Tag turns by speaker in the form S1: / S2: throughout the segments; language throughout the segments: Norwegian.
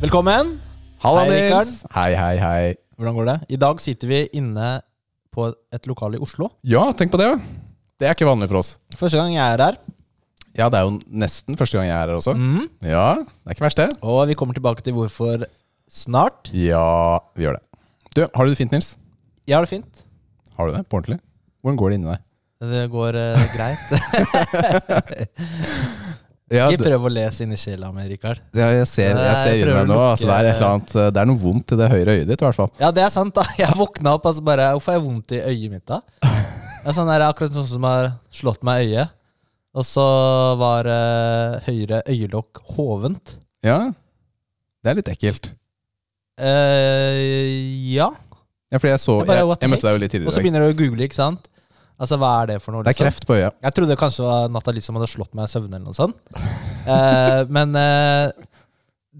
S1: Velkommen.
S2: Halla,
S1: Hei,
S2: Nils.
S1: Rikard.
S2: Hei, hei, hei.
S1: Hvordan går det? I dag sitter vi inne på et lokal i Oslo.
S2: Ja, tenk på det. ja. Det er ikke vanlig for oss.
S1: Første gang jeg er her.
S2: Ja, det er jo nesten første gang jeg er her også. Ja, det er ikke verst, det.
S1: Og vi kommer tilbake til hvorfor snart.
S2: Ja, vi gjør det. Du, har du det fint, Nils?
S1: Jeg har det fint.
S2: Har du det på ordentlig? Hvordan går det inni deg?
S1: Det går eh, greit.
S2: Ja,
S1: Ikke
S2: det,
S1: prøv å lese inni sjela mi, Rikard.
S2: ja, jeg ser,
S1: Nei,
S2: jeg ser
S1: jeg
S2: inni
S1: prøver å
S2: deg nå. Altså, det, er
S1: lukke-
S2: et eller annet, eh, det er noe vondt i det høyre øyet ditt, i hvert fall.
S1: Ja, det er sant. da Jeg våkna opp og altså bare Hvorfor har jeg vondt i øyet mitt, da? Det er sånn der, akkurat sånn som har slått meg i øyet. Og så var eh, høyre øyelokk hovent.
S2: Ja, det er litt ekkelt.
S1: Eh, ja.
S2: Ja, fordi jeg så
S1: Det er bare
S2: Jeg,
S1: what the
S2: jeg møtte deg jo litt
S1: Og så
S2: tidligere i dag.
S1: begynner du å google, ikke sant? Altså, hva er det for noe?
S2: Det er kreft på øyet.
S1: Jeg trodde det kanskje var Nathalie som hadde slått meg i søvne eller noe sånt. Eh, men eh,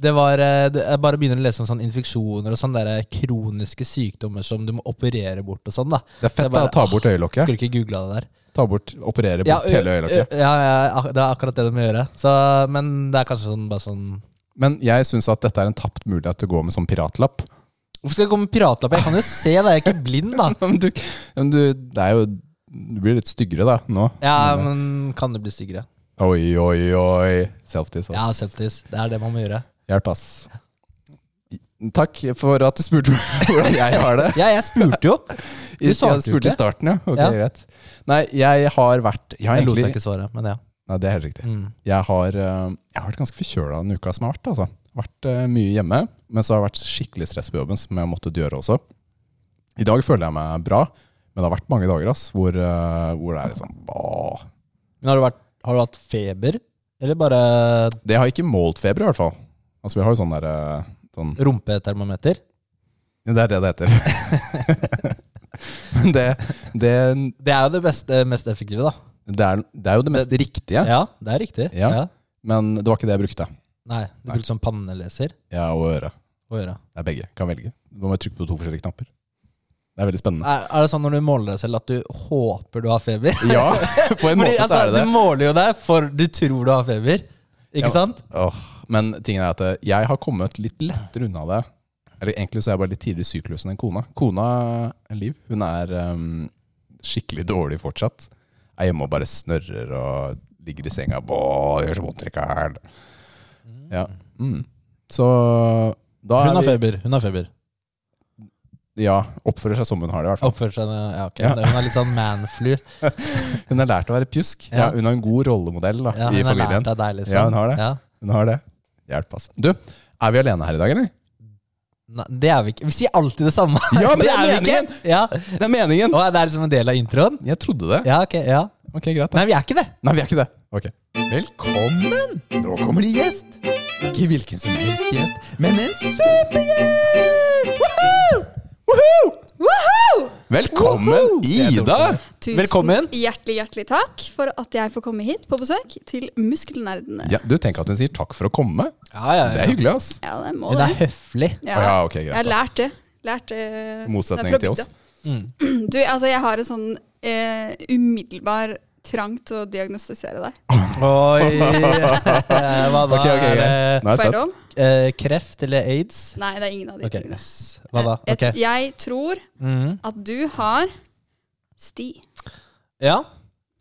S1: det var eh, det, Jeg bare begynner å lese om sånne infeksjoner og sånne der eh, kroniske sykdommer som du må operere bort og sånn, da.
S2: Det er fett
S1: Det er bare-
S2: da, å ta bort øyelokket.
S1: Skulle ikke googla det der.
S2: Ta bort, Operere bort
S1: Ja, ø-
S2: hele øyelokket.
S1: ø- ja, ja, ak- det er akkurat det de må gjøre. Så, men det er kanskje sånn bare sånn
S2: Men jeg syns at dette er en tapt mulighet til å gå med sånn piratlapp.
S1: Hvorfor skal jeg gå med piratlapp? Jeg kan jo se, da. Jeg er ikke blind, da.
S2: Men du, men du, det er jo Du blir litt styggere da, nå.
S1: Ja, men kan det bli styggere?
S2: Oi, oi, oi. Selfties,
S1: Ja,
S2: ass.
S1: septis. Det er det man må gjøre.
S2: Hjelp, ass. Takk for at du spurte meg hvordan jeg har det.
S1: Ja, jeg spurte jo. Du
S2: Jeg
S1: svarte jo
S2: spurte i
S1: ikke.
S2: starten, ja. Ok,
S1: Ja.
S2: greit. Nei, jeg har vært Jeg har
S1: Jeg lot deg
S2: egentlig
S1: ikke svare, men ja.
S2: Nei, det er helt riktig.
S1: Mm.
S2: Jeg har, eh, jeg har vært ganske forkjøla den uka som har vært. altså. Vært eh, mye hjemme, men så har det vært skikkelig stress på jobben, som jeg måtte gjøre også. I dag føler jeg meg bra, men det har vært mange dager ass, hvor, eh, hvor det er liksom åh.
S1: Men har du, vært, har du hatt feber? Eller bare
S2: Det har ikke målt feber, i hvert fall. Altså, Vi har jo sånn derre sånn,
S1: rumpetermometer?
S2: Det er det det heter. men det, det,
S1: Det er jo det beste, mest effektive, da.
S2: det, er, det er jo det mest riktige,
S1: Ja, det er riktig.
S2: Ja. men det var ikke det jeg brukte.
S1: Nei, du
S2: Nei.
S1: brukte sånn panneleser
S2: Ja, og øre.
S1: å gjøre.
S2: Det er begge. Kan velge. Du må jeg trykke på to forskjellige knapper. Det er veldig spennende.
S1: Er, er det sånn når du måler deg selv at du håper du har feber?
S2: Ja, på
S1: Fordi,
S2: en måte så
S1: altså,
S2: er det det.
S1: Du måler jo deg for du tror du har feber, ikke
S2: Ja.
S1: sant?
S2: Åh, men tingen er at eh, jeg har kommet litt lettere unna det. Eller egentlig så er jeg bare litt tidligere i syklusen enn kona. Kona eh, Liv, hun er ehm, skikkelig dårlig fortsatt. Er hjemme og bare snørrer og ligger i senga og gjør så vondt i kælen. Ja. Mm. Så da
S1: Hun
S2: er
S1: har
S2: vi,
S1: feber. hun har feber
S2: Ja, oppfører seg som hun har det, i hvert fall.
S1: Oppfører seg Ja, ok.
S2: Ja.
S1: Det- Hun er litt sånn manflu.
S2: Hun har lært å være pjusk. Ja,
S1: Ja.
S2: hun har en god rollemodell da,
S1: Ja,
S2: i
S1: hun har
S2: familien.
S1: lært av deg, liksom.
S2: Ja, hun har det.
S1: Ja.
S2: Hun har det. Hjelp, ass. Du, er vi alene her i dag, eller?
S1: Nei, det er vi ikke. Vi sier alltid det samme.
S2: Ja, men det
S1: er
S2: er
S1: vi ikke. Ja.
S2: Det er meningen!
S1: Og det er liksom en del av introen?
S2: Jeg trodde det.
S1: Ja, ok. ja
S2: Ok, greit. da.
S1: Nei, vi er ikke det.
S2: Nei, vi er ikke det. Ok. Velkommen! Nå kommer det gjest. Ikke hvilken som helst gjest, men en supergjest! Woohoo! Woohoo! Velkommen, Ida!
S3: Tusen
S1: Velkommen.
S3: hjertelig hjertelig takk for at jeg får komme hit på besøk til Muskelnerdene.
S2: Ja, du tenker at hun sier takk for å komme.
S1: Ja, ja,
S2: Det er hyggelig, ass.
S3: Ja, det må
S1: Hun
S3: det.
S1: er høflig.
S3: Ja.
S2: Å ja, ok, greit
S3: jeg har
S2: da.
S3: lært det. Lært det.
S2: I motsetning
S3: Det er fra
S2: til
S3: bygda.
S2: oss.
S3: Du, altså, jeg har en sånn eh, umiddelbar trang til å diagnostisere deg.
S1: Oi! Eh, Hva da?
S2: Ok, ok,
S1: Er
S2: greit. Nå er jeg
S3: Får jeg
S2: spent.
S3: lov?
S1: det eh, kreft eller aids?
S3: Nei, det er ingen av de
S1: Ok,
S3: tingene.
S1: yes. Hva da?
S3: Jeg-
S1: Ok.
S3: Jeg tror
S1: Mhm.
S3: at du har sti.
S1: Ja.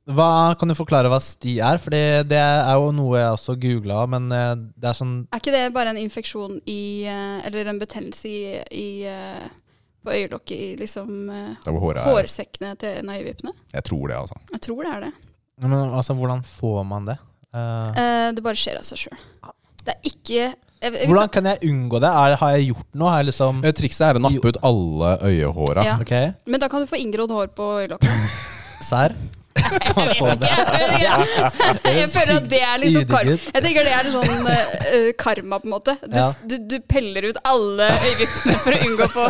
S1: Hva, kan du forklare hva sti er? Fordi det er jo noe jeg også googla, men eh, det er sånn
S3: Er ikke det bare en infeksjon i eh, Eller en betennelse i, i eh, på øyelokket i liksom eh,
S2: Det var håret her.
S3: hårsekkene til en av øyevippene?
S2: Jeg tror det, altså.
S3: Jeg tror det er det.
S1: Men altså, hvordan får man det? Eh,
S3: Eh, det bare skjer av seg sjøl. Det er ikke jeg, jeg,
S1: hvordan kan jeg unngå det? Er, har jeg gjort noe? Har jeg liksom
S2: Eh, Trikset er å nappe ut alle øyehåra.
S3: Ja.
S1: Ok,
S3: Men da kan du få inngrodd hår på øyelokket.
S1: serr? Kan man få det?
S3: Jeg føler at det er liksom kar
S1: Udigget.
S3: Jeg tenker det er sånn eh, eh, karma, på en måte. Du,
S1: Ja.
S3: du, du peller ut alle øyevippene for å unngå å få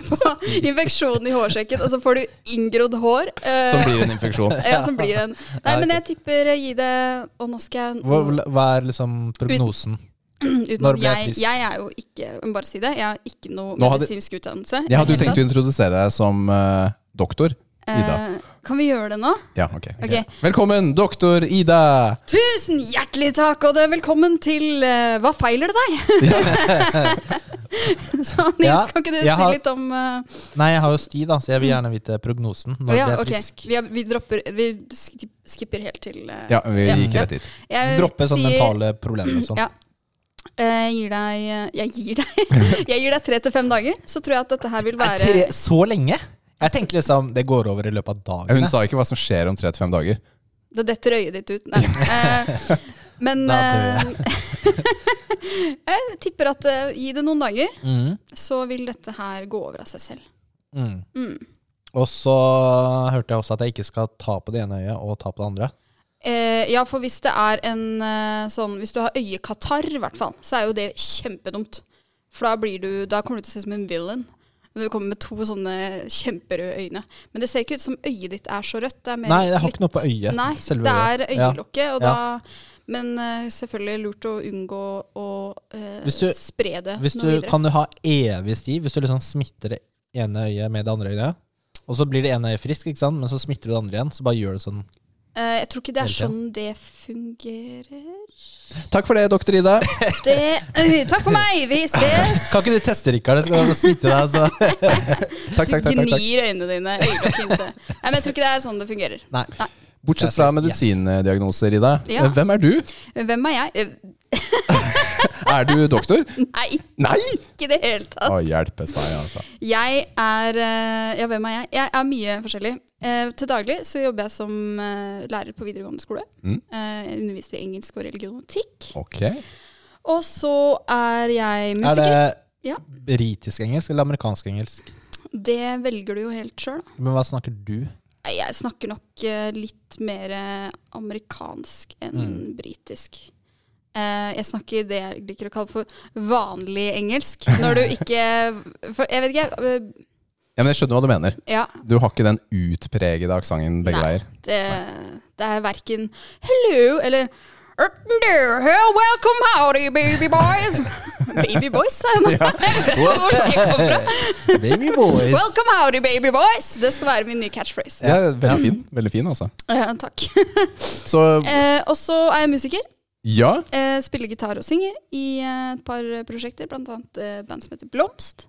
S3: få infeksjon i hårsekken, og så får du inngrodd hår. eh,
S2: Som blir en infeksjon.
S3: ja, som blir en Nei,
S1: Ja,
S3: men jeg tipper eh, gi det Og nå skal jeg Mm,
S1: Hva, hva er liksom prognosen?
S3: uten,
S1: når ble jeg
S3: jeg,
S1: frisk?
S3: jeg er jo ikke Jeg må bare si det. Jeg har ikke noe
S2: Nå hadde-
S3: medisinsk utdannelse.
S2: Jeg hadde jo
S3: i det hele
S2: tenkt å introdusere deg som eh, doktor, Ida.
S3: Eh, kan vi gjøre det nå?
S2: Ja, ok.
S3: Ok.
S2: Velkommen, doktor Ida!
S3: Tusen hjertelig takk, og det er velkommen til eh, Hva feiler det deg? så Nils,
S1: Ja,
S3: kan ikke du
S1: jeg
S3: si
S1: har-
S3: litt om eh,
S1: Nei, jeg har jo sti, da, så jeg vil gjerne vite prognosen. Når
S3: Mm. ja,
S1: blir jeg
S3: ok.
S1: frisk?
S3: Vi, har, vi dropper Vi skip, skipper helt til eh,
S2: Ja, vi
S3: Ja.
S2: gikk
S3: Ja.
S2: rett hit.
S3: jeg
S1: Droppe sånne
S3: sier-
S1: sånn mentale problemer og sånn.
S3: Ja. Eh, Jeg gir deg eh, Jeg gir deg Jeg gir deg tre til fem dager, så tror jeg at dette her vil
S1: Nei,
S3: være
S1: tre, så lenge? Jeg tenkte liksom det går over i løpet av
S2: Ja, Hun
S1: dagen. jeg.
S2: sa ikke hva som skjer om tre til fem dager.
S3: Det detter øyet ditt ut. Nei. Eh, Men
S1: Da
S3: eh,
S1: dør
S3: jeg tipper at eh, gi det noen dager,
S1: Mm,
S3: så vil dette her gå over av seg selv.
S1: mm.
S3: Mm.
S1: Og så hørte jeg også at jeg ikke skal ta på det ene øyet og ta på det andre.
S3: Eh, ja, for hvis det er en eh, sånn Hvis du har øyekatarr, i hvert fall, så er jo det kjempedumt. For da, blir du, da kommer du til å se ut som en villain. Når du kommer med to sånne kjemperøde øyne. Men det ser ikke ut som øyet ditt er så rødt. Det er mer
S1: Nei, jeg har
S3: litt-
S1: ikke noe på øyet.
S3: Nei,
S1: selve
S3: det
S1: øyet.
S3: er
S1: Ja.
S3: øyelokket. Og da, men eh, selvfølgelig lurt å unngå å eh,
S1: Hvis du-
S3: spre det
S1: Hvis
S3: noe
S1: du,
S3: videre.
S1: kan du ha evig sti hvis du liksom smitter det ene øyet med det andre øyet? Og så blir det ene øyet frisk, ikke sant? men så smitter du det andre igjen. Så bare gjør det sånn.
S3: Eh, jeg tror ikke det er
S1: Hele tiden.
S3: sånn det fungerer.
S2: Takk for det, doktor Ida.
S3: Det, takk for meg! Vi ses!
S1: Kan ikke du teste, Rikard? Jeg skal sånn smitte deg. Så.
S2: Takk, takk, takk,
S3: du
S2: takk, takk.
S3: gnir øynene dine. øyelokk inntil. Nei, men jeg tror ikke det er sånn det fungerer.
S1: Nei.
S2: Bortsett fra medisindiagnoser, Ida. Eh,
S3: Ja.
S2: Hvem er du?
S3: Hvem er jeg? Eh,
S2: Er du doktor?
S3: Nei,
S2: Nei!
S3: ikke i det hele tatt.
S2: Å, hjelpes meg, altså.
S3: Jeg er eh, Ja, hvem er jeg? Jeg er mye forskjellig. Eh, til daglig så jobber jeg som eh, lærer på videregående skole.
S2: Mm.
S3: Eh, jeg underviser i engelsk og religionetikk.
S2: Ok.
S3: Og så er jeg
S1: Er
S3: musiker.
S1: det
S3: Ja.
S1: britisk engelsk eller amerikansk engelsk?
S3: Det? velger du jo helt sjøl, da.
S1: Men hva snakker du?
S3: Nei, Jeg snakker nok eh, litt mer eh, amerikansk enn
S1: Mm.
S3: britisk. Eh, jeg snakker det jeg liker å kalle for vanlig engelsk. Når du ikke For jeg vet ikke jeg,
S2: Ja, men Jeg skjønner hva du mener.
S3: eh, Ja,
S2: Du har ikke den utpregede aksenten begge
S3: Nei.
S2: veier.
S3: Det, det er verken 'hello' eller «Up there, here, 'welcome howdy, baby boys'. baby boys, sa jeg nå. Hvor det kom fra.
S1: Baby boys.
S3: 'Welcome howdy, baby boys'. Det skal være min nye catchphrase.
S2: Ja, veldig fin, veldig fin altså.
S3: Eh, takk.
S2: Så
S3: Eh, og så er jeg musiker.
S2: ja,
S3: Eh, spiller gitar og synger i eh, et par eh, prosjekter, blant annet eh, band som heter Blomst.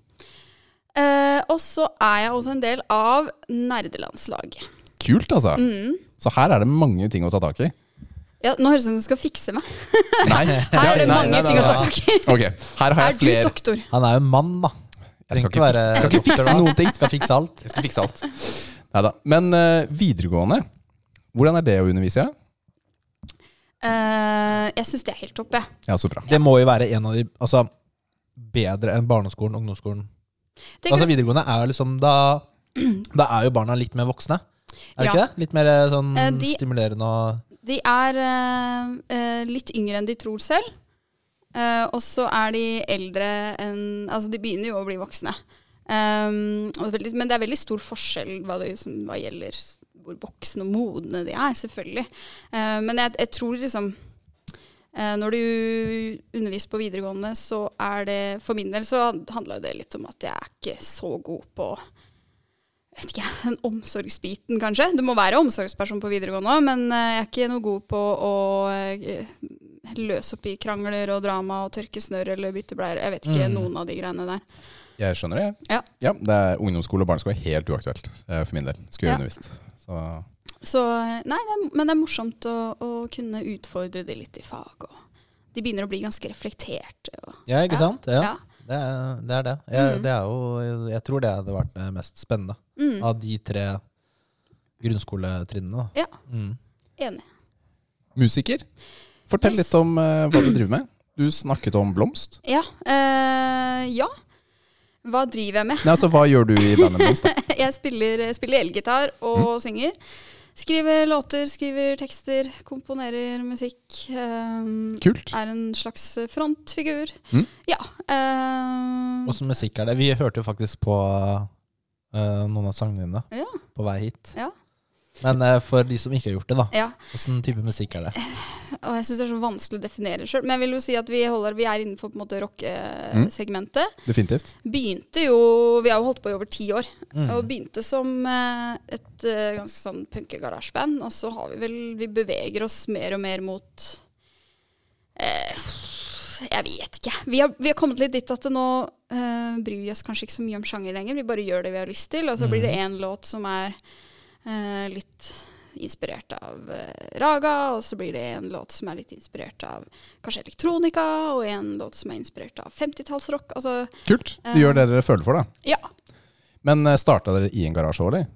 S3: Eh, og så er jeg også en del av nerdelandslaget.
S2: kult altså.
S3: Mm.
S2: Så her er det mange ting å ta tak i.
S3: Ja, nå høres det ut som du skal fikse meg.
S2: Nei,
S3: Her er det
S2: nei,
S3: mange
S2: nei, nei,
S3: ting å ta
S2: nei.
S3: tak i.
S2: Ok, her har
S3: Er
S2: jeg
S3: du
S2: flere
S3: doktor?
S1: Han er jo en mann, da.
S2: Jeg skal
S1: Trenger
S2: ikke fikse-
S1: være
S2: skal ikke
S1: doktor,
S2: fikse
S1: da.
S2: noen ting.
S1: Skal fikse alt.
S2: Jeg skal fikse alt. Neida. Men eh, videregående, hvordan er det å undervise?
S3: Eh, jeg syns det er helt topp, jeg.
S2: Ja, så bra.
S1: Det må jo være en av de altså, bedre enn barneskolen, ungdomsskolen.
S3: Tenker
S1: Altså
S3: du-
S1: Videregående er jo liksom da Da er jo barna litt mer voksne. Er det
S3: Ja.
S1: ikke det? Litt mer eh, sånn
S3: Eh, de-
S1: stimulerende og
S3: de er eh, eh, litt yngre enn de tror selv. Eh, og så er de eldre enn Altså, de begynner jo å bli voksne. Um, og veldig, men det er veldig stor forskjell hva, det, som, hva gjelder hvor voksne og modne de er, selvfølgelig. Eh, men jeg, jeg tror liksom eh, Når du underviser på videregående, så er det For min del så handla det litt om at jeg er ikke så god på vet ikke, jeg, den omsorgsbiten, kanskje. Du må være omsorgsperson på videregående òg, men eh, jeg er ikke noe god på å eh, løse opp i krangler og drama og tørke snørr eller bytte bleier. Jeg vet ikke
S1: Mm.
S3: noen av de greiene der.
S2: Jeg skjønner det.
S3: Ja.
S2: det er Ungdomsskole og barneskole er helt uaktuelt eh, for min del. Skulle
S3: Ja.
S2: jeg undervist. Så
S3: Så, eh, nei, det er, men det er morsomt å, å kunne utfordre det litt i fag. Og de begynner å bli ganske reflekterte. Og,
S1: Ja, ikke
S3: Ja.
S1: sant? Ja.
S3: ja.
S1: Det, er, det er det. Jeg,
S3: Mhm.
S1: det er jo, jeg tror det hadde vært det mest spennende
S3: Mm,
S1: av de tre grunnskoletrinnene. da.
S3: Ja.
S1: Mm.
S3: enig.
S2: musiker, fortell
S3: Yes.
S2: litt om eh, hva du driver med. Du snakket om blomst.
S3: Ja, eh, ja. Hva driver jeg med?
S2: Nei, altså Hva gjør du i bandet Blomst? da?
S3: Jeg spiller, spiller elgitar
S2: Mm.
S3: og synger. Skriver låter, skriver tekster, komponerer musikk. eh,
S2: Kult.
S3: er en slags frontfigur.
S2: Mm.
S3: Ja. eh,
S1: Åssen musikk er det? Vi hørte jo faktisk på eh, noen av sangene dine
S3: Ja.
S1: på vei hit.
S3: Ja.
S1: Men eh, for de som ikke har gjort det, da.
S3: Ja.
S1: Åssen type musikk er
S3: Eh,
S1: det?
S3: Og jeg syns det er så vanskelig å definere sjøl. Men jeg vil jo si at vi, holder, vi er innenfor på en måte rockesegmentet.
S2: Definitivt.
S3: Begynte jo Vi har jo holdt på i over ti år.
S1: Mm.
S3: Og begynte som eh, et eh, ganske sånn punkegarasjeband. Og så har vi vel Vi beveger oss mer og mer mot eh, Jeg vet ikke. Vi har, vi har kommet litt dit at det nå eh, bryr vi oss kanskje ikke så mye om sjanger lenger. Vi bare gjør det vi har lyst til, og så blir det én låt som er eh, litt inspirert av eh, Raga, og så blir det en låt som er litt inspirert av kanskje elektronika, og en låt som er inspirert av 50-tallsrock. Altså,
S2: Kult. Du gjør det dere føler for, da.
S3: ja.
S2: Men starta dere i en garasje òg, eller?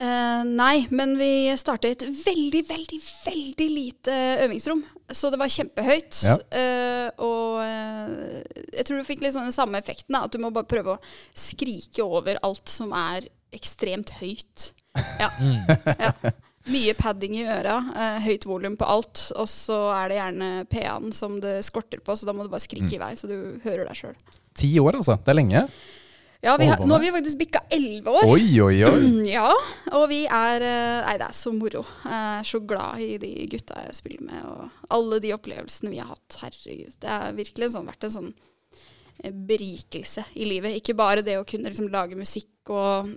S3: Eh, nei, men vi starta i et veldig, veldig, veldig lite øvingsrom. Så det var kjempehøyt.
S2: Ja.
S3: Eh, og eh, jeg tror du fikk litt sånn den samme effekten. Da, at du må bare prøve å skrike over alt som er ekstremt høyt. Ja. ja. Mye padding i øra, eh, høyt volum på alt. Og så er det gjerne PA-en som det skorter på, så da må du bare skrike i vei, så du hører deg sjøl.
S2: Ti år, altså. Det er lenge.
S3: Ja, vi
S2: Holder
S3: har,
S2: på
S3: nå har
S2: med.
S3: vi faktisk bikka elleve år.
S2: Oi, oi, oi.
S3: Mm, Ja, og vi er eh, Nei, det er så moro. Jeg er så glad i de gutta jeg spiller med, og alle de opplevelsene vi har hatt. Herregud. Det har virkelig en sånn, vært en sånn eh, berikelse i livet. Ikke bare det å kunne liksom, lage musikk og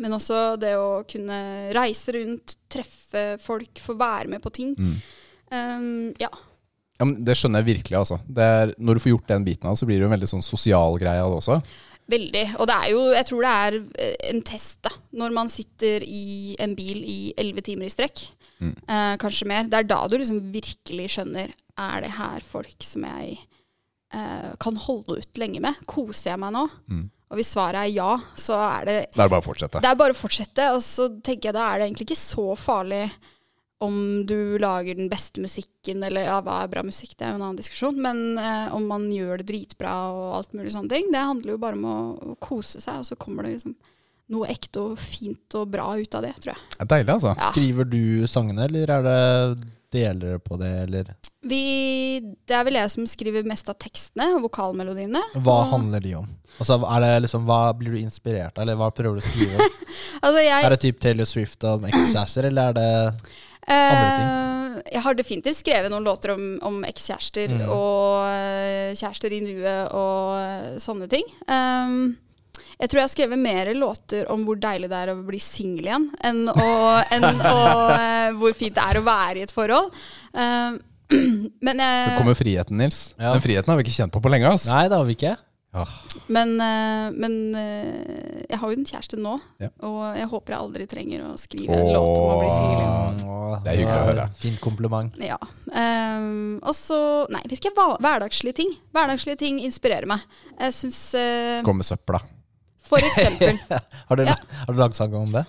S3: men også det å kunne reise rundt, treffe folk, få være med på ting.
S2: Mm.
S3: Um, ja.
S2: Ja, men det skjønner jeg virkelig. altså. Det er, når du får gjort den biten av det, så blir det jo en veldig sånn sosial greie av det også.
S3: Veldig. Og det er jo, jeg tror det er eh, en test, da. Når man sitter i en bil i elleve timer i strekk,
S2: Mm.
S3: eh, kanskje mer. Det er da du liksom virkelig skjønner er det her folk som jeg eh, kan holde ut lenge med. Koser jeg meg nå?
S2: Mm.
S3: Og hvis svaret er ja, så er det
S2: Da er det bare å fortsette.
S3: Det er bare å fortsette. Og så tenker jeg da er det egentlig ikke så farlig om du lager den beste musikken, eller ja, hva er bra musikk, det er jo en annen diskusjon. Men eh, om man gjør det dritbra og alt mulig sånne ting, det handler jo bare om å, å kose seg, og så kommer det liksom noe ekte og fint og bra ut av det, tror jeg.
S2: Det er deilig, altså.
S3: Ja.
S1: Skriver du sangene, eller er det deler dere på det, eller
S3: Vi, det er vel jeg som skriver mest av tekstene og vokalmelodiene.
S1: Hva
S3: Og-
S1: handler de om? Altså, er det liksom, Hva blir du inspirert av, eller hva prøver du å skrive om?
S3: Altså jeg,
S1: Er det typ Taylor Swift om ekskjærester, eller er det
S3: Eh, jeg har definitivt skrevet noen låter om, om ekskjærester
S1: Mm.
S3: og eh, kjærester i nuet og eh, sånne ting. Ehm, jeg tror jeg har skrevet mer låter om hvor deilig det er å bli singel igjen, enn, å, enn å, eh, hvor fint det er å være i et forhold. Ehm, men
S2: Det
S3: eh,
S2: kommer friheten, Nils.
S1: Ja.
S2: Den friheten har vi ikke kjent på på lenge. ass.
S1: Nei, det har vi ikke.
S3: men, eh, men eh, jeg har jo en kjæreste nå,
S2: Ja.
S3: og jeg håper jeg aldri trenger å skrive en låt om å bli singel igjen.
S2: Åh.
S1: Mm, Åh,
S2: Det er hyggelig å
S1: var
S2: høre.
S1: Fint kompliment.
S3: Ja. ehm, og så Nei, vet ikke. hva- Hverdagslige ting. Hverdagslige ting inspirerer meg. Jeg syns eh,
S2: Kom med søpla.
S3: For eksempel
S1: Har du,
S3: Ja.
S1: har du lagd sang om det?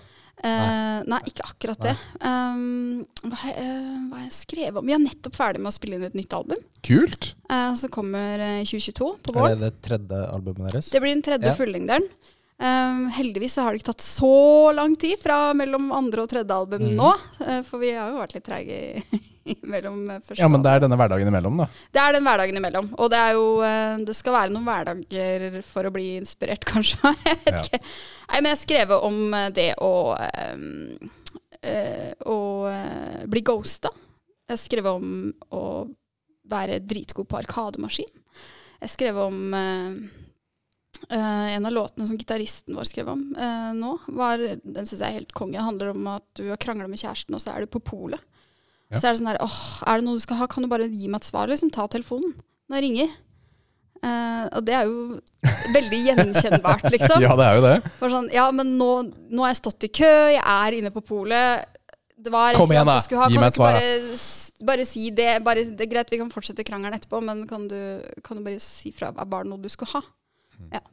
S3: eh, Nei, ikke akkurat det. Ehm, hva har jeg- eh, hva har jeg skrevet om? Vi er nettopp ferdig med å spille inn et nytt album.
S2: Kult!
S3: eh, som kommer eh, i 2022, på
S1: Er
S3: våren.
S1: det det tredje albumet deres?
S3: Det blir den tredje
S1: Ja.
S3: fullengderen. Ehm, heldigvis så har det ikke tatt så lang tid fra mellom andre og tredje album nå. eh, for vi har jo vært litt treige i- mellom eh, første
S2: Ja, men
S3: album.
S2: det er denne hverdagen imellom, da.
S3: Det er den hverdagen imellom. Og det, er jo, eh, det skal være noen hverdager for å bli inspirert, kanskje. Jeg vet
S2: Ja.
S3: ikke. Nei, men jeg skrev om eh, det å eh, eh, Å eh, bli ghosta. Jeg skrev om å være dritgod på arkademaskin. Jeg skrev om eh, eh, En av låtene som gitaristen vår skrev om eh, nå, var, den syns jeg er helt konge. Den handler om at du har krangla med kjæresten, og så er du på polet.
S2: Ja.
S3: Så er det sånn her åh, er det noe du skal ha, kan du bare gi meg et svar, liksom? Ta telefonen når jeg ringer. Eh, og det er jo veldig gjenkjennbart, liksom.
S2: Ja, det er jo det.
S3: Bare sånn, ja, men nå, nå har jeg stått i kø, jeg er inne på polet. Det var et
S2: Kom
S3: eller
S2: igjen
S3: annet
S2: da,
S3: du skulle ha.
S2: gi meg
S3: Kan du
S2: et
S3: ikke
S2: svar da.
S3: Bare, s- bare si det. Bare, det er greit, vi kan fortsette krangelen etterpå, men kan du, kan du bare si fra hva var det noe du skulle ha?
S2: Hmm.
S3: Ja.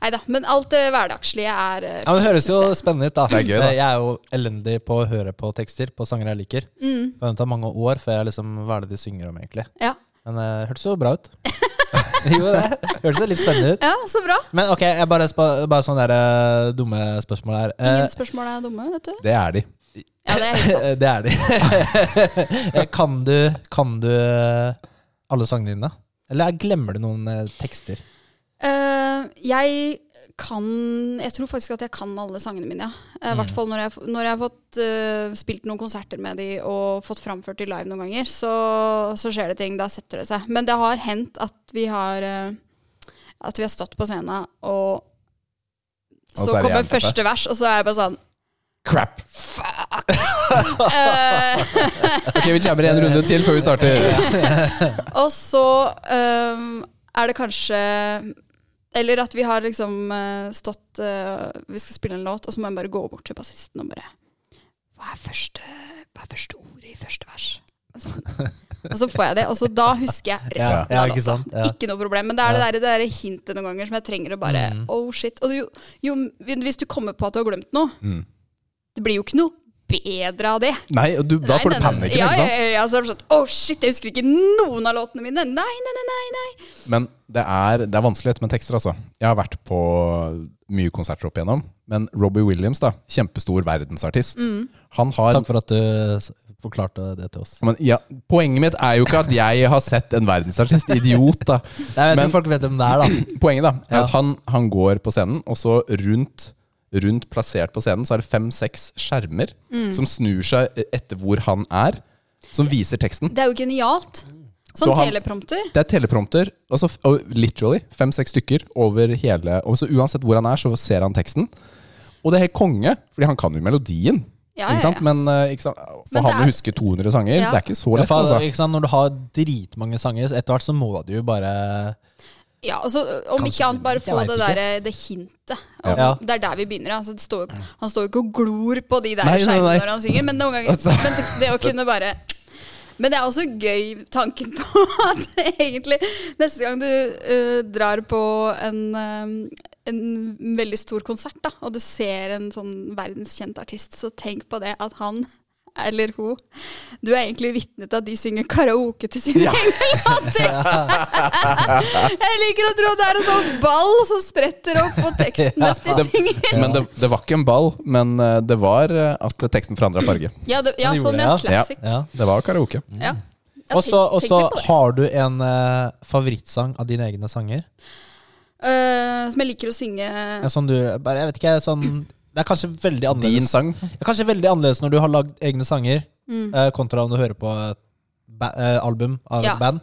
S3: Nei da, men alt det hverdagslige er eh,
S1: Ja, men Det høres jo
S3: synes jeg.
S1: spennende ut, da.
S2: Det er gøy, da.
S1: Jeg er jo elendig på å høre på tekster på sanger jeg liker.
S3: mm,
S1: Det kan ta mange år før jeg liksom Hva er det de synger om, egentlig?
S3: ja.
S1: Men det hørtes jo bra ut. jo, det hørtes jo litt spennende ut.
S3: ja, så bra.
S1: Men ok, jeg bare, spa, bare sånne der, eh, dumme spørsmål her. Eh,
S3: Ingen spørsmål er dumme, vet du.
S2: Det er de.
S3: Ja, det er helt sant.
S1: det er de. Eh, kan, du, kan du alle sangene dine? Eller glemmer du noen eh, tekster?
S3: Eh, jeg kan Jeg tror faktisk at jeg kan alle sangene mine, ja. Eh, I hvert
S1: Mm.
S3: fall når jeg, når jeg har fått eh, spilt noen konserter med de og fått framført de live noen ganger, så, så skjer det ting. Da setter det seg. Men det har hendt at vi har eh, At vi har stått på scenen, og
S2: Og
S3: så,
S2: så er det
S3: kommer
S2: jernteppe.
S3: første vers, og så er jeg bare sånn
S2: Crap!
S3: Fuck! Eh,
S2: Ok, vi jammer en runde til før vi starter.
S3: Og så øhm, er det kanskje Eller at vi har liksom øh, stått øh, Vi skal spille en låt, og så må jeg bare gå bort til bassisten og bare Hva er første, hva er første ordet i første vers? Og så- Og så får jeg det. Og så da husker jeg
S1: Ja,
S3: resten
S1: ja,
S3: av
S1: ikke
S3: låta.
S1: sant? Ja.
S3: Ikke noe problem. Men det er
S1: Ja.
S3: det der, det der hintet noen ganger som jeg trenger å bare
S1: Mm.
S3: Oh, shit. Og jo, jo, hvis du kommer på at du har glemt noe,
S2: Mm.
S3: det blir jo ikke noe bedre av det.
S2: Nei, og du, da
S3: Nei,
S2: får du
S3: nei, nei.
S2: panikken,
S3: ja,
S2: ikke sant?
S3: Ja, ja, ja, så er det sånn, Å, shit, jeg husker ikke noen av låtene mine! Nei, nei, nei, nei! nei.
S2: Men det er, det er vanskelig dette med tekster, altså. Jeg har vært på mye konserter opp igjennom. Men Robbie Williams, da, kjempestor verdensartist,
S3: Mm.
S2: han har
S1: Takk for at du s- forklarte det til oss.
S2: men, ja, Poenget mitt er jo ikke at jeg har sett en verdensartist. Idiot, da.
S1: Nei, jeg vet
S2: Men-
S1: ikke om folk vet hvem det er, da.
S2: Poenget da, er
S1: Ja.
S2: at han, han går på scenen, og så rundt, rundt plassert på scenen så er det fem-seks skjermer
S3: Mm.
S2: som snur seg etter hvor han er, som viser teksten.
S3: Det er jo genialt.
S2: Så
S3: Sånn
S2: han-
S3: teleprompter.
S2: Det er teleprompter, altså, f- og literally fem-seks stykker over hele Og så uansett hvor han er, så ser han teksten. Og det er helt konge, fordi han kan jo melodien.
S3: Ja,
S2: ikke
S3: ja,
S2: sant?
S3: ja.
S2: Men eh, ikke sant?
S3: Men
S2: for
S3: det
S2: han å
S3: er-
S2: huske 200 sanger,
S3: Ja.
S2: det er ikke så
S1: Ja,
S2: lett.
S1: for,
S2: altså.
S1: ikke sant, når du har dritmange sanger, så etter hvert så må du jo bare
S3: ja altså, om
S1: Kanskje-
S3: ikke annet, bare få
S1: jeg
S3: det
S1: vet ikke.
S3: der, eh, det hintet.
S1: Ja.
S3: Om-
S1: Ja.
S3: Det er der vi begynner. Altså, det står, jo- han står jo ikke og glor på de der
S2: Nei, nei, nei.
S3: skjermene når han synger, men noen ganger
S2: Altså.
S3: men det, det å kunne bare men det er også gøy tanken på at egentlig neste gang du øh, drar på en, øhm, en veldig stor konsert, da, og du ser en sånn verdenskjent artist, så tenk på det at han eller hun Du er egentlig vitne til at de synger karaoke til sine egne låter! Jeg liker å tro det er en sånn ball som spretter opp på teksten mens de synger.
S2: Men det, det var ikke en ball, men eh, det var eh, at teksten forandra farge.
S3: Ja, det, ja
S1: Han gjorde
S3: sånn,
S1: det,
S3: ja.
S1: ja.
S3: Classic.
S1: ja.
S2: Det var karaoke.
S3: Ja. Ja,
S1: Og så
S3: tenk-
S1: og
S3: tenk
S1: så
S3: litt på det.
S1: har du en eh, favorittsang av dine egne sanger.
S3: Eh, som jeg liker å synge
S1: En sånn du bare, Jeg vet ikke, sånn Det er kanskje veldig
S2: Din
S1: annerledes
S2: sang.
S1: Det er kanskje veldig annerledes når du har lagd egne sanger,
S3: Mm.
S1: eh, kontra om du hører på et ba eh, album av
S3: Ja.
S1: et band.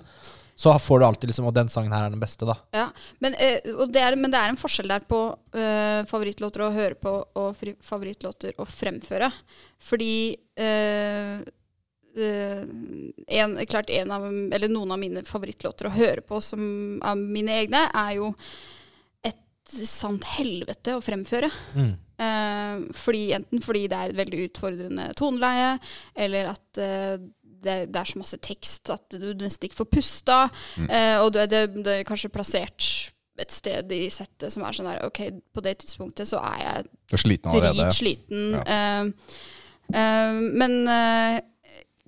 S1: Så får du alltid liksom Og den sangen her er den beste, da.
S3: ja. men, eh, og det er, men det er en forskjell der på eh, favorittlåter å høre på og fri, favorittlåter å fremføre. Fordi eh, eh, en, klart en av, eller noen av mine favorittlåter å høre på som av mine egne, er jo et sant helvete å fremføre. Eh, fordi, enten fordi det er et veldig utfordrende toneleie, eller at eh, det, det er så masse tekst at du nesten ikke får pusta. Eh, og du er, det, det er kanskje plassert et sted i settet som er sånn der Ok, på det tidspunktet så er jeg
S2: Du er sliten allerede.
S3: dritsliten.
S2: Ja.
S3: Eh, eh, men eh,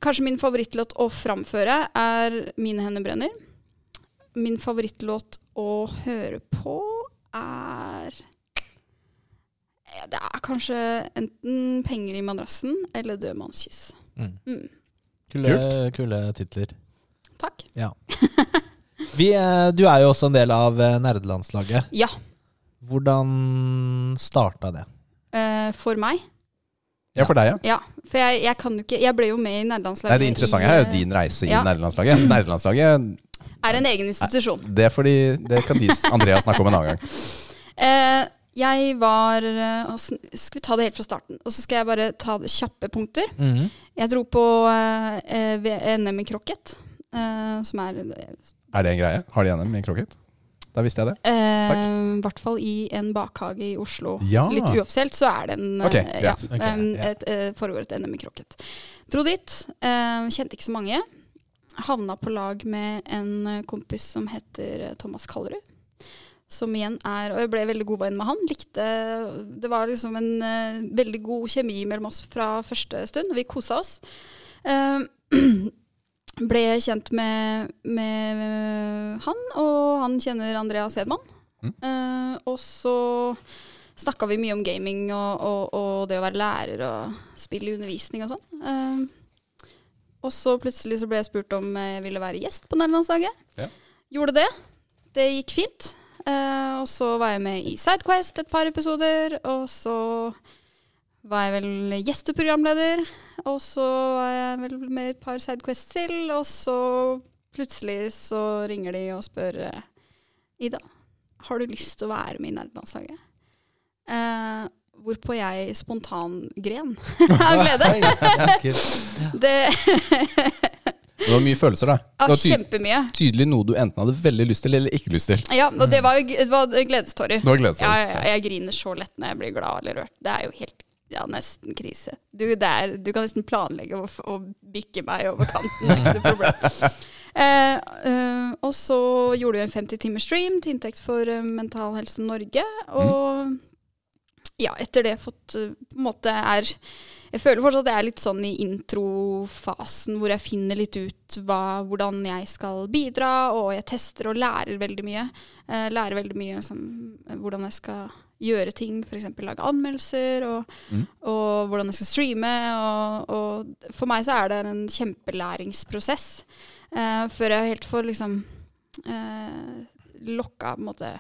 S3: kanskje min favorittlåt å framføre er 'Mine hender brenner'. Min favorittlåt å høre på er Eh, Det er kanskje enten 'Penger i madrassen' eller 'Død manns kyss'.
S2: Mm.
S3: Mm,
S1: Kule, kule titler.
S3: Takk.
S1: Ja. Vi, eh, du er jo også en del av eh, nerdelandslaget.
S3: Ja.
S1: Hvordan starta det?
S3: eh, for meg.
S2: Ja, for deg, ja.
S3: Ja. For jeg, jeg kan jo ikke Jeg ble jo med i nerdelandslaget.
S2: Nei, det interessante her er jo
S3: i, eh,
S2: din reise i
S3: ja.
S2: nerdelandslaget. Nerdelandslaget,
S3: Er en egen institusjon.
S2: det, er fordi, det kan de, Andrea snakke om en annen gang.
S3: Eh, jeg var eh, og sn- Skal vi ta det helt fra starten? Og så skal jeg bare ta det kjappe punkter.
S2: Mhm.
S3: Jeg dro på eh, eh, V- NM i krokket. Eh, som er
S2: Er det en greie? Har de NM i krokket? Da visste jeg det.
S3: eh, I hvert fall i en bakhage i Oslo.
S2: Ja.
S3: Litt uoffisielt så er det en eh,
S2: Ok,
S3: ja,
S2: greit.
S1: Ok,
S3: em,
S1: ja.
S3: et, eh, foregår et NM i krokket. Dro dit. eh, kjente ikke så mange. Havna på lag med en eh, kompis som heter eh, Thomas Kallerud. Som igjen er Og jeg ble veldig god venn med han. Likte Det var liksom en eh, veldig god kjemi mellom oss fra første stund. og Vi kosa oss. Eh, ble kjent med, med han, og han kjenner Andreas Hedman.
S2: Mm.
S3: Eh, og så snakka vi mye om gaming og, og, og det å være lærer og spille i undervisning og sånn. Eh, og så plutselig så ble jeg spurt om jeg ville være gjest på Nærlandsdagen.
S2: Ja.
S3: Gjorde det. Det gikk fint. Eh, Eh, og så var jeg med i Sidequest et par episoder. Og så var jeg vel gjesteprogramleder. Og så var jeg vel med i et par Sidequests til. Og så plutselig så ringer de og spør eh, Ida, har du lyst til å være med i nerdelandslaget? Eh, hvorpå jeg spontangren av glede. Det
S2: Det var mye følelser, da. Det
S3: var
S2: var tyd
S3: kjempemye.
S2: tydelig noe du enten hadde veldig lyst til, eller ikke lyst til.
S3: Ja, og det var jo det var gledestårer.
S2: Det var gledestårer.
S3: Ja, ja, ja, jeg griner så lett når jeg blir glad eller rørt. Det er jo helt ja, nesten krise. Du, det er, du kan nesten planlegge å, f- å bikke meg over kanten. Det er ikke noe problem. Eh, eh, og så gjorde vi en 50 timers stream til inntekt for eh, Mental Helse Norge. Og ja, etter det fått eh, på en måte er Jeg føler fortsatt at jeg er litt sånn i introfasen hvor jeg finner litt ut hva, hvordan jeg skal bidra, og jeg tester og lærer veldig mye. Eh, lærer veldig mye liksom, hvordan jeg skal gjøre ting, f.eks. lage anmeldelser, og,
S2: Mm.
S3: og hvordan jeg skal streame. Og, og for meg så er det en kjempelæringsprosess eh, før jeg helt får liksom eh, lokka på en måte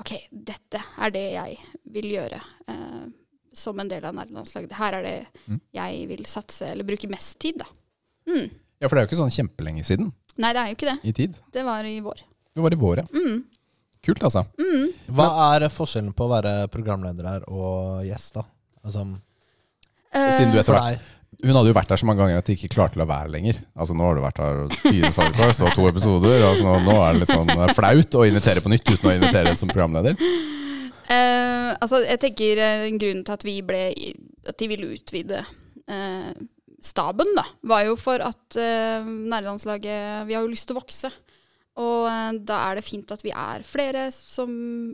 S3: OK, dette er det jeg vil gjøre eh, som en del av nerdelandslaget. Her er det
S2: Mm.
S3: jeg vil satse eller bruke mest tid, da. Mm.
S2: Ja, For det er jo ikke sånn kjempelenge siden
S3: Nei, det er jo ikke det.
S2: i tid.
S3: Det var i vår.
S2: Det var i vår, ja.
S3: Mm.
S2: Kult, altså.
S3: Mm.
S1: Hva er forskjellen på å være programleder her og gjest, da? Altså,
S2: Siden du
S3: Eh,
S2: etter
S1: for
S2: hvert
S1: deg.
S2: Hun hadde jo vært der så mange ganger at de ikke klarte å la være lenger. Altså Nå har du vært her fire Sidequest og to episoder, og så nå, nå er det litt sånn flaut å invitere på nytt uten å invitere som programleder.
S3: Eh, altså, jeg tenker eh, grunnen til at vi ble i- At de ville utvide eh, staben, da, var jo for at eh, nærlandslaget Vi har jo lyst til å vokse. Og eh, da er det fint at vi er flere som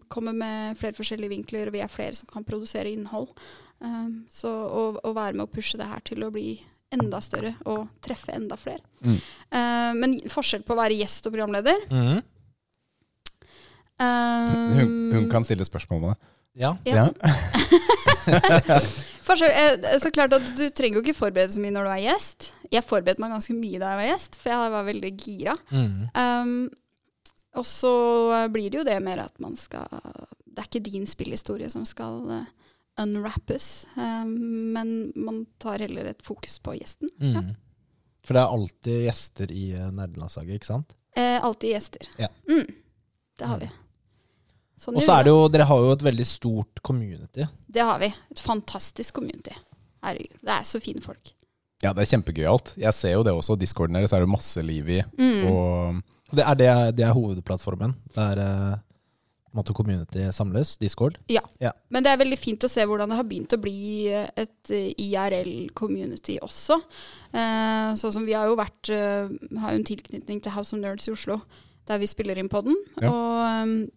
S3: kommer med flere forskjellige vinkler, og vi er flere som kan produsere innhold. Eh, så å, å være med å pushe det her til å bli enda større og treffe enda flere.
S2: Mm.
S3: Eh, men forskjell på å være gjest og programleder
S1: Mhm.
S3: eh,
S2: Hun, hun kan stille spørsmål med det.
S1: Ja.
S3: ja. Forskjell, eh, så klart at Du trenger jo ikke forberede så mye når du er gjest. Jeg forberedte meg ganske mye da jeg var gjest, for jeg var veldig gira.
S1: Mhm.
S3: Um, og så blir det jo det mer at man skal Det er ikke din spillhistorie som skal eh, unwrappes, um, men man tar heller et fokus på gjesten. Ja.
S1: Mhm. For det er alltid gjester i eh, nerdelandslaget, ikke sant?
S3: Eh, alltid gjester.
S1: Ja. Mm.
S3: Mm, det har vi. Sånn
S1: Og
S3: gjør
S1: så
S3: vi
S1: er det jo, dere har jo et veldig stort community.
S3: det. det har vi. Et fantastisk community. Herregud, det er så fine folk.
S2: Ja, det er kjempegøyalt. Jeg ser jo det også. Discorden deres er det masse liv i.
S3: Mm.
S2: Og
S1: Det er, det, det er hovedplattformen. Det er eh, på en måte community samles, Discord.
S3: Men det er veldig fint å se hvordan det har begynt å bli et eh, IRL-community også. Eh, sånn som vi har jo vært eh, Har jo en tilknytning til House of Nerds i Oslo, der vi spiller inn podden.
S2: Ja.
S3: Og eh,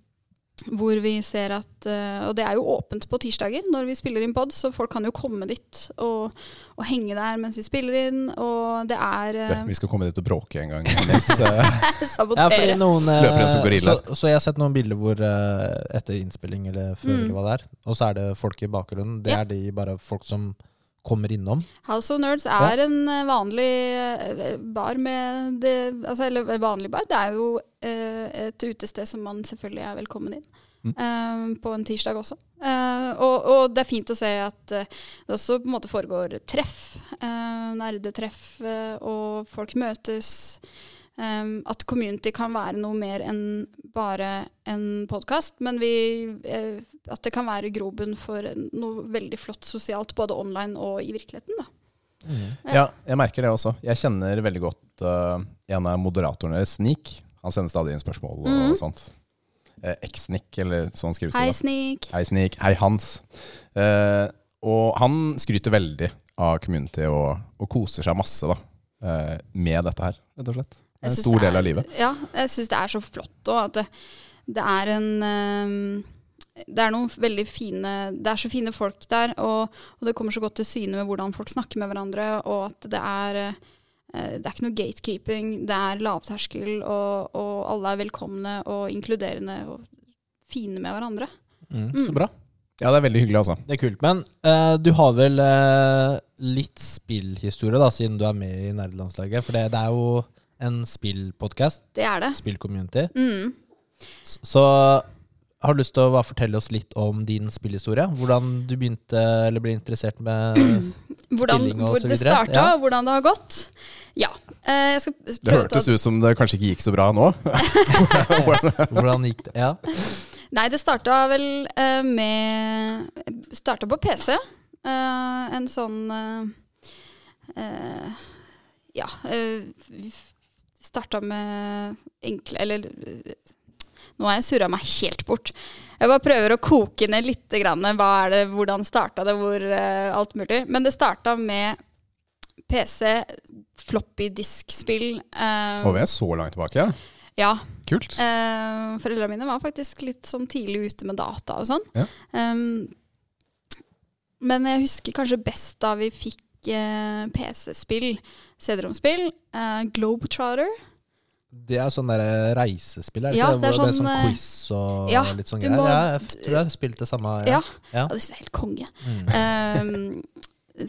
S3: hvor vi ser at eh, Og det er jo åpent på tirsdager når vi spiller inn pod, så folk kan jo komme dit og, og henge der mens vi spiller inn. Og det er
S2: det,
S3: eh,
S2: vi skal komme dit og bråke en gang. Nils. Eh,
S1: Ja, fordi
S3: sabotere.
S1: noen, eh,
S2: Løper en som gorilla.
S1: Så, så jeg har sett noen bilder hvor eh, etter innspilling eller før,
S3: Mm.
S1: eller hva det er, og så er det folk i bakgrunnen. Det
S3: Ja.
S1: er de bare folk som kommer innom.
S3: House of Nerds er en eh, vanlig eh, bar med det, altså, Eller vanlig bar. Det er jo eh, et utested som man selvfølgelig er velkommen inn. eh, på en tirsdag også. Eh, og, og det er fint å se at eh, det også på en måte foregår treff. eh, nerdetreff, eh, og folk møtes. Eh, at community kan være noe mer enn bare en podkast, men vi, eh, at det kan være grobunn for noe veldig flott sosialt, både online og i virkeligheten. da.
S2: ja, jeg merker det også. Jeg kjenner veldig godt eh, en av moderatorene deres, Snik. Han sender stadig inn spørsmål og
S3: Mhm.
S2: sånt. Eh, X-Nick, eller sånn skrives det.
S3: Hei,
S2: da.
S3: Snik.
S2: Hei, Snik. Hei, Hans. Eh, og han skryter veldig av community og, og koser seg masse da, eh, med dette her, rett og slett. Det
S3: Jeg
S2: er en
S3: synes
S2: stor
S3: det
S2: del av livet.
S3: Ja, jeg syns det er så flott òg at det, det er en ehm, Det er noen veldig fine Det er så fine folk der, og, og det kommer så godt til syne med hvordan folk snakker med hverandre, og at det er eh, det er ikke noe gatekeeping, det er lavterskel, og, og alle er velkomne og inkluderende og fine med hverandre.
S1: Så bra.
S2: Ja, det er veldig hyggelig, altså.
S1: Det er kult. Men eh, du har vel eh, litt spillhistorie, da, siden du er med i nerdelandslaget. For det, det er jo en spillpodkast,
S3: Det Mm. er det.
S1: spillcommunity.
S3: Mm.
S1: Så Har du lyst til å bare fortelle oss litt om din spillhistorie? Hvordan du begynte eller ble interessert med
S3: Hvordan,
S1: Spilling og
S3: hvor
S1: så
S3: det
S1: videre,
S3: starta,
S1: ja.
S3: og hvordan det har gått. Ja. Eh, jeg skal s-
S2: Det
S3: prøve
S2: hørtes
S3: å ta-
S2: ut som det kanskje ikke gikk så bra nå.
S1: Hvordan gikk det? Ja.
S3: Nei, det starta vel eh, med Starta på PC. Eh, en sånn eh, eh, Ja. Uh, starta med enkle Eller eh, nå har jeg surra meg helt bort. Jeg bare prøver å koke ned litt. Grann, hva er det, hvordan starta det, hvor eh, alt mulig. Men det starta med PC, floppy disk-spill. eh,
S2: Og vi er så langt tilbake.
S3: ja,
S2: Kult.
S3: Eh, Foreldrene mine var faktisk litt sånn tidlig ute med data og sånn.
S2: Ja.
S3: Em, men jeg husker kanskje best da vi fikk eh, PC-spill, CD-romspill. Eh, Globetrotter.
S1: Det er sånn der reisespill, er det
S3: Ja,
S1: ikke det?
S3: det er
S1: Hvor det er
S3: sånn,
S1: sånn
S3: eh,
S1: quiz og
S3: ja,
S1: litt sånn
S3: du
S1: greier.
S3: må-
S1: Ja, jeg f- tror jeg har spilt det samme.
S3: Ja.
S1: Ja.
S3: ja, det synes jeg er helt konge.
S1: Mm.
S3: Um,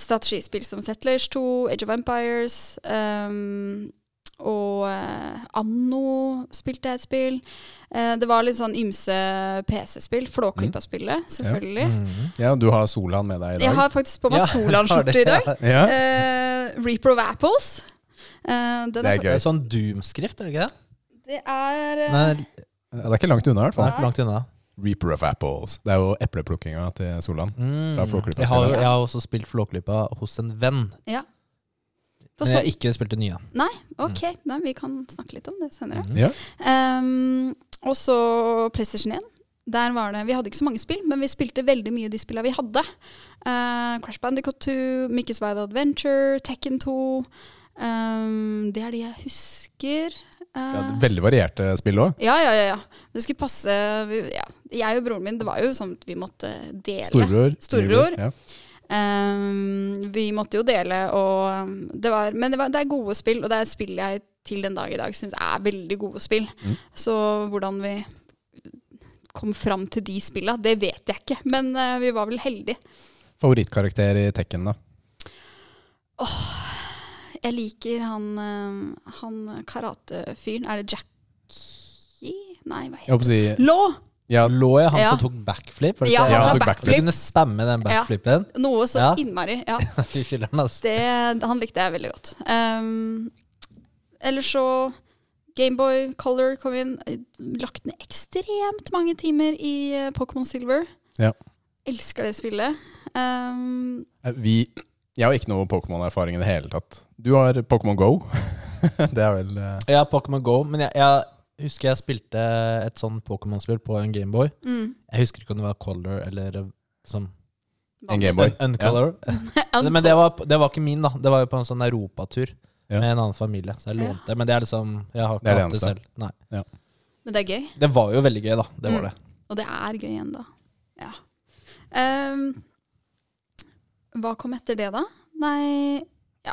S3: strategispill som Settlers 2, Age of Empires um, og eh, Anno spilte jeg et spill. Eh, det var litt sånn ymse PC-spill. Flåklypa-spillet, selvfølgelig.
S1: Mm.
S2: Ja, Du har Solan med deg i
S3: Jeg
S2: dag.
S3: har faktisk på meg
S1: Ja, har det,
S3: Solan-skjorte i dag.
S2: Ja.
S3: Eh, Reaper of Apples. Eh, den
S2: Det er
S1: Det
S2: gøy.
S1: er sånn Doom-skrift, er det ikke det?
S3: Det er eh,
S1: Nei,
S2: Ja, Det er ikke langt unna, i hvert
S1: det
S2: fall.
S1: er for langt unna.
S2: Reaper of apples. Det er jo epleplukkinga til Solan.
S1: Mm.
S2: Fra Flåklypa.
S1: Jeg, har, jeg har også spilt Flåklypa hos en venn,
S3: Ja. På
S1: men jeg har
S3: sånn.
S1: ikke spilt det nye.
S3: Ok, nei, vi kan snakke litt om det senere.
S1: Mm.
S2: Ja. Mm.
S3: Um, og så PlayStation 1. Der var det, Vi hadde ikke så mange spill, men vi spilte veldig mye de spillene vi hadde. Eh, Crash Bandicoot 2, Mickey's Wild Adventure, Tekken 2. Um, det er de jeg husker.
S2: Ja,
S3: Eh,
S2: det er veldig varierte spill òg.
S3: ja, ja, ja, ja. Det skulle passe vi- ja. Jeg og broren min, det var jo sånn at vi måtte dele.
S2: Storebror.
S3: Storebror.
S2: lillebror, Ja.
S3: Ehm, vi måtte jo dele, og um, det var, men det, var, det er gode spill, og det er spill jeg til den dag i dag syns er veldig gode spill.
S2: Mm.
S3: Så hvordan vi kom fram til de spilla, det vet jeg ikke, men eh, vi var vel heldige.
S2: Favorittkarakter i Tekken, da?
S3: Jeg liker han, eh, han karatefyren, er det Jackie? Nei, hva
S2: Jeg håper
S3: heter
S2: å si
S3: det? Law!
S2: Ja,
S1: Lå jeg han
S3: Ja.
S1: som tok backflip? var det
S3: Ja,
S1: ikke det?
S2: han Ja, tok
S1: tok
S3: backflip.
S1: Du kunne spamme den backflipen.
S3: Noe så
S1: Ja.
S3: innmari. Ja.
S1: Fy filler'n, altså.
S3: det, han likte jeg veldig godt. Um, Eller så Gameboy Color kom inn. Lagt ned ekstremt mange timer i eh, Pokémon Silver.
S2: Ja.
S3: Elsker det spillet. Um,
S2: Eh, vi, jeg har ikke noe Pokémon-erfaring i det hele tatt. Du har Pokémon Go. det er vel eh,
S1: Jeg har Pokémon Go, men jeg, jeg husker jeg spilte et sånn Pokémon-spill på en Gameboy.
S3: mm.
S1: Jeg husker ikke om det var Color eller eh, sånn
S2: en Gameboy.
S1: un Uncolor.
S3: Un-
S1: Men det var, det var ikke min, da. Det var jo på en sånn europatur
S2: Ja.
S1: med en annen familie. Så jeg
S3: Ja.
S1: lånte. Men det er liksom Jeg har
S2: Det er
S1: ikke
S2: det
S1: hatt det
S2: eneste.
S1: selv. Nei.
S3: Men det er gøy.
S1: Det var jo veldig gøy, da. Det
S3: Mm.
S1: var det.
S3: Og det er gøy ennå. Ja. Um, hva kom etter det, da? Nei ja,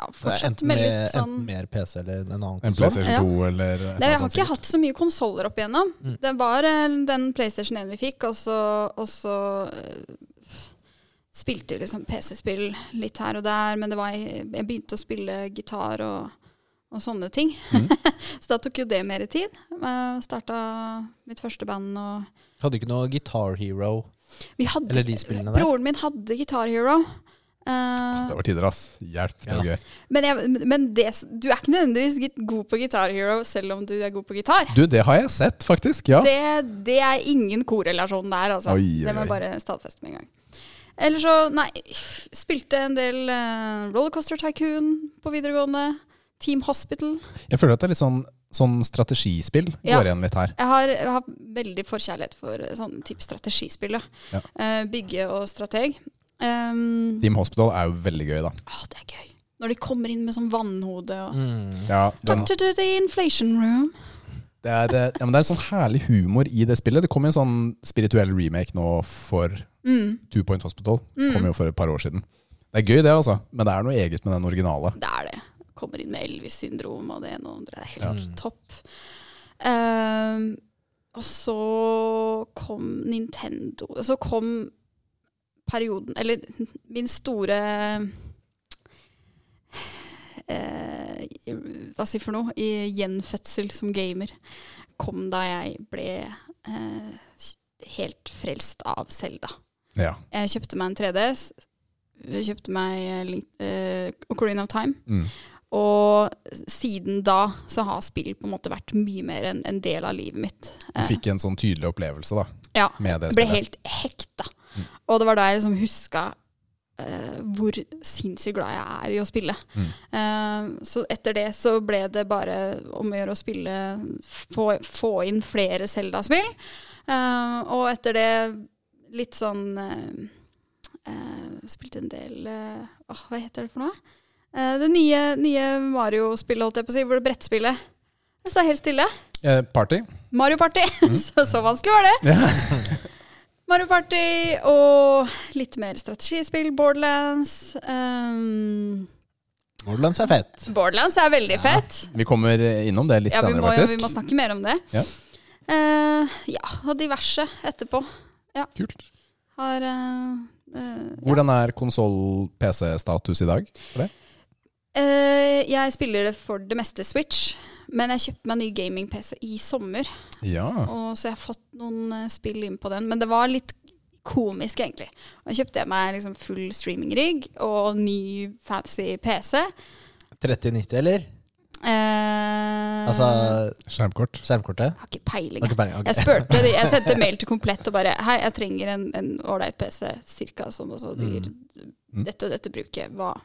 S1: Det er
S3: Fortsett
S1: enten,
S3: med
S1: med,
S3: litt sånn
S1: enten mer PC eller en annen
S2: En
S1: konsoll.
S2: PlayStation
S3: Ja.
S2: 2 eller et
S3: Nei,
S2: eller
S3: jeg har
S2: annet
S3: ikke
S2: sånt.
S3: hatt så mye konsoller opp igjennom.
S1: Mm.
S3: Det var eh, den PlayStation 1 vi fikk, og så, og så eh, spilte vi liksom PC-spill litt her og der, men det var, jeg begynte å spille gitar og, og sånne ting.
S1: Mm.
S2: Mhm.
S3: så da tok jo det mer tid. Uh, starta mitt første band og
S1: Hadde ikke noe Guitar Hero
S3: vi hadde,
S1: eller de spillene der.
S3: Broren min hadde Guitar Hero. eh,
S2: Det var tider, ass. Hjelp, det var gøy.
S3: men jeg, men det, du er ikke nødvendigvis git- god på Guitar Hero selv om du er god på gitar.
S2: Du, det har jeg sett, faktisk. Ja.
S3: Det, det er ingen korrelasjon der, altså.
S2: Oi, oi,
S3: Det må
S2: oi.
S3: jeg bare stadfeste med en gang. Eller så, nei, spilte en del eh, Rollercoaster Tycoon på videregående. Team Hospital.
S2: Jeg føler at det er litt sånn, sånn strategispill
S3: Ja.
S2: går igjen litt her.
S3: Jeg har, jeg har veldig forkjærlighet for eh, sånn type strategispill. da.
S2: Ja.
S3: Eh, bygge og strateg. Um,
S2: Team Hospital er jo veldig gøy, da.
S3: å, det er gøy. Når de kommer inn med sånn vannhode og
S1: Mm.
S2: Ja, den,
S3: Torture to the inflation room.
S2: det, er, eh, ja, men det er sånn herlig humor i det spillet. Det kom jo en sånn spirituell remake nå for
S3: Mm.
S2: Two Point Hospital.
S3: Mm.
S2: Kom jo for et par år siden. Det er gøy, det, altså. Men det er noe eget med den originale.
S3: Det er det. Kommer inn med Elvis-syndrom og det ene og det andre. Det er helt
S1: Ja.
S3: topp. Ehm, og så kom Nintendo Så kom perioden Eller min store eh, Hva si for noe? I gjenfødsel som gamer kom da jeg ble eh, helt frelst av Selda.
S2: Ja.
S3: Jeg kjøpte meg en 3DS, kjøpte meg Link, eh, Ocarina of Time,
S2: Mm.
S3: og siden da så har spill på en måte vært mye mer en, en del av livet mitt.
S2: Du fikk en sånn tydelig opplevelse da,
S3: Ja.
S2: med det
S3: Jeg ble
S2: spillet.
S3: helt hekta. Og det var da jeg liksom huska eh, hvor sinnssykt glad jeg er i å spille.
S2: Mm.
S3: Eh, så etter det så ble det bare om å gjøre å spille Få, få inn flere Selda-spill. Eh, og etter det litt sånn eh, eh, Spilte en del eh, åh, Hva heter det for noe? Eh, det nye, nye Mario-spillet, holdt jeg på å si. hvor det Brettspillet. Jeg sto helt stille.
S2: Eh, party?
S3: Mario Party! så, så vanskelig var det.
S2: Mm. Ja.
S3: Mario Party og litt mer strategispill. Borderlands. Um,
S1: Borderlands er fett.
S3: Borderlands er veldig fett.
S2: Vi kommer innom det litt
S3: Ja, vi
S2: senere,
S3: må, jo-
S2: faktisk.
S3: vi må snakke mer om det.
S2: Ja.
S3: Eh, ja, og diverse etterpå.
S2: Kult.
S3: Har eh, eh, ja.
S2: Hvordan er konsoll-PC-status i dag? For det?
S3: Eh, jeg spiller det for det meste Switch, men jeg kjøpte meg en ny gaming-PC i sommer.
S2: Ja.
S3: Og så jeg har fått noen eh, spill inn på den. Men det var litt komisk, egentlig. Da kjøpte jeg meg liksom full streaming-rigg og ny fancy PC.
S1: 3090, eller?
S3: Eh,
S1: Altså
S2: Skjermkort.
S1: skjermkortet?
S3: Har ikke peiling.
S1: Har
S3: jeg.
S1: ikke peiling, ok.
S3: Jeg spurte de, jeg sendte mail til Komplett og bare Hei, jeg trenger en en ålreit PC, cirka sånn og så dyr. Dette og dette bruket var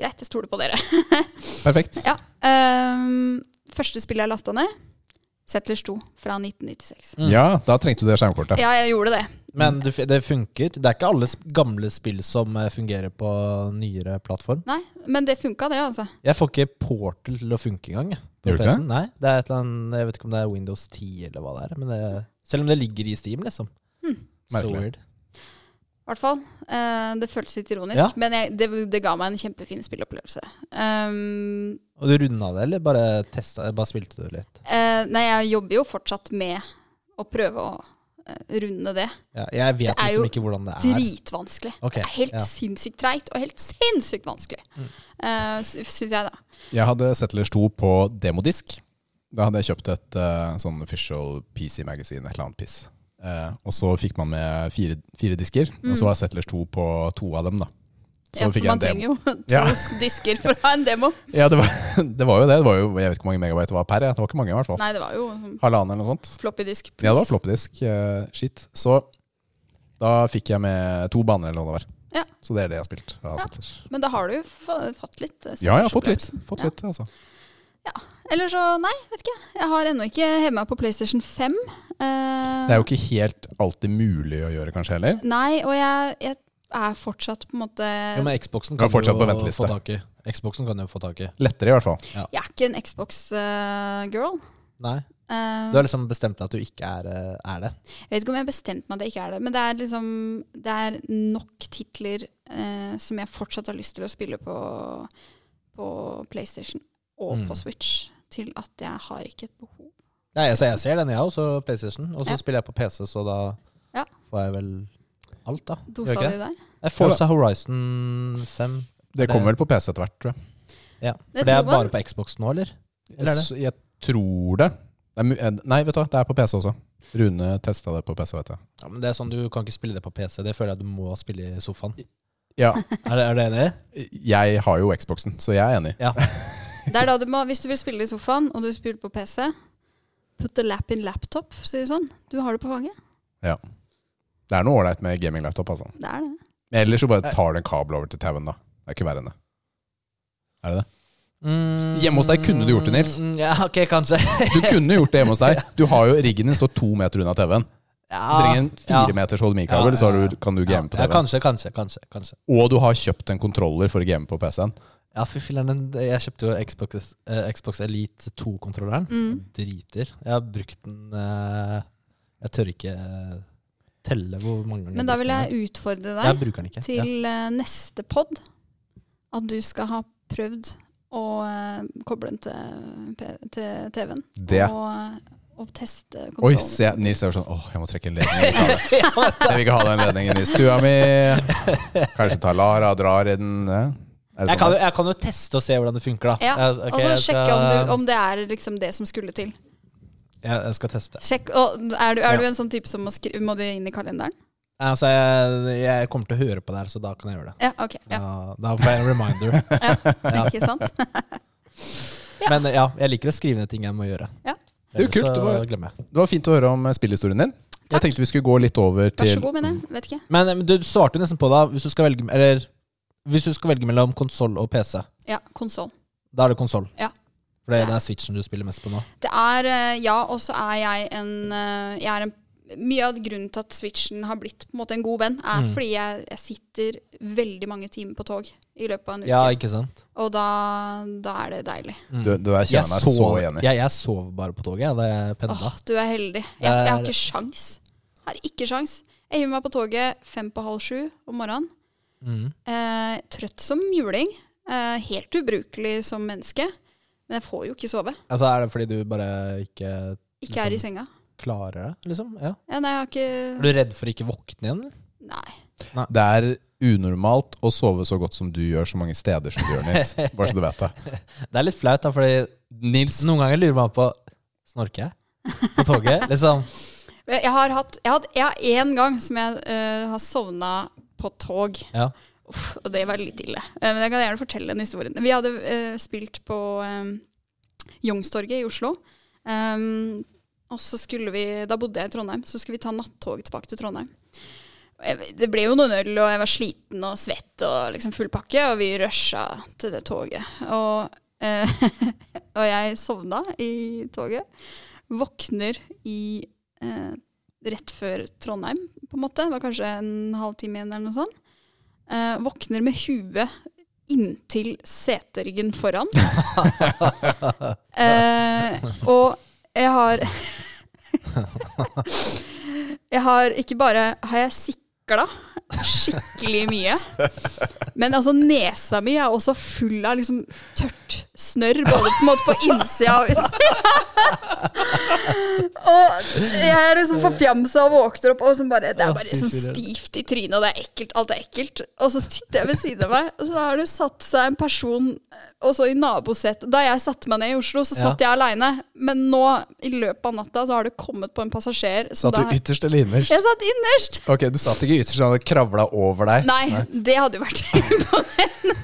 S3: greit, jeg stoler på dere.
S2: Perfekt.
S3: ja. ehm, første spillet jeg lasta ned, Settlers 2 fra 1996.
S1: Mm.
S2: Ja, da trengte du det skjermkortet.
S3: Ja, jeg gjorde det.
S1: Men du, f- det funker. Det er ikke alle sp- gamle spill som eh, fungerer på nyere plattform.
S3: Nei, men det funka, det, altså.
S1: Jeg får ikke Portal til å funke engang. jeg, på
S2: Gjør du ikke
S1: PC-en. Nei, det er et eller annet, jeg vet ikke om det er Windows 10 eller hva det er. Men det, selv om det ligger i Steam, liksom.
S3: Hmm.
S1: So
S2: Merkelig.
S1: weird.
S3: I hvert fall. Eh, det føltes litt ironisk,
S1: Ja.
S3: men jeg, det, det ga meg en kjempefin spillopplevelse. Ehm,
S1: Og du runda det, eller bare, testa, bare spilte du litt?
S3: eh, nei, jeg jobber jo fortsatt med å prøve å eh, runde det.
S1: Ja, jeg vet
S3: er
S1: liksom
S3: jo
S1: ikke hvordan det er.
S3: Dritvanskelig.
S1: Ok,
S3: Det er helt
S1: ja.
S3: sinnssykt treigt og helt sinnssykt vanskelig, uh, syns jeg, da.
S2: Jeg hadde Settlers 2 på demodisk. Da hadde jeg kjøpt et eh, sånn official PC Magazine, et eller annet piss. Eh, og så fikk man med fire, fire disker, og så var Settlers 2 på to av dem, da. Så
S3: Mm. Ja,
S2: fikk
S3: for
S2: jeg en
S3: man
S2: demo.
S3: trenger jo to
S2: Ja.
S3: disker for å ha en demo.
S2: Ja, det var, det var jo det. det var jo, jeg vet ikke hvor mange megabyte det var per. jeg. Det var ikke mange, i hvert fall.
S3: Nei, det var jo sånn
S2: Halvannen eller noe sånt.
S3: floppy disk pluss.
S2: Ja, det var floppedisk. Uh, shit. Så da fikk jeg med to baner eller noe det var.
S3: Ja.
S2: Så det er det jeg har spilt. av
S3: Ja.
S2: Settlers.
S3: Men da har du jo fa- fått litt. eh,
S2: ja, jeg har fått litt.
S3: spillopplevelse.
S2: Fått
S3: Ja.
S2: litt altså.
S3: Eller så, nei, vet ikke. Jeg har ennå ikke hevet meg på PlayStation 5. eh,
S2: Det er jo ikke helt alltid mulig å gjøre, kanskje, heller.
S3: Nei, og jeg, jeg er fortsatt på en måte
S1: Jo, men Xboxen
S2: Du er
S1: kan
S2: fortsatt på
S1: du jo
S2: venteliste.
S1: få tak i. Xboxen kan du jo få tak i.
S2: Lettere, i hvert fall.
S3: Jeg er ikke en eh, Xbox-girl.
S1: Nei.
S3: Uh,
S1: Du har liksom bestemt deg at du ikke er, eh, er det.
S3: Jeg vet ikke om jeg har bestemt meg at jeg ikke er det, men det er, liksom, det er nok titler eh, som jeg fortsatt har lyst til å spille på, på PlayStation og
S1: Mm.
S3: på Switch, til at jeg har ikke et behov.
S1: Nei, altså jeg ser den, jeg også, PlayStation. Og så
S3: Ja.
S1: spiller jeg på PC, så da
S3: Ja.
S1: får jeg vel alt, da. Gjør
S3: Dosa
S1: ikke
S3: du
S1: det?
S3: der?
S1: Jeg får også Horizon 5.
S2: Det kommer vel på PC etter hvert, tror jeg.
S1: Ja.
S3: Jeg
S1: For det er
S3: tror man-
S1: bare på Xbox nå, eller? Eller er det?
S2: Så Jeg tror det. det er, mu- eh, nei, vet du hva, det er på PC også. Rune testa det på PC, vet jeg.
S1: Ja, men det er sånn, Du kan ikke spille det på PC. Det føler jeg du må spille i sofaen.
S2: Ja,
S1: Er det, er det enig?
S2: jeg har jo Xboxen, så jeg er enig.
S3: Det er da du må, hvis du vil spille i sofaen, og du spiller på PC, put the lap in laptop, sier du sånn. Du har det på fanget.
S2: Det er noe ålreit med gaming-laptop, altså.
S3: Det er det.
S2: Men ellers så bare tar du en kabel over til TV-en, da. Det er ikke verre enn det. Er det det? Hjemme hos deg kunne du gjort det, Nils.
S1: Mm, Ja, ok, kanskje.
S2: Du kunne gjort det hjemme hos deg. Du har jo Riggen din står to meter unna TV-en. Du
S1: Ah, Ja,
S2: trenger en fire meters HDMI-kabel,
S1: Ja,
S2: så har
S1: ja,
S2: du, kan du
S1: ja,
S2: game på
S1: ja,
S2: TV-en.
S1: kanskje, kanskje, kanskje. kanskje.
S2: Og du har kjøpt en kontroller for å game på PC-en.
S1: Ja, fy filler'n. den- Jeg kjøpte jo Xbox, eh, Xbox Elite 2-kontrolleren.
S3: Mm.
S1: Driter. Jeg har brukt den eh, Jeg tør ikke eh, telle hvor mange ganger
S3: Men da
S1: har
S3: vil
S1: brukt den.
S3: jeg utfordre deg.
S1: Jeg bruker den ikke.
S3: til
S1: Ja.
S3: eh, neste pod at du skal ha prøvd å eh, koble den til, P- til TV-en.
S2: Det
S3: Og, eh, og teste
S2: Oi,
S3: kontrollen.
S2: se, Nils er jo sånn Åh, jeg må trekke en ledning. Jeg vil ikke ha det. Jeg vil ikke ha den ledningen i stua mi. Kanskje tar Lara og drar i den. ja. Er det
S1: Jeg, kan,
S2: sånn?
S1: jo- jeg kan jo teste og se hvordan det funker, da.
S3: Ja,
S1: Jeg- ok,
S3: og så
S1: jeg
S3: sjekke om,
S1: skal-
S3: du, om det er liksom det som skulle til.
S1: Jeg, jeg skal teste.
S3: Sjekk. Og er du, er
S1: Ja.
S3: du en sånn type som må, skri må det inn i kalenderen?
S1: Altså, jeg, jeg kommer til å høre på det her, så da kan jeg gjøre det.
S3: Ja, ok. Ja.
S1: Da- Da får jeg en reminder.
S3: Ja.
S1: Ja.
S3: Ikke sant? Ja.
S1: Men ja, jeg liker å skrive ned ting jeg må gjøre.
S3: Ja.
S2: Det er jo
S1: Ellers
S2: kult, det var-
S1: så glemmer jeg.
S2: Det var fint å høre om eh, spillhistorien din.
S3: Takk.
S2: Jeg tenkte vi skulle gå litt over til
S3: Vær så god med det. Vet ikke.
S1: Men eh, men du svarte jo nesten på det, hvis du skal velge, eller, hvis du skal velge mellom konsoll og PC.
S3: Ja, konsoll.
S1: Da er det konsoll.
S3: Ja.
S1: For det,
S3: Ja.
S1: det er Switchen du spiller mest på nå.
S3: Det er eh, Ja, og så er jeg en eh, Jeg er en mye av grunnen til at switchen har blitt på en måte en god venn, er
S1: Mm.
S3: fordi jeg, jeg sitter veldig mange timer på tog i løpet av en uke.
S1: Ja, ikke sant?
S3: Og da, da er det deilig.
S1: Mm.
S2: Du, det der
S1: jeg,
S2: kjenner jeg meg så
S1: sov,
S2: enig i.
S1: jeg, jeg sov bare på toget jeg, da jeg
S3: Åh,
S1: pendla.
S3: du er heldig. Jeg,
S1: Det er-
S3: jeg har ikke sjans. Har ikke sjans. Jeg hiver meg på toget fem på halv sju om morgenen.
S1: Mm.
S3: Eh, trøtt som juling. Eh, helt ubrukelig som menneske. Men jeg får jo ikke sove.
S1: Altså, er det fordi du bare ikke
S3: Ikke er i senga.
S1: klarer det, liksom? Ja.
S3: Ja, nei, jeg har
S1: Er du
S3: ikke
S1: redd for ikke våkne igjen? eller?
S3: Nei.
S2: Det er unormalt å sove så godt som du gjør så mange steder som du gjør, Nils. Bare så du vet det.
S1: Det er litt flaut, da, fordi Nils noen ganger lurer meg på Snorker jeg på toget? liksom.
S3: Jeg har hatt Jeg har, hatt- jeg har én gang som jeg eh, har sovna på tog.
S1: Ja.
S3: Uff, og det var litt ille. Eh, men jeg kan gjerne fortelle den historien. Vi hadde eh, spilt på eh, Youngstorget i Oslo. Ehm, og så skulle vi, Da bodde jeg i Trondheim, så skulle vi ta nattog tilbake til Trondheim. Og jeg- Det ble jo noen øl, og jeg var sliten og svett og liksom full pakke, og vi rusha til det toget. Og, eh, og jeg sovna i toget. Våkner i eh, rett før Trondheim, på en måte. Det var kanskje en halvtime igjen eller noe sånt. Eh, våkner med huet inntil seteryggen foran. Eh, og jeg har Jeg har ikke bare har jeg sikla skikkelig mye, men altså nesa mi er også full av liksom tørt snørr, både på, en måte på innsida og utsida. og jeg er liksom forfjamsa og våkner opp, og liksom bare, det er bare liksom stivt i trynet, og det er ekkelt, alt er ekkelt. Og så sitter jeg ved siden av meg, og så har det satt seg en person eh, også i nabosetet. Da jeg satte meg ned i Oslo, så
S1: Ja.
S3: satt jeg aleine, men nå, i løpet av natta, så har det kommet på en passasjer. Så
S2: Satt
S3: da,
S2: du ytterst eller innerst?
S3: jeg satt innerst!
S2: Ok, du satt ikke ytterst, han hadde kravla over deg.
S3: Nei, det hadde jo vært imponerende.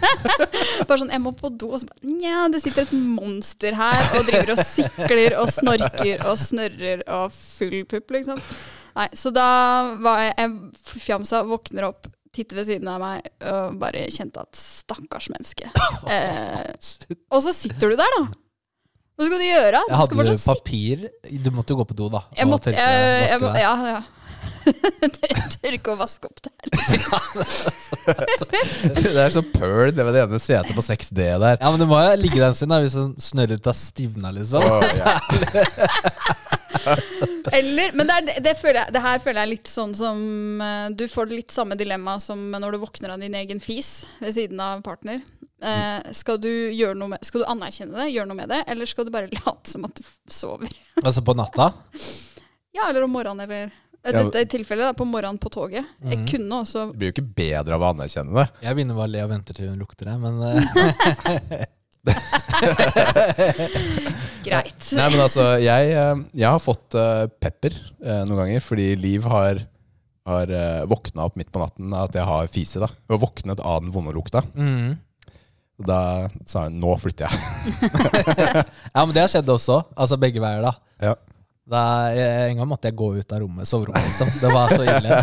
S3: Bare sånn, jeg må på do, og så bare Nja, det sitter et monster her og driver og sikler og snorker og snørrer og full pupp, liksom. Nei, så da var jeg, jeg fjamsa, våkner opp, titter ved siden av meg og bare kjente at stakkars menneske. Eh, og så sitter du der, da. Hva skal du gjøre?
S1: Jeg
S3: Du skal
S1: hadde
S3: fortsatt
S1: du papir Du måtte jo gå på do, da.
S3: jeg
S1: og
S3: måtte
S1: tørke-
S3: jeg, jeg,
S1: vaske
S3: må-
S1: deg.
S3: Ja, ja. Tørke og vaske opp det her.
S2: Det er så pøl, det var det ene setet på 6D der.
S1: Ja, men det må jo ligge der en stund da, hvis den snørret har stivna, liksom.
S2: Å, ja.
S3: Eller, men det, er, det, føler jeg, det her føler jeg litt sånn som eh, Du får litt samme dilemma som når du våkner av din egen fis ved siden av partner. Eh, skal, du gjøre noe med, skal du anerkjenne det, gjøre noe med det, eller skal du bare late som at du f- sover?
S1: Altså på natta.
S3: Ja, eller om morgenen, eller eh,
S2: Ja.
S3: Dette i tilfellet, da, på morgenen på toget. Jeg kunne også
S2: Det blir jo ikke bedre av å anerkjenne det.
S1: Jeg begynner bare å le og venter til hun lukter det, men eh,
S3: Greit.
S2: Nei, men altså, jeg, eh, jeg har fått eh, pepper eh, noen ganger, fordi Liv har, har eh, våkna opp midt på natten av at jeg har fise. da. Hun har våknet av den vonde lukta.
S1: mm.
S2: Og da sa hun 'nå flytter jeg'.
S1: Ja, men det har skjedd også. Altså begge veier, da.
S2: Ja.
S1: da jeg, en gang måtte jeg gå ut av rommet, soverommet, liksom. Det var så ille.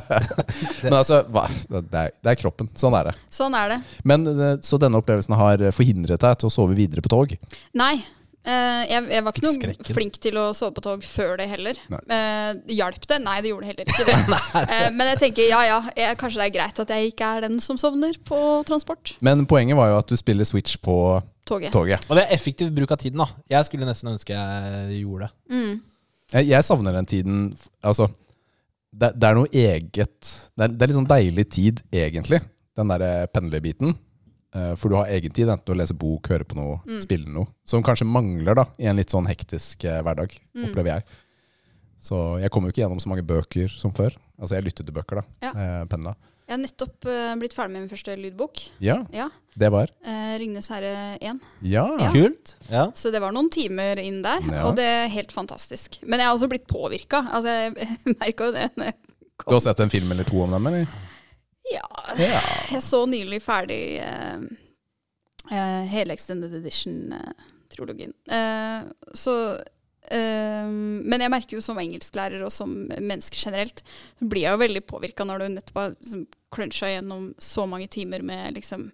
S2: Men altså, hva? Det, er, det er kroppen. Sånn er det.
S3: Sånn er det.
S2: Men, eh, Så denne opplevelsen har forhindret deg til å sove videre på tog?
S3: Nei. eh, jeg, jeg var ikke noe
S1: Skrekken.
S3: flink til å sove på tog før det heller.
S2: Nei.
S3: Uh, hjalp det? Nei, det gjorde heller ikke det. Eh, men jeg tenker ja ja, jeg, kanskje det er greit at jeg ikke er den som sovner på transport.
S2: Men poenget var jo at du spiller Switch på
S3: Toget.
S2: toget.
S1: Og det er effektiv bruk av tiden, da. Jeg skulle nesten ønske jeg gjorde det.
S3: Mm.
S2: Jeg, jeg savner den tiden f- Altså, det, det er noe eget det er, det er litt sånn deilig tid, egentlig, den derre pendlerbiten. Eh, For du har egen tid, enten du leser bok, hører på noe,
S3: Mm. Mm.
S2: spiller noe. Som kanskje mangler da, i en litt sånn hektisk eh, hverdag, opplever jeg. Så jeg kom jo ikke gjennom så mange bøker som før. Altså jeg lyttet til bøker, da.
S3: Ja.
S2: Eh, Pendla.
S3: Jeg har nettopp eh, blitt ferdig med min første lydbok.
S2: Ja,
S3: Ja.
S2: det var.
S3: eh, 'Ringnes herre 1'.
S2: Ja.
S3: Ja.
S1: Kult. Ja.
S3: Så det var noen timer inn der,
S2: Ja.
S3: og det er helt fantastisk. Men jeg har også blitt påvirka. Altså, jeg merka jo det. når jeg kom.
S2: Du har sett en film eller to om dem, eller?
S3: Ja,
S2: Ja.
S3: jeg så nylig ferdig eh, eh, hele Extended Edition-trilogien. så eh, Men jeg merker jo som engelsklærer og som menneske generelt, så blir jeg jo veldig påvirka når du nettopp har liksom, cruncha gjennom så mange timer med liksom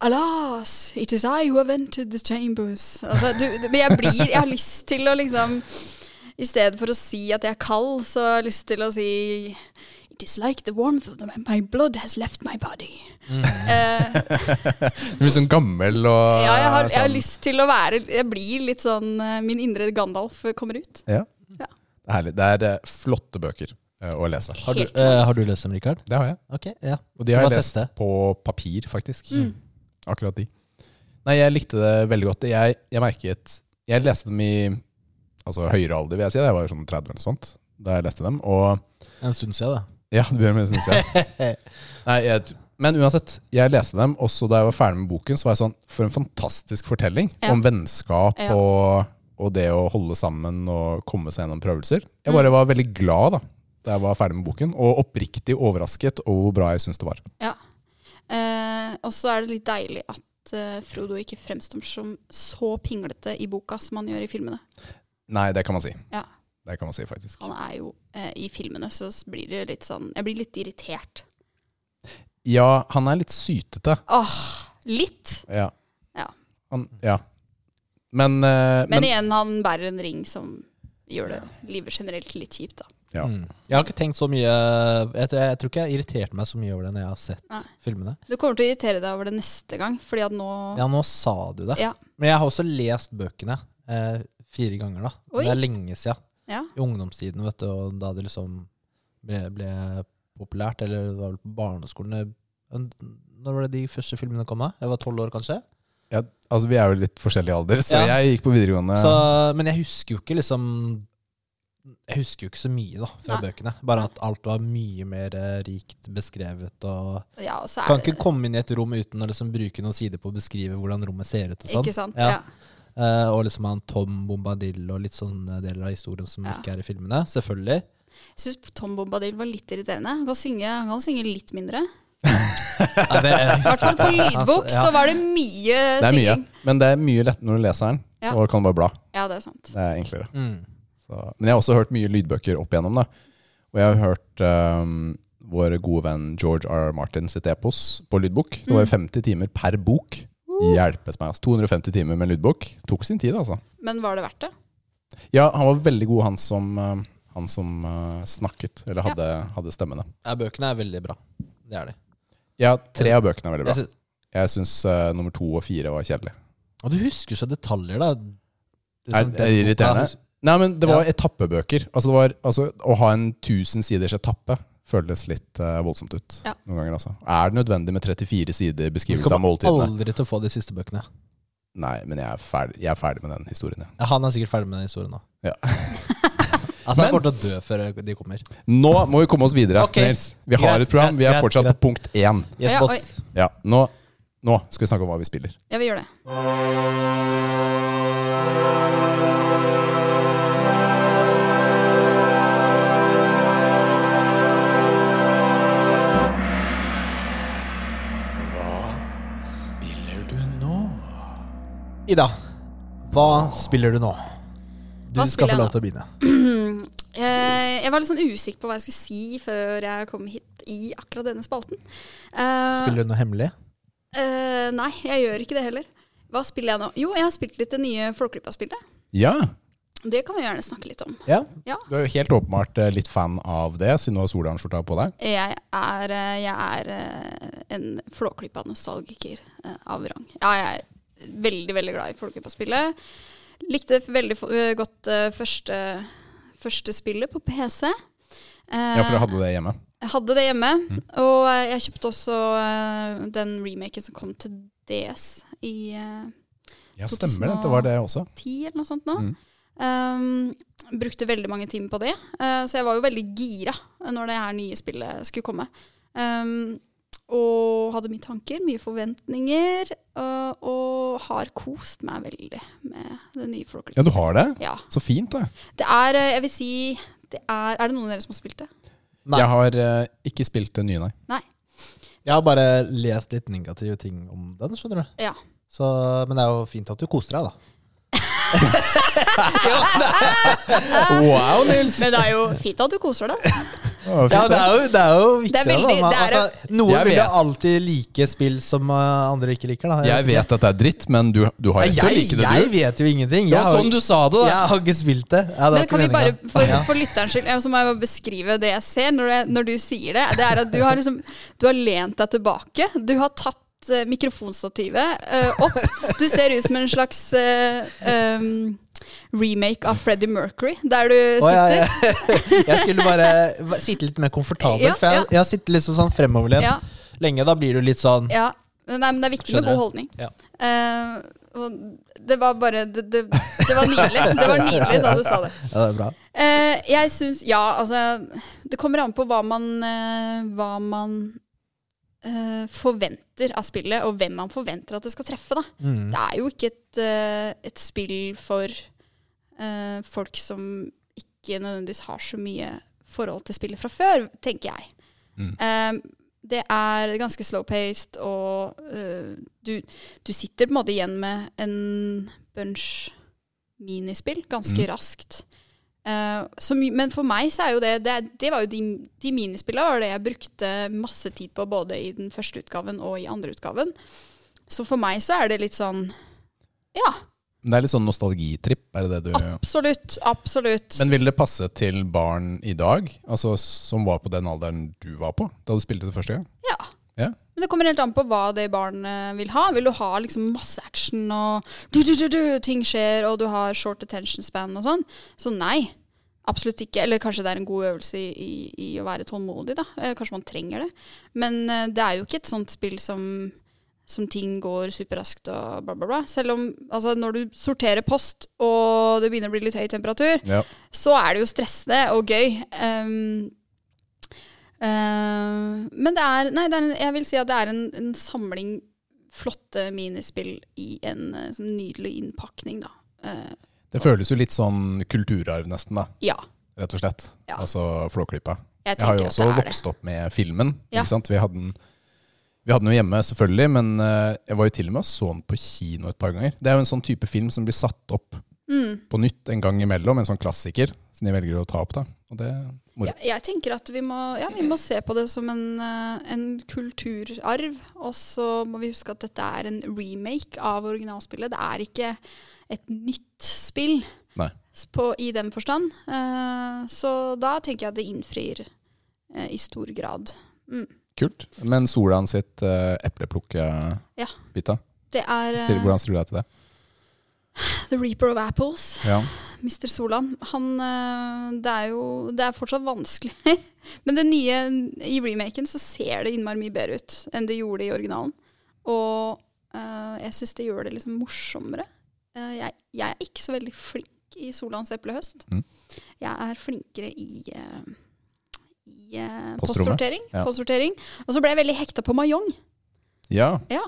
S3: Alas, it is I who have entered the chambers. Altså, du, du- men jeg blir Jeg har lyst til å liksom I stedet for å si at jeg er kald, så har jeg lyst til å si It is like the warmth of the, my blood has left my body. Eh,
S2: Du blir sånn gammel og
S3: ja, jeg har, jeg har
S2: sånn-
S3: lyst til å være Jeg blir litt sånn eh, Min indre Gandalf kommer ut.
S2: Ja.
S3: Ja.
S2: Det er herlig. Det er eh, flotte bøker eh, å lese.
S1: Har, du,
S3: Helt
S1: eh, har du løst dem, Rikard?
S2: Det har jeg.
S1: Ok, ja.
S2: Og de
S1: Skal
S2: har jeg
S1: bare
S2: lest
S1: teste.
S2: på papir, faktisk. Akkurat de. Nei, jeg likte det veldig godt. Jeg, jeg merket Jeg leste dem i altså, høyere alder, vil jeg si. Jeg var sånn 30 eller noe sånt da jeg leste dem. Og
S1: En stund siden, da.
S2: ja, det begynner med synes jeg. Nei, jeg. Men uansett, jeg leste dem også da jeg var ferdig med boken. Så var jeg sånn For en fantastisk fortelling
S3: Ja.
S2: om vennskap
S3: Ja.
S2: og, og det å holde sammen og komme seg gjennom prøvelser. Jeg
S3: Mm.
S2: bare var veldig glad da da jeg var ferdig med boken, og oppriktig overrasket over hvor bra jeg syns det var.
S3: Ja. Eh, og så er det litt deilig at eh, Frodo ikke fremstår som så pinglete i boka som han gjør i filmene.
S2: Nei, det kan man si.
S3: Ja.
S2: Det kan man si, faktisk.
S3: Han er jo eh, I filmene så blir det litt sånn Jeg blir litt irritert.
S2: Ja, han er litt sytete.
S3: Åh, litt.
S2: Ja.
S3: Ja.
S2: Han, ja. Men, eh,
S3: Men,
S2: men
S3: igjen, han bærer en ring som gjør det livet generelt litt kjipt, da.
S2: Ja.
S1: Mm. Jeg har ikke tenkt så mye jeg, tror- jeg tror ikke jeg irriterte meg så mye over det når jeg har sett
S3: Nei.
S1: filmene.
S3: Du kommer til å irritere deg over det neste gang, fordi at nå
S1: Ja, nå sa du det.
S3: Ja.
S1: Men jeg har også lest bøkene eh, fire ganger, da.
S3: Oi.
S1: Det er lenge siden.
S3: Ja.
S1: I ungdomstiden, vet du, og da det liksom ble, ble populært, eller det var vel på barneskolen Når var det de første filmene kom? da? Jeg var tolv år, kanskje?
S2: ja, altså, vi er jo litt forskjellig alder, så
S1: Ja.
S2: jeg gikk på videregående.
S1: Så, men jeg husker jo ikke liksom Jeg husker jo ikke så mye da fra
S3: Nei.
S1: bøkene. Bare at alt var mye mer eh, rikt beskrevet. og
S3: ja, og så er
S1: Kan
S3: det
S1: ikke komme inn i et rom uten å liksom bruke noen sider på å beskrive hvordan rommet ser ut. og sånn.
S3: Ikke sant?
S1: Ja.
S3: Ja.
S1: Eh, og liksom han Tom Bombadil og litt sånne deler av historien som
S3: Ja.
S1: ikke er i filmene. Selvfølgelig.
S3: Jeg syns Tom Bombadil var litt irriterende. Han kan synge, han kan synge litt mindre.
S1: Ja, det,
S3: I hvert fall på lydbok
S1: ja.
S3: så var det mye
S2: Altså, det er mye,
S3: synging.
S2: men det er mye lettere når du leser den.
S3: Ja.
S2: Så kan du bare bla.
S3: Ja, det er sant.
S2: Det er enklere.
S1: mm.
S2: Så. Men jeg har også hørt mye lydbøker opp igjennom. Da. Og jeg har hørt ehm, vår gode venn George R. Martin sitt epos på lydbok. Det
S3: Mm.
S2: var jo 50 timer per bok. Hjelpes meg. Altså. 250 timer med lydbok. Tok sin tid, altså.
S3: Men var det verdt det?
S2: Ja, han var veldig god, han som, eh, han som eh, snakket, eller hadde, hadde stemmene.
S1: ja, bøkene er veldig bra. Det er de.
S2: Ja, tre av bøkene er veldig
S1: Jeg
S2: bra.
S1: synes-
S2: Jeg syns eh, nummer to og fire var kjedelig.
S1: Og du husker så detaljer, da. Det
S2: Er,
S1: som
S2: er
S1: den boka-
S2: irriterende? Nei, men det var etappebøker. Altså, det var, altså, å ha en tusen siders etappe føles litt eh, voldsomt ut
S3: Ja.
S2: noen ganger, altså. Er det nødvendig med 34
S1: Du
S2: sider beskrivelse av
S1: kommer
S2: måltidene?
S1: aldri til å få de siste bøkene.
S2: Nei, men jeg er ferdig, jeg er ferdig med den historien. jeg.
S1: Ja, han er sikkert ferdig med den historien nå.
S2: Ja.
S1: altså,
S2: Men-
S1: han kommer til å dø før de kommer.
S2: Nå må vi komme oss videre,
S1: Ok.
S2: Nils. Vi har
S1: Greit,
S2: et program. Vi
S1: greit,
S2: er
S1: greit,
S2: fortsatt
S1: greit.
S2: på punkt én.
S1: Yes,
S3: Ja,
S1: boss.
S2: Ja, nå, nå skal vi snakke om hva vi spiller.
S3: Ja, vi gjør det.
S1: Spiller du nå? Ida, hva spiller du nå? Du
S3: Hva
S1: skal få
S3: spiller jeg
S1: lov
S3: nå?
S1: til å begynne.
S3: Eh, Jeg var litt sånn usikker på hva jeg skulle si før jeg kom hit i akkurat denne spalten. Eh,
S1: Spiller du noe hemmelig?
S3: eh, nei, jeg gjør ikke det heller. Hva spiller jeg nå? Jo, jeg har spilt litt det nye Flåklypa-spillet.
S2: Ja,
S3: Det kan vi gjerne snakke litt om.
S1: Ja.
S3: Ja.
S2: Du er jo helt åpenbart eh, litt fan av det, siden du har Solan-skjorta på deg.
S3: Jeg er, eh, jeg er eh, en flåklypa nostalgiker eh, av rang. Ja, jeg er veldig, veldig glad i flåklypa-spillet. Likte f- veldig f- eh, godt eh, første, første spillet på PC. Eh,
S2: Ja, for Mm. jeg hadde det hjemme.
S3: jeg hadde det hjemme, og eh, jeg kjøpte også eh, den remaken som kom til DS i eh,
S2: Ja, stemmer det. Det var det også.
S3: 10 eller noe sånt nå.
S2: Mm.
S3: Ehm, brukte veldig mange timer på det, eh, så jeg var jo veldig gira når det her nye spillet skulle komme. Ehm, og hadde mye tanker, mye forventninger, eh, og har kost meg veldig med det nye Flow Clip.
S2: Ja, du har det?
S3: Ja.
S2: Så fint, da.
S3: Det er, eh, jeg vil si det er, er det noen av dere som har spilt det?
S1: Nei.
S2: Jeg har eh, ikke spilt det nye, nei.
S1: Jeg har bare lest litt negative ting om den, skjønner du.
S3: Ja.
S1: Så, men det er jo fint at du koser deg, da.
S2: Wow, Nils!
S3: Men det er jo fint at du koser deg.
S2: Det var fint,
S1: Ja, det er jo, det er jo viktig.
S3: Det er veldig-
S1: da. Man,
S3: det er-
S1: altså, noen
S2: Jeg
S1: vil jo
S2: vet.
S1: alltid like spill som eh, andre ikke liker, da.
S2: Jeg vet at det er dritt, men du, du har
S1: Nei,
S2: rett til å
S1: jeg,
S2: like det,
S1: jeg
S2: du.
S1: vet jo ingenting.
S2: Det
S1: Jeg
S2: var
S1: har,
S2: sånn du sa det, da.
S1: jeg har ikke spilt det. Ja, det var
S3: Men kan vi
S1: ikke
S3: bare,
S1: meningen.
S3: for,
S1: Ja.
S3: for lytterens skyld, så må jeg bare beskrive det jeg ser når, jeg, når du sier det. Det er at du har liksom Du har lent deg tilbake. Du har tatt eh, mikrofonstativet eh, opp. Du ser ut som en slags eh, em, remake av Freddie Mercury, der du sitter.
S1: Å, ja, ja. Jeg skulle bare va- sitte litt mer komfortabelt,
S3: Ja,
S1: for jeg,
S3: ja.
S1: jeg har sittet litt sånn fremoverlent
S3: Ja,
S1: lenge. Da blir du litt sånn
S3: ja. Nei, men det er viktig
S1: Skjønner
S3: med
S1: jeg.
S3: god holdning.
S1: Ja.
S3: Eh, og det var bare det, det, det var nydelig. Det var nydelig da du sa det.
S1: Ja, det er bra.
S3: Eh, jeg syns Ja, altså Det kommer an på hva man, eh, hva man eh, forventer av spillet, og hvem man forventer at det skal treffe. Da.
S1: Mm.
S3: Det er jo ikke et, eh, et spill for eh, folk som ikke nødvendigvis har så mye forhold til spillet fra før, tenker jeg.
S2: Mm.
S3: Eh, det er ganske slow-paced, og eh, du, du sitter på en måte igjen med en bunch minispill ganske
S2: Mm.
S3: raskt. Eh, som, men for meg så er jo det Det, det var jo de, de minispillene var det jeg brukte masse tid på både i den første utgaven og i andre utgaven. Så for meg så er det litt sånn Ja,
S2: Det er litt sånn nostalgitripp, er det det du
S3: absolutt. Absolutt.
S2: Men ville det passe til barn i dag, altså som var på den alderen du var på, da du spilte det første gang?
S3: ja.
S2: Ja.
S3: Men det kommer helt an på hva det barnet vil ha. Vil du ha liksom masse action og du, du, du, du, ting skjer, og du har short attention span og sånn? Så nei. Absolutt ikke. Eller kanskje det er en god øvelse i, i, i å være tålmodig, da. Eh, Kanskje man trenger det. Men eh, det er jo ikke et sånt spill som, som ting går superraskt og bla, bla, bla. Selv om altså, når du sorterer post, og det begynner å bli litt høy temperatur,
S2: Ja.
S3: så er det jo stressende og gøy. Ehm, eh, men det er, nei, det er en, jeg vil si at det er en, en samling flotte minispill i en eh, sånn nydelig innpakning, da. Eh,
S2: Det føles jo litt sånn kulturarv, nesten, da,
S3: ja,
S2: rett og slett.
S3: Ja.
S2: Altså Flåklypa.
S3: jeg
S2: Jeg har
S3: tenker
S2: jo
S3: at
S2: også
S3: det er det.
S2: vokst opp med filmen.
S3: Ja.
S2: Ikke sant? Vi hadde den vi hadde den jo hjemme, selvfølgelig, men eh, jeg var jo til og med og så den på kino et par ganger. Det er jo en sånn type film som blir satt opp
S3: Mm.
S2: på nytt en gang imellom, en sånn klassiker som de velger å ta opp. da. Og det er moro.
S3: Ja, jeg tenker at vi må, ja, vi må se på det som en, eh, en kulturarv. Og så må vi huske at dette er en remake av originalspillet. Det er ikke et nytt spill
S2: Nei.
S3: s- på, i den forstand. Eh, så da tenker jeg at det innfrir eh, i stor grad.
S2: Kult. Men Solan sitt uh, epleplukke-bita,
S3: Ja. Det er eh,
S2: Still- hvordan stiller du deg til det?
S3: The Reaper of Apples.
S2: Ja.
S3: Mr. Solan, han eh, Det er jo Det er fortsatt vanskelig. Men det nye i remaken så ser det innmari mye bedre ut enn det gjorde i originalen. Og eh, jeg syns det gjør det liksom morsommere. Eh, jeg, jeg er ikke så veldig flink i Solans eplehøst.
S2: Mm.
S3: Jeg er flinkere i eh, i eh,
S2: Postrommet.
S3: postsortering.
S2: Ja.
S3: postsortering. Og så ble jeg veldig hekta på Mayong.
S2: ja.
S3: Ja.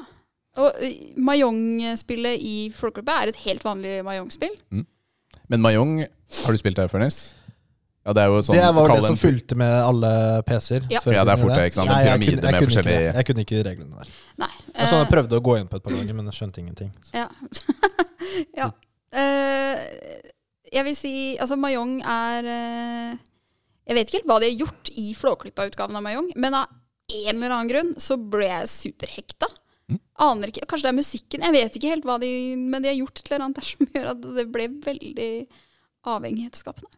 S3: Og eh, Mayong-spillet i Folkegruppe er et helt vanlig Mayong-spill.
S2: Men Mayong, har du spilt det før, Nils? Ja, det er jo sånn
S1: det var
S2: kall
S1: det som
S2: en fyr-
S1: fulgte med alle PC-er.
S3: Ja.
S1: før
S2: Ja, det er
S1: vi
S2: fort
S1: gjorde
S2: det, ikke sant? En
S1: Nei, jeg kunne- jeg
S2: pyramide med
S1: kunne ikke
S2: forskjellige-
S1: det. Jeg kunne ikke de reglene der.
S3: Nei.
S1: Jeg, sånn,
S2: Altså,
S3: eh,
S1: jeg prøvde å gå inn på et par ganger, men jeg skjønte ingenting.
S3: Ja. ja. Eh, jeg vil si Altså, Mayong er eh, Jeg vet ikke helt hva de har gjort i Flåklypa-utgaven av Mayong, men av en eller annen grunn så ble jeg superhekta.
S2: Mm.
S3: Aner ikke, Kanskje det er musikken, jeg vet ikke helt hva de Men de har gjort et eller annet der som gjør at det ble veldig avhengighetsskapende.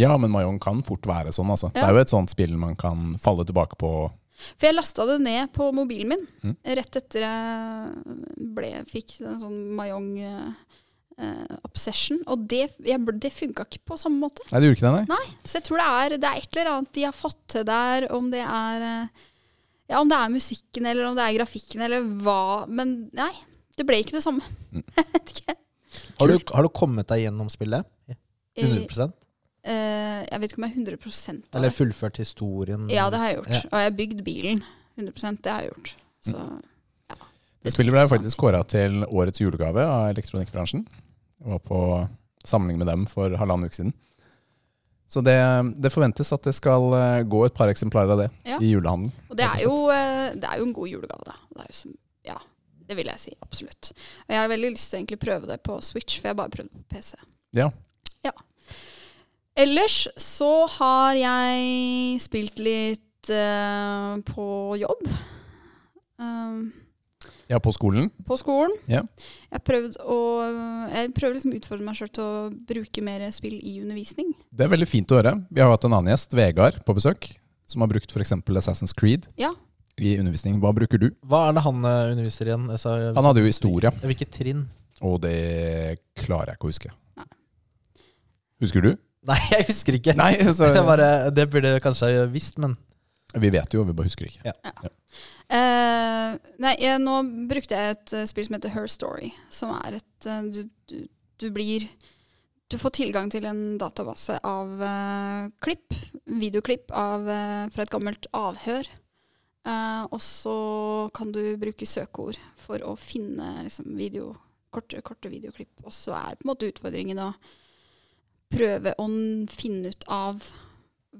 S2: Ja, men Mayong kan fort være sånn, altså. Det
S3: Ja.
S2: er jo et sånt spill man kan falle tilbake på.
S3: For jeg lasta det ned på mobilen min
S2: Mm.
S3: rett etter jeg ble, fikk en sånn Mayong-obsession. og det, jeg ble- det funka ikke på samme måte.
S2: Nei, det gjorde ikke det, nei.
S3: Så jeg tror det er, det er et eller annet de har fått til der, om det er eh, ja, om det er musikken eller om det er grafikken eller hva. Men
S2: Mm.
S3: nei, det ble ikke det samme. Jeg vet
S1: Har du,
S3: ikke.
S1: har du kommet deg gjennom spillet?
S3: Eh,
S1: 100
S3: eh, jeg vet ikke om jeg er 100 av
S1: Eller
S3: det.
S1: fullført historien?
S3: Ja, det har jeg gjort.
S1: Ja.
S3: Og jeg har bygd bilen. 100 det har jeg gjort. Så ja.
S2: Det spillet ble faktisk kåra til årets julegave av elektronikkbransjen. Jeg var på samling med dem for halvannen uke siden. Så det, det forventes at det skal eh, gå et par eksemplarer av det
S3: Ja.
S2: i julehandelen.
S3: Og det
S2: rett og
S3: er, jo, eh, det er jo en god julegave, da. Det er jo som, ja, det vil jeg si. Absolutt. Og jeg har veldig lyst til å egentlig prøve det på Switch, for jeg har bare prøvd på PC.
S2: Ja.
S3: ja. Ellers så har jeg spilt litt eh, på jobb. Um,
S2: Ja, på skolen.
S3: på skolen.
S2: Ja.
S3: Jeg har prøvd å Jeg prøver liksom å utfordre meg sjøl til å bruke mer spill i undervisning.
S2: Det er veldig fint å høre. Vi har jo hatt en annen gjest, Vegard, på besøk. Som har brukt f.eks. Assassin's Creed
S3: Ja.
S2: i undervisning. Hva bruker du?
S1: Hva er det han eh, underviser igjen? Altså,
S2: Han hadde jo historie,
S1: Hvilket trinn?
S2: og det klarer jeg ikke å huske.
S3: Nei.
S2: Husker du?
S1: Nei, jeg husker ikke.
S2: Nei, så
S1: Det, bare, det burde jeg kanskje ha visst, men
S2: Vi vet jo, vi bare husker ikke.
S3: Eh, nei, jeg, nå brukte jeg et eh, spill som heter Her Story, som er et eh, du, du, du blir Du får tilgang til en database av eh, klipp, videoklipp av, eh, fra et gammelt avhør. Eh, og så kan du bruke søkeord for å finne liksom, video, korte, korte videoklipp. Og så er på en måte utfordringen å prøve å n- finne ut av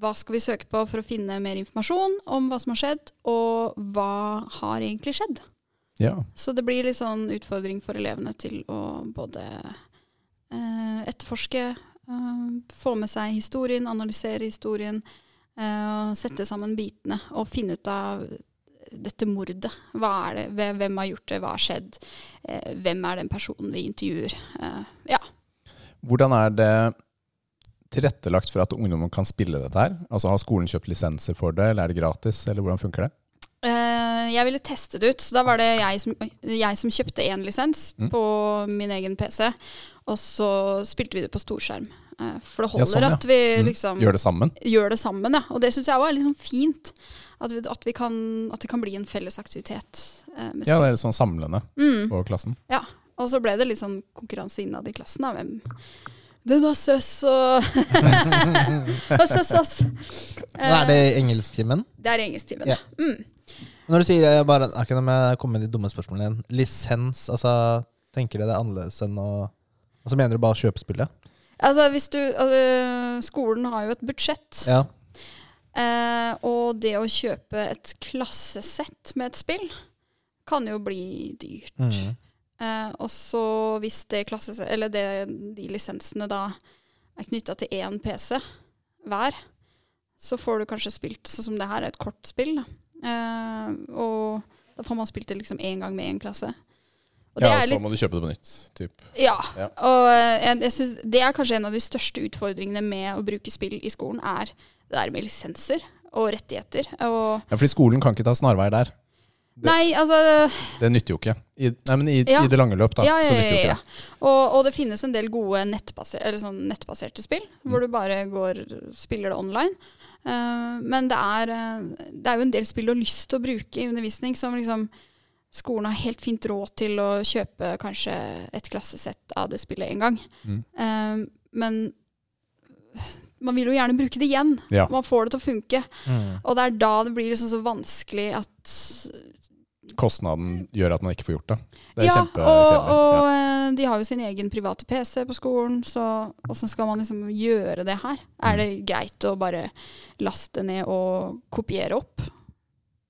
S3: hva skal vi søke på for å finne mer informasjon om hva som har skjedd, og hva har egentlig skjedd.
S2: Ja.
S3: Så det blir litt sånn utfordring for elevene til å både eh, etterforske, eh, få med seg historien, analysere historien, eh, og sette sammen bitene og finne ut av dette mordet. Hva er det? Hvem- Hvem har gjort det? Hva har skjedd? Eh, hvem er den personen vi intervjuer? Eh, ja.
S2: Hvordan er det tilrettelagt for at ungdommen kan spille dette her? Altså Har skolen kjøpt lisenser for det, eller er det gratis, eller hvordan funker det?
S3: Eh, jeg ville teste det ut, så da var det jeg som, oi, jeg som kjøpte én lisens
S2: Mm.
S3: på min egen PC. Og så spilte vi det på storskjerm. Eh, for
S2: Ja,
S3: det holder
S2: sånn, ja.
S3: at vi
S2: Mm.
S3: liksom gjør,
S2: Gjør det sammen?
S3: det sammen. Ja. Og det syns jeg òg er litt sånn fint. At, vi, at, vi kan, at det kan bli en felles aktivitet. eh, med
S2: Ja,
S3: spill.
S2: det er sånn samlende
S3: mm.
S2: på klassen.
S3: Og så ble det litt sånn konkurranse innad i klassen. Da. Hvem Den har søs og Har søs, ass!
S1: Nå er det engelsktimen.
S3: Eh, det er engelsktimen.
S1: Ja.
S3: Ja. Mm.
S1: Når du sier jeg bare, akkurat om jeg kommer med de dumme spørsmålene igjen. Lisens, altså Tenker dere det er annerledes enn å Altså Mener du bare å kjøpe spillet?
S3: Altså, hvis du, øh, skolen har jo et budsjett,
S1: Ja.
S3: eh, og det å kjøpe et klassesett med et spill kan jo bli dyrt.
S1: Mm.
S3: Eh, og så hvis det klassesett, eller det, de lisensene da er knytta til én PC hver, så får du kanskje spilt sånn som det her, er et kortspill. Da. Eh, og da får man spilt det liksom én gang med én klasse. Og det
S2: Ja,
S3: er
S2: og så
S3: litt
S2: må du kjøpe det på nytt. Typ.
S3: ja,
S2: Ja.
S3: og eh, jeg, jeg synes det er kanskje en av de største utfordringene med å bruke spill i skolen, er det der med lisenser og rettigheter. Og,
S2: Ja, fordi skolen kan ikke ta snarveier der. Det-
S3: nei, altså
S2: Det nytter jo ikke. I, nei, men i,
S3: Ja.
S2: i det lange løp, da.
S3: Ja, ja,
S2: så nytter jo
S3: ja,
S2: ikke
S3: ja.
S2: det.
S3: Og, og det finnes en del gode nettbaser, eller sånn nettbaserte spill,
S2: Mm.
S3: hvor du bare går, spiller det online. Eh, men det er, eh, det er jo en del spill du har lyst til å bruke i undervisning, som liksom skolen har helt fint råd til å kjøpe kanskje et klassesett av det spillet en gang.
S2: Mm.
S3: Eh, men man vil jo gjerne bruke det igjen.
S2: Ja.
S3: Man får det til å funke.
S1: Mm.
S3: Og det er da det blir liksom så vanskelig at
S2: Kostnaden gjør at man ikke får gjort det. Det er
S3: ja, og,
S2: kjempekjedelig.
S3: og
S2: Ja.
S3: eh, de har jo sin egen private PC på skolen, så hvordan skal man liksom gjøre det her? Er det
S2: Mm.
S3: greit å bare laste ned og kopiere opp?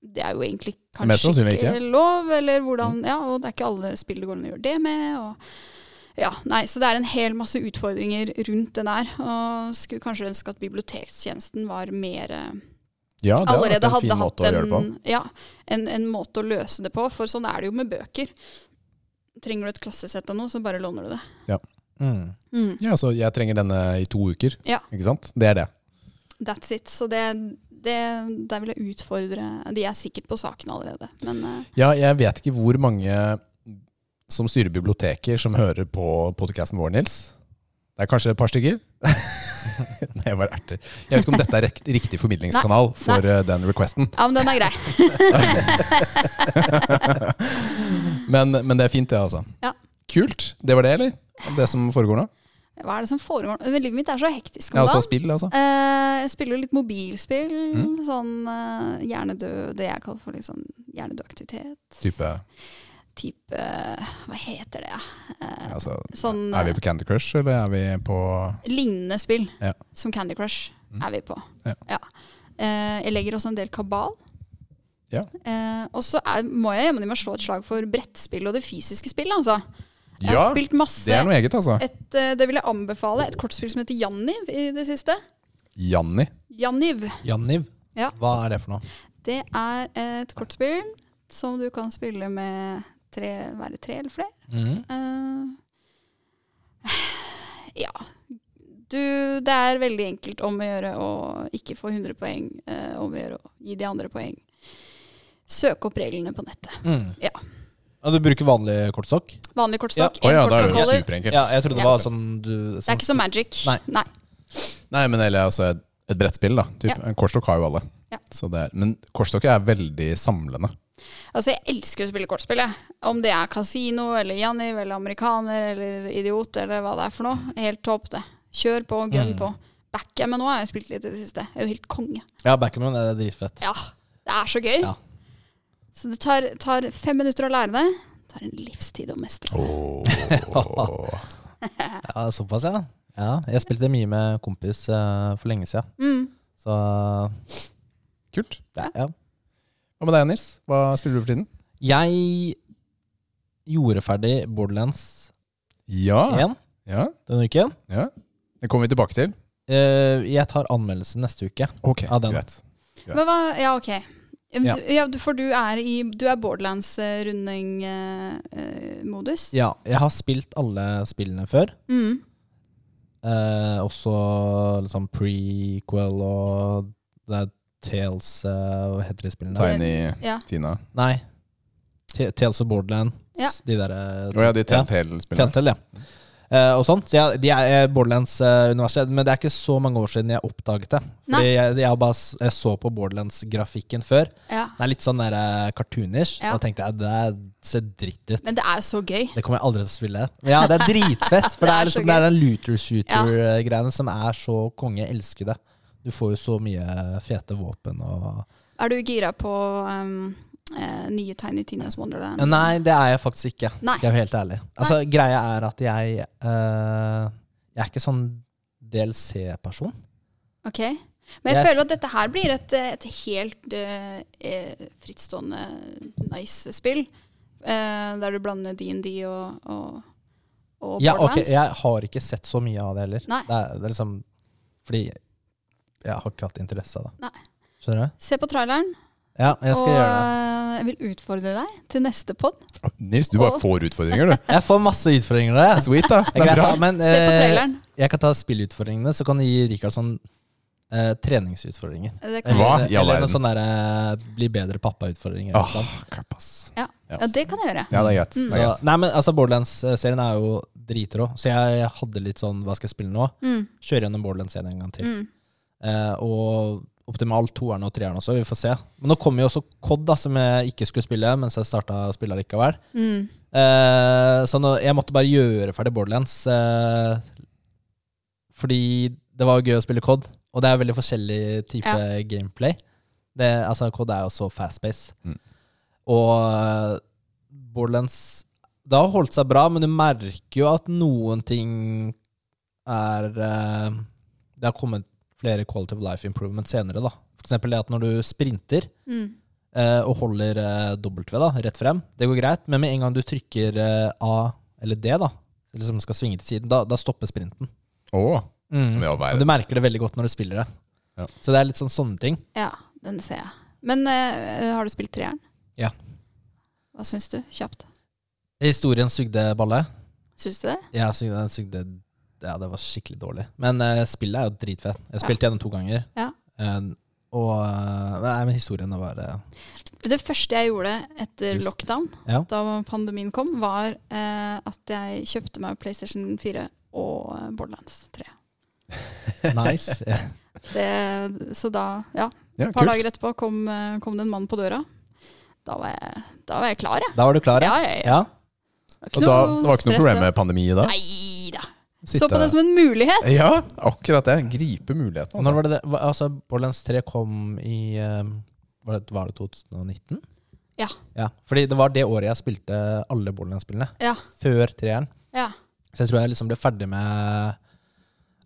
S3: Det er jo egentlig
S2: Mest
S3: kanskje
S2: sannsynlig Mm.
S3: ikke lov, eller hvordan Ja, og det er ikke alle spill det går an å gjøre det med. og ja, nei, Så det er en hel masse utfordringer rundt det der. Og skulle kanskje ønske at bibliotekstjenesten var mer eh,
S2: ja, det hadde vært
S3: allerede
S2: en
S3: hadde
S2: fin måte
S3: hatt
S2: å gjøre det på.
S3: en, ja, en, en måte å løse det på. For sånn er det jo med bøker. Trenger du et klassesett av noe, så bare låner du det.
S1: Mm.
S2: Ja, så jeg trenger denne i to uker.
S3: Ja.
S2: Ikke sant? Det er det.
S3: That's it. Så det, det, der vil jeg utfordre De er sikkert på saken allerede, men eh,
S2: Ja, jeg vet ikke hvor mange som styrer biblioteker som hører på podcasten vår, Nils. Det er kanskje et par stykker? Nei, jeg bare erter. Jeg vet ikke om dette er rekt- riktig formidlingskanal for eh, den requesten.
S3: Ja, men den er grei.
S2: Men, men det er altså. fint, det, altså.
S3: Ja.
S2: Kult. Det var det, eller? Det som foregår nå?
S3: Hva er det som foregår? Men Livet mitt er så hektisk
S2: Ja,
S3: om
S2: altså
S3: dagen.
S2: spill, altså.
S3: Eh, jeg spiller jo litt mobilspill.
S2: Mm.
S3: Sånn eh, hjernedød Det jeg kaller for litt sånn hjernedød aktivitet.
S2: Type
S3: Type Hva heter det? Eh,
S2: altså,
S3: sånn
S2: Er vi på Candy Crush, eller er vi på
S3: lignende spill
S2: Ja.
S3: som Candy Crush
S2: Mm.
S3: er vi på.
S2: Ja.
S3: Eh, jeg legger også en del kabal.
S2: Ja.
S3: Eh, og så er, må jeg jammen meg slå et slag for brettspill og det fysiske spillet. Altså. Jeg har spilt masse.
S2: det er noe eget, altså.
S3: et, eh, det vil jeg anbefale. Et kortspill som heter Janniv i det siste.
S2: Janni.
S3: Janniv.
S1: Janniv,
S3: Ja.
S1: hva er det for noe?
S3: Det er et kortspill som du kan spille med tre, være tre eller flere. Eh, ja. Du, det er veldig enkelt om å gjøre å ikke få 100 poeng, eh, om å gjøre å gi de andre poeng. Søk opp reglene på nettet.
S1: Mm.
S3: Ja.
S1: Ja, Du bruker vanlig kortstokk?
S3: Vanlig kortstokk,
S2: Å
S3: én
S2: ja, da er det jo
S3: kortstokkholder.
S2: superenkelt.
S1: Ja, jeg trodde det
S3: Ja.
S1: var sånn du
S3: Det er ikke som magic.
S1: Nei.
S3: Nei.
S2: Nei, men eller altså et, et brettspill, da. Typ.
S3: Ja.
S2: En Kortstokk har jo alle.
S3: Ja.
S2: Så det er, men kortstokk er veldig samlende.
S3: Altså, jeg elsker å spille kortspill, jeg. Om det er kasino eller Janniv eller amerikaner eller idiot eller hva det er for noe. Helt topp, det. Kjør på, gun
S1: Mm.
S3: på. Backgammon nå har jeg spilt litt i det siste. Jeg er jo helt konge.
S1: Ja, backgammon er dritfett.
S3: Ja, det er så gøy.
S1: Ja.
S3: Så det tar, tar fem minutter å lære det. Det tar en livstid å
S1: Oh,
S3: mestre.
S1: Ja, såpass, ja. ja. Jeg spilte mye med kompis eh, for lenge siden.
S3: Mm.
S1: Så
S2: Kult.
S1: ja, ja.
S2: Hva med deg, Nils? Hva spiller du for tiden?
S1: Jeg gjorde ferdig Borderlands
S2: Ja.
S1: 1
S2: ja.
S1: denne uken.
S2: ja. Det kommer vi tilbake til.
S1: Eh, jeg tar anmeldelsen neste uke.
S2: Ok,
S1: Ja, den.
S2: greit.
S3: Men hva Ja, OK. Um,
S1: Ja.
S3: Du, ja, du- for du er i Du er Borderlands-runding-modus.
S1: Ja, jeg har spilt alle spillene før.
S3: mm.
S1: Eh, også liksom prequel og det er Tales eh, Hva heter de spillene?
S2: Tiny
S3: Ja.
S2: Tina.
S1: Nei. T Tales of Borderland.
S3: Ja.
S1: De der eh,
S2: Å ja, de
S1: ja,
S2: Telltale-spillene.
S1: Telltale, ja. Eh, og sånt. Så jeg, de er eh, Borderlands-universet, men det er ikke så mange år siden jeg oppdaget det.
S3: Nei.
S1: Fordi jeg, jeg, har bare, s- jeg så på Borderlands-grafikken før.
S3: ja.
S1: Den er litt sånn der, eh, cartoonish.
S3: Ja.
S1: Da tenkte jeg det der ser dritt ut.
S3: Men det er jo så gøy.
S1: Det kommer jeg aldri til å spille. Men ja, det er dritfett. For det er,
S3: Det er så
S1: liksom, det er den looter shooter-greiene som er så konge. Jeg elsker det. Du får jo så mye eh, fete våpen og
S3: Er du gira på um, eh, nye Tiny Tinas Wonderland?
S1: Ja, Nei, det er jeg faktisk ikke.
S3: Nei.
S1: Skal jeg være helt ærlig. Altså, greia er at jeg eh, Jeg er ikke sånn DLC-person.
S3: Ok. Men jeg
S1: Yes.
S3: føler at dette her blir et, eh, et helt eh, eh, frittstående nice spill. eh, der du blander DND og, og, og
S1: Ja, ok,
S3: Borderlands.
S1: jeg har ikke sett så mye av det heller.
S3: Nei.
S1: Det, er, det er liksom Fordi jeg har ikke hatt interesse av det.
S3: Nei.
S1: Skjønner du?
S3: Se på traileren,
S1: Ja, jeg
S3: og
S1: skal gjøre det.
S3: eh, jeg vil utfordre deg til neste pod.
S2: Nils, du bare
S3: Å.
S2: får utfordringer, du.
S1: Jeg får masse utfordringer av det.
S2: Sweet, da.
S1: Det er greit, da, men
S3: Se på
S1: eh,
S3: traileren.
S1: jeg kan ta spillutfordringene, så kan du gi Rikard sånn eh, treningsutfordringer.
S3: Det kan,
S2: Hva?
S1: Eller,
S2: I all
S1: eller noe
S2: verden.
S1: sånn der eh, bli bedre pappa-utfordringer.
S2: Åh,
S1: eller noe sånt.
S2: crap, ass.
S3: Ja.
S2: Ja.
S3: ja, det kan jeg gjøre.
S2: Ja, det er greit.
S3: Mm.
S2: Det er
S1: Så,
S2: greit.
S1: nei, men altså Borderlands-serien er jo dritrå, så jeg hadde litt sånn Hva skal jeg spille nå?
S3: Mm,
S1: Kjøre gjennom Borderlands-serien en gang til.
S3: mm.
S1: Eh, og Optimal 2-eren og 3-eren også, vi får se. Men nå kommer jo også COD, da, som jeg ikke skulle spille mens jeg starta å spille likevel.
S3: Mm.
S1: Eh, så nå, jeg måtte bare gjøre ferdig Borderlands. Eh, fordi det var gøy å spille COD, og det er veldig forskjellig type gameplay. Det, altså, COD er jo så fast-pace.
S2: Mm.
S1: Og eh, Borderlands Det har holdt seg bra, men du merker jo at noen ting er eh, Det har kommet flere quality of life improvement senere, da. For eksempel det at når du sprinter,
S3: Mm.
S1: eh, og holder eh, W da, rett frem. Det går greit, men med en gang du trykker eh, A eller D, da, liksom skal svinge til siden, da, da stopper sprinten.
S2: Åh,
S1: Mm.
S2: det var
S1: Og
S2: verre.
S1: du merker det veldig godt når du spiller det.
S2: Ja.
S1: Så det er litt sånn sånne ting.
S3: Ja, den ser jeg. Men eh, har du spilt treeren?
S1: Ja.
S3: Hva syns du? Kjapt.
S1: Historien sugde balle.
S3: Syns du det?
S1: Ja, sugde, den sugde Ja, det var skikkelig dårlig. Men eh, spillet er jo dritfett. Jeg spilte gjennom to ganger.
S3: Ja.
S1: Eh, og eh, Nei, men historien det var eh,
S3: Det første jeg gjorde etter
S1: Just.
S3: lockdown,
S1: Ja.
S3: da pandemien kom, var eh, at jeg kjøpte meg PlayStation 4 og eh, Borderlands 3.
S1: nice. Ja.
S3: Det, så da, ja, et
S2: Ja,
S3: par
S2: kult.
S3: dager etterpå kom, eh, kom det en mann på døra. Da var jeg, da var jeg klar, jeg.
S1: Da var du klar,
S3: Ja,
S1: ja?
S3: jeg,
S1: Ja.
S2: Og da, det var ikke noe problem med pandemi da?
S3: Nei da. Så på det som en mulighet.
S2: Ja, akkurat det. Gripe muligheten.
S1: Når
S2: Altså.
S1: var det det? hva- Altså, Borderlands 3 kom i eh, var det, var det 2019?
S3: Ja.
S1: ja. Fordi det var det året jeg spilte alle Borderlands-spillene.
S3: Ja.
S1: Før treeren.
S3: Ja.
S1: Så jeg tror jeg liksom ble ferdig med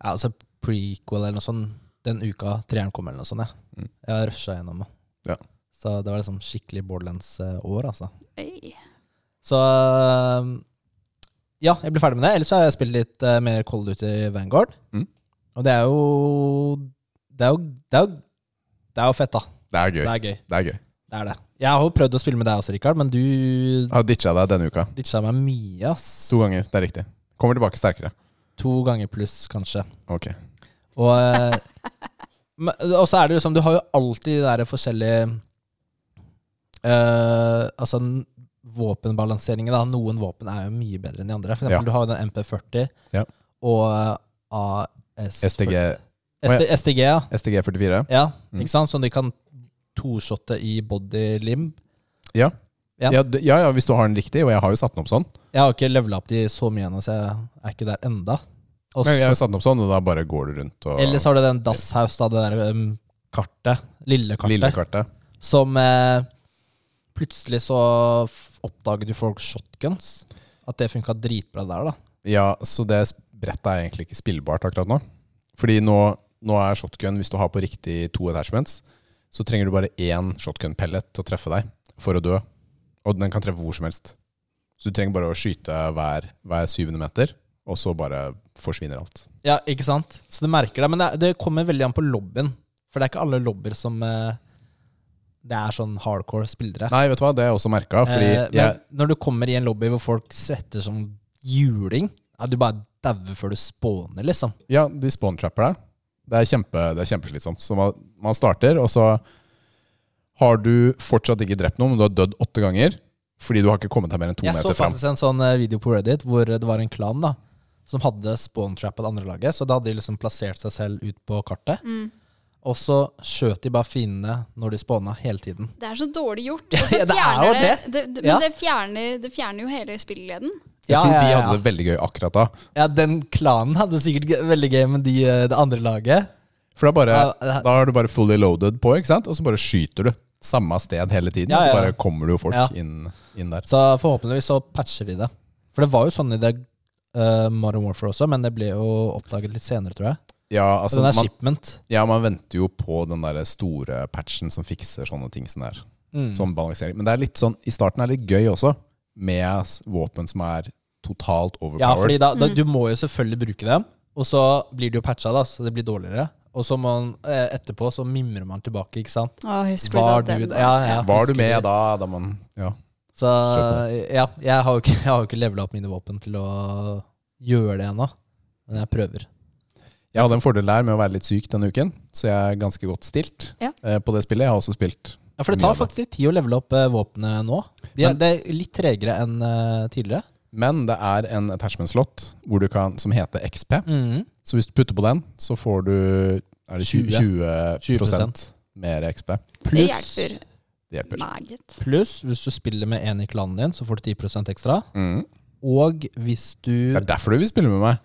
S1: ja, altså prequel eller noe sånt den uka treeren kom. eller noe sånt. Ja.
S2: Mm.
S1: Jeg rusha gjennom det.
S2: Ja.
S1: Så det var liksom skikkelig Borderlands-år, altså.
S3: Øy.
S1: Så øhm, ja, jeg blir ferdig med det. Ellers så har jeg spilt litt eh, mer Call of Duty Vanguard.
S2: Mm.
S1: Og det er jo Det er jo Det er jo, det er jo fett, da.
S2: Det er gøy.
S1: Det er gøy.
S2: Det er gøy.
S1: Det er det. Jeg har jo prøvd å spille med deg også, Rikard, men du
S2: Jeg har ditcha deg denne uka.
S1: ditcha meg mye, ass.
S2: To ganger. Det er riktig. Kommer tilbake sterkere.
S1: To ganger pluss, kanskje.
S2: Ok.
S1: Og, eh, men- og så er det liksom Du har jo alltid de der forskjellige eh, Altså n- våpenbalanseringene. Da. Noen våpen er jo mye bedre enn de andre. For eksempel,
S2: Ja.
S1: Du har jo den MP40
S2: Ja.
S1: og eh, AS
S2: STG,
S1: ST, STG, ja.
S2: STG 44.
S1: ja
S2: Mm.
S1: Ikke sant? Som de kan toshotte i bodylim.
S2: Ja.
S1: Ja.
S2: Ja. d- ja, ja, hvis du har den riktig, og jeg har jo satt den opp sånn.
S1: Jeg har ikke levela opp de så mye ennå, så jeg er ikke der enda. Og
S2: Men jeg
S1: så-
S2: har jo satt den opp sånn, og da bare går du rundt og
S1: Eller så har du den Dasshaus, da, det der um, kartet. Lille kartet.
S2: Lille kartet.
S1: Som eh, plutselig så f- oppdager du folk shotguns. At det funka dritbra der, da.
S2: Ja, så det sp- brettet er egentlig ikke spillbart akkurat nå. Fordi nå, nå er shotgun, hvis du har på riktig to attachments, så trenger du bare én shotgun-pellet til å treffe deg for å dø. Og den kan treffe hvor som helst. Så du trenger bare å skyte hver, hver syvende meter, og så bare forsvinner alt.
S1: Ja, ikke sant? Så du merker det. Men det, det kommer veldig an på lobbyen. For det er ikke alle lobbyer som eh, Det er sånn hardcore spillere.
S2: Nei, vet du hva, det har jeg også merka, fordi
S1: Eh, men
S2: jeg
S1: når du kommer i en lobby hvor folk svetter som juling ja, Du bare dauer før du spåner, liksom.
S2: Ja, de spawn-trapper deg. Det er, kjempe, det er kjempeslitsomt. Så man, man starter, og så har du fortsatt ikke drept noen, men du har dødd åtte ganger fordi du har ikke kommet deg mer enn to
S1: Jeg så
S2: meter fram.
S1: faktisk en sånn eh, video på Reddit hvor det var en klan da som hadde spawn-trappa det andre laget. Så da hadde de liksom plassert seg selv ut på kartet.
S3: Mm.
S1: Og så skjøt de bare fiendene når de spawna, hele tiden.
S3: Det er så dårlig gjort.
S1: Ja,
S3: Og så
S1: ja, det er
S3: fjerner
S1: jo
S3: det, det, det, men
S1: Ja.
S3: det, fjerner, det fjerner jo hele spillgleden.
S2: Jeg tror de
S1: ja,
S2: hadde det veldig gøy akkurat da.
S1: Ja, den klanen hadde sikkert g- veldig gøy med de, eh, det andre laget.
S2: For da, bare,
S1: Ja, det-
S2: da er du bare fully loaded på, ikke sant? og så bare skyter du. Samme sted hele tiden.
S1: Ja,
S2: og
S1: ja,
S2: Så
S1: ja.
S2: bare kommer det jo folk
S1: Ja.
S2: inn, inn der.
S1: Så forhåpentligvis så patcher de det. For det var jo sånn i det eh, Modern Warfare også, men det ble jo oppdaget litt senere, tror jeg.
S2: Ja,
S1: Så
S2: altså,
S1: den er
S2: man,
S1: shipment.
S2: ja, man venter jo på den der store patchen som fikser sånne ting som det er.
S1: Mm.
S2: Sånn balansering. Men det er litt sånn, i starten er det litt gøy også, med s- våpen som er totalt
S1: Ja, fordi
S2: overpowered.
S1: da,
S3: Mm.
S1: da, du må jo selvfølgelig bruke dem, og så blir de jo patcha, da, så det blir dårligere. Og så må man, eh, etterpå så mimrer man tilbake, ikke sant.
S3: Å, husker
S1: Var du
S3: den?
S1: Ja, ja.
S2: Var du
S1: husker
S2: med
S1: det.
S2: da? da man, ja.
S1: Så ja, jeg har jo ikke, jeg har jo ikke levela opp mine våpen til å gjøre det ennå. Men jeg prøver.
S2: Jeg hadde en fordel der med å være litt syk denne uken, så jeg er ganske godt stilt
S3: Ja.
S2: eh, på det spillet. Jeg har også spilt
S1: Ja, For det
S2: Mye
S1: tar
S2: av det.
S1: faktisk litt tid å levele opp eh, våpenet nå. De er,
S2: Men-
S1: det er litt tregere enn eh, tidligere.
S2: Men det er en attachment-slott hvor du kan, som heter XP. Så hvis du putter på den, så får du er det 20, 20,
S1: 20%.
S2: mer XP.
S3: Det
S1: Pluss
S3: hjelper
S2: Det hjelper.
S3: meget.
S1: plus, hvis du spiller med en i klanen din, så får du 10 ekstra.
S2: Mm.
S1: Og hvis du
S2: Det er derfor du vil spille med meg.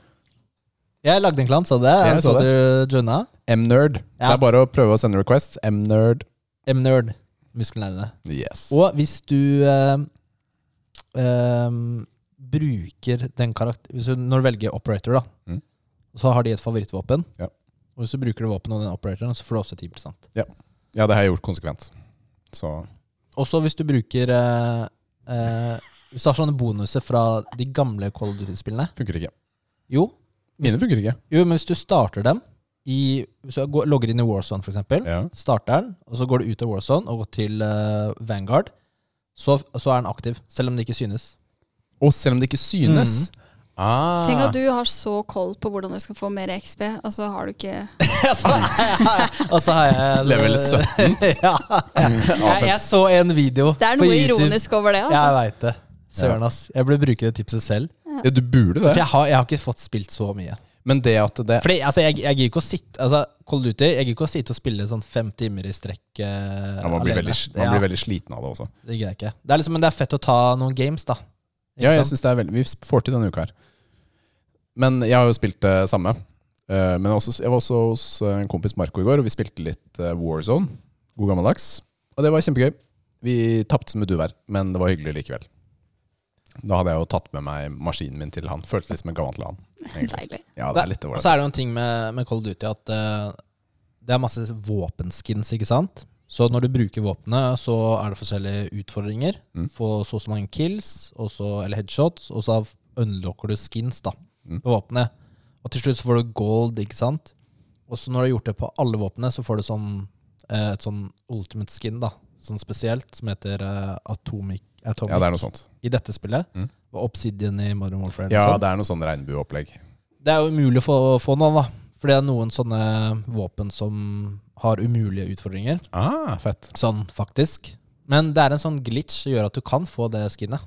S1: Jeg lagde en klan, sa du det?
S2: Jeg
S1: så
S2: så
S1: du joina?
S2: M-nerd. Det
S1: Ja.
S2: er bare å prøve å sende request. M-nerd.
S1: M-nerd. Muskelnerdene.
S2: Yes.
S1: Og hvis du eh, eh, bruker den karakter... Hvis du, når du velger operator, da,
S2: Mm.
S1: så har de et favorittvåpen.
S2: Ja.
S1: Og hvis du bruker det våpenet og den operatoren, så får du også 10
S2: Ja, det har jeg gjort konsekvent. Så
S1: Også hvis du bruker eh, eh, Hvis du har sånne bonuser fra de gamle Call of Duty-spillene
S2: funker ikke.
S1: jo,
S2: Mine funker ikke.
S1: jo, men hvis du starter dem i, Hvis du går, logger inn i Warzone, for eksempel
S2: Ja.
S1: starter den, og så går du ut av Warzone og går til eh, Vanguard, så, så er den aktiv, selv om det ikke synes.
S2: Og selv om det ikke synes
S1: Mm.
S2: ah,
S3: Tenk at du har så koll på hvordan du skal få mer XP, og så har du ikke
S1: og så har jeg eh,
S2: Level 17.
S1: ja. jeg, jeg så en video
S3: Det er
S1: på
S3: noe
S1: YouTube.
S3: ironisk over det, altså.
S1: Jeg veit det. Søren, ass. Jeg burde bruke det tipset selv.
S2: Ja, du burde
S1: For
S2: det.
S1: jeg har, jeg har ikke fått spilt så mye.
S2: Men det at det
S1: Fordi altså, jeg, jeg gidder ikke å sitte altså, Call of Duty, jeg gidder ikke å sitte og spille sånn fem timer i strekk eh,
S2: ja, man, blir
S1: alene.
S2: veldig, man
S1: Ja,
S2: blir veldig sliten av det også.
S1: Det gidder jeg ikke. Det er liksom, men det er fett å ta noen games, da. Ikke
S2: Ja, jeg
S1: sant?
S2: synes det er veldig Vi får til denne uka her. Men jeg har jo spilt det samme. Eh, Men også, jeg var også hos eh, en kompis Marco i går, og vi spilte litt eh, Warzone. God gammeldags. Og det var kjempegøy. Vi tapte som et uvær, men det var hyggelig likevel. Da hadde jeg jo tatt med meg maskinen min til han. Føltes litt som en gammel til han. egentlig.
S3: Deilig.
S2: Ja, det er litt
S1: Og
S2: ålreit.
S1: så er det jo en ting med, med Call of Duty at eh, det er masse våpenskins, ikke sant? Så når du bruker våpenet, så er det forskjellige utfordringer.
S2: Mm.
S1: Få så og så mange kills, og så- eller headshots, og så unlocker du skins da,
S2: Mm.
S1: på våpenet. Og til slutt så får du gold, ikke sant? Og så når du har gjort det på alle våpnene, så får du sånn, eh, et sånn ultimate skin, da. Sånn spesielt, som heter eh, Atomic, Atomic
S2: Ja, det er noe sånt.
S1: i dette spillet.
S2: Mm.
S1: Og Obsidian i Modern Warfare. eller
S2: Ja,
S1: sånn.
S2: det er noe sånn regnbueopplegg.
S1: Det er jo umulig å få, få noen, da. For det er noen sånne våpen som har umulige utfordringer.
S2: Ah, fett.
S1: Sånn faktisk. Men det er en sånn glitch som gjør at du kan få det skinnet.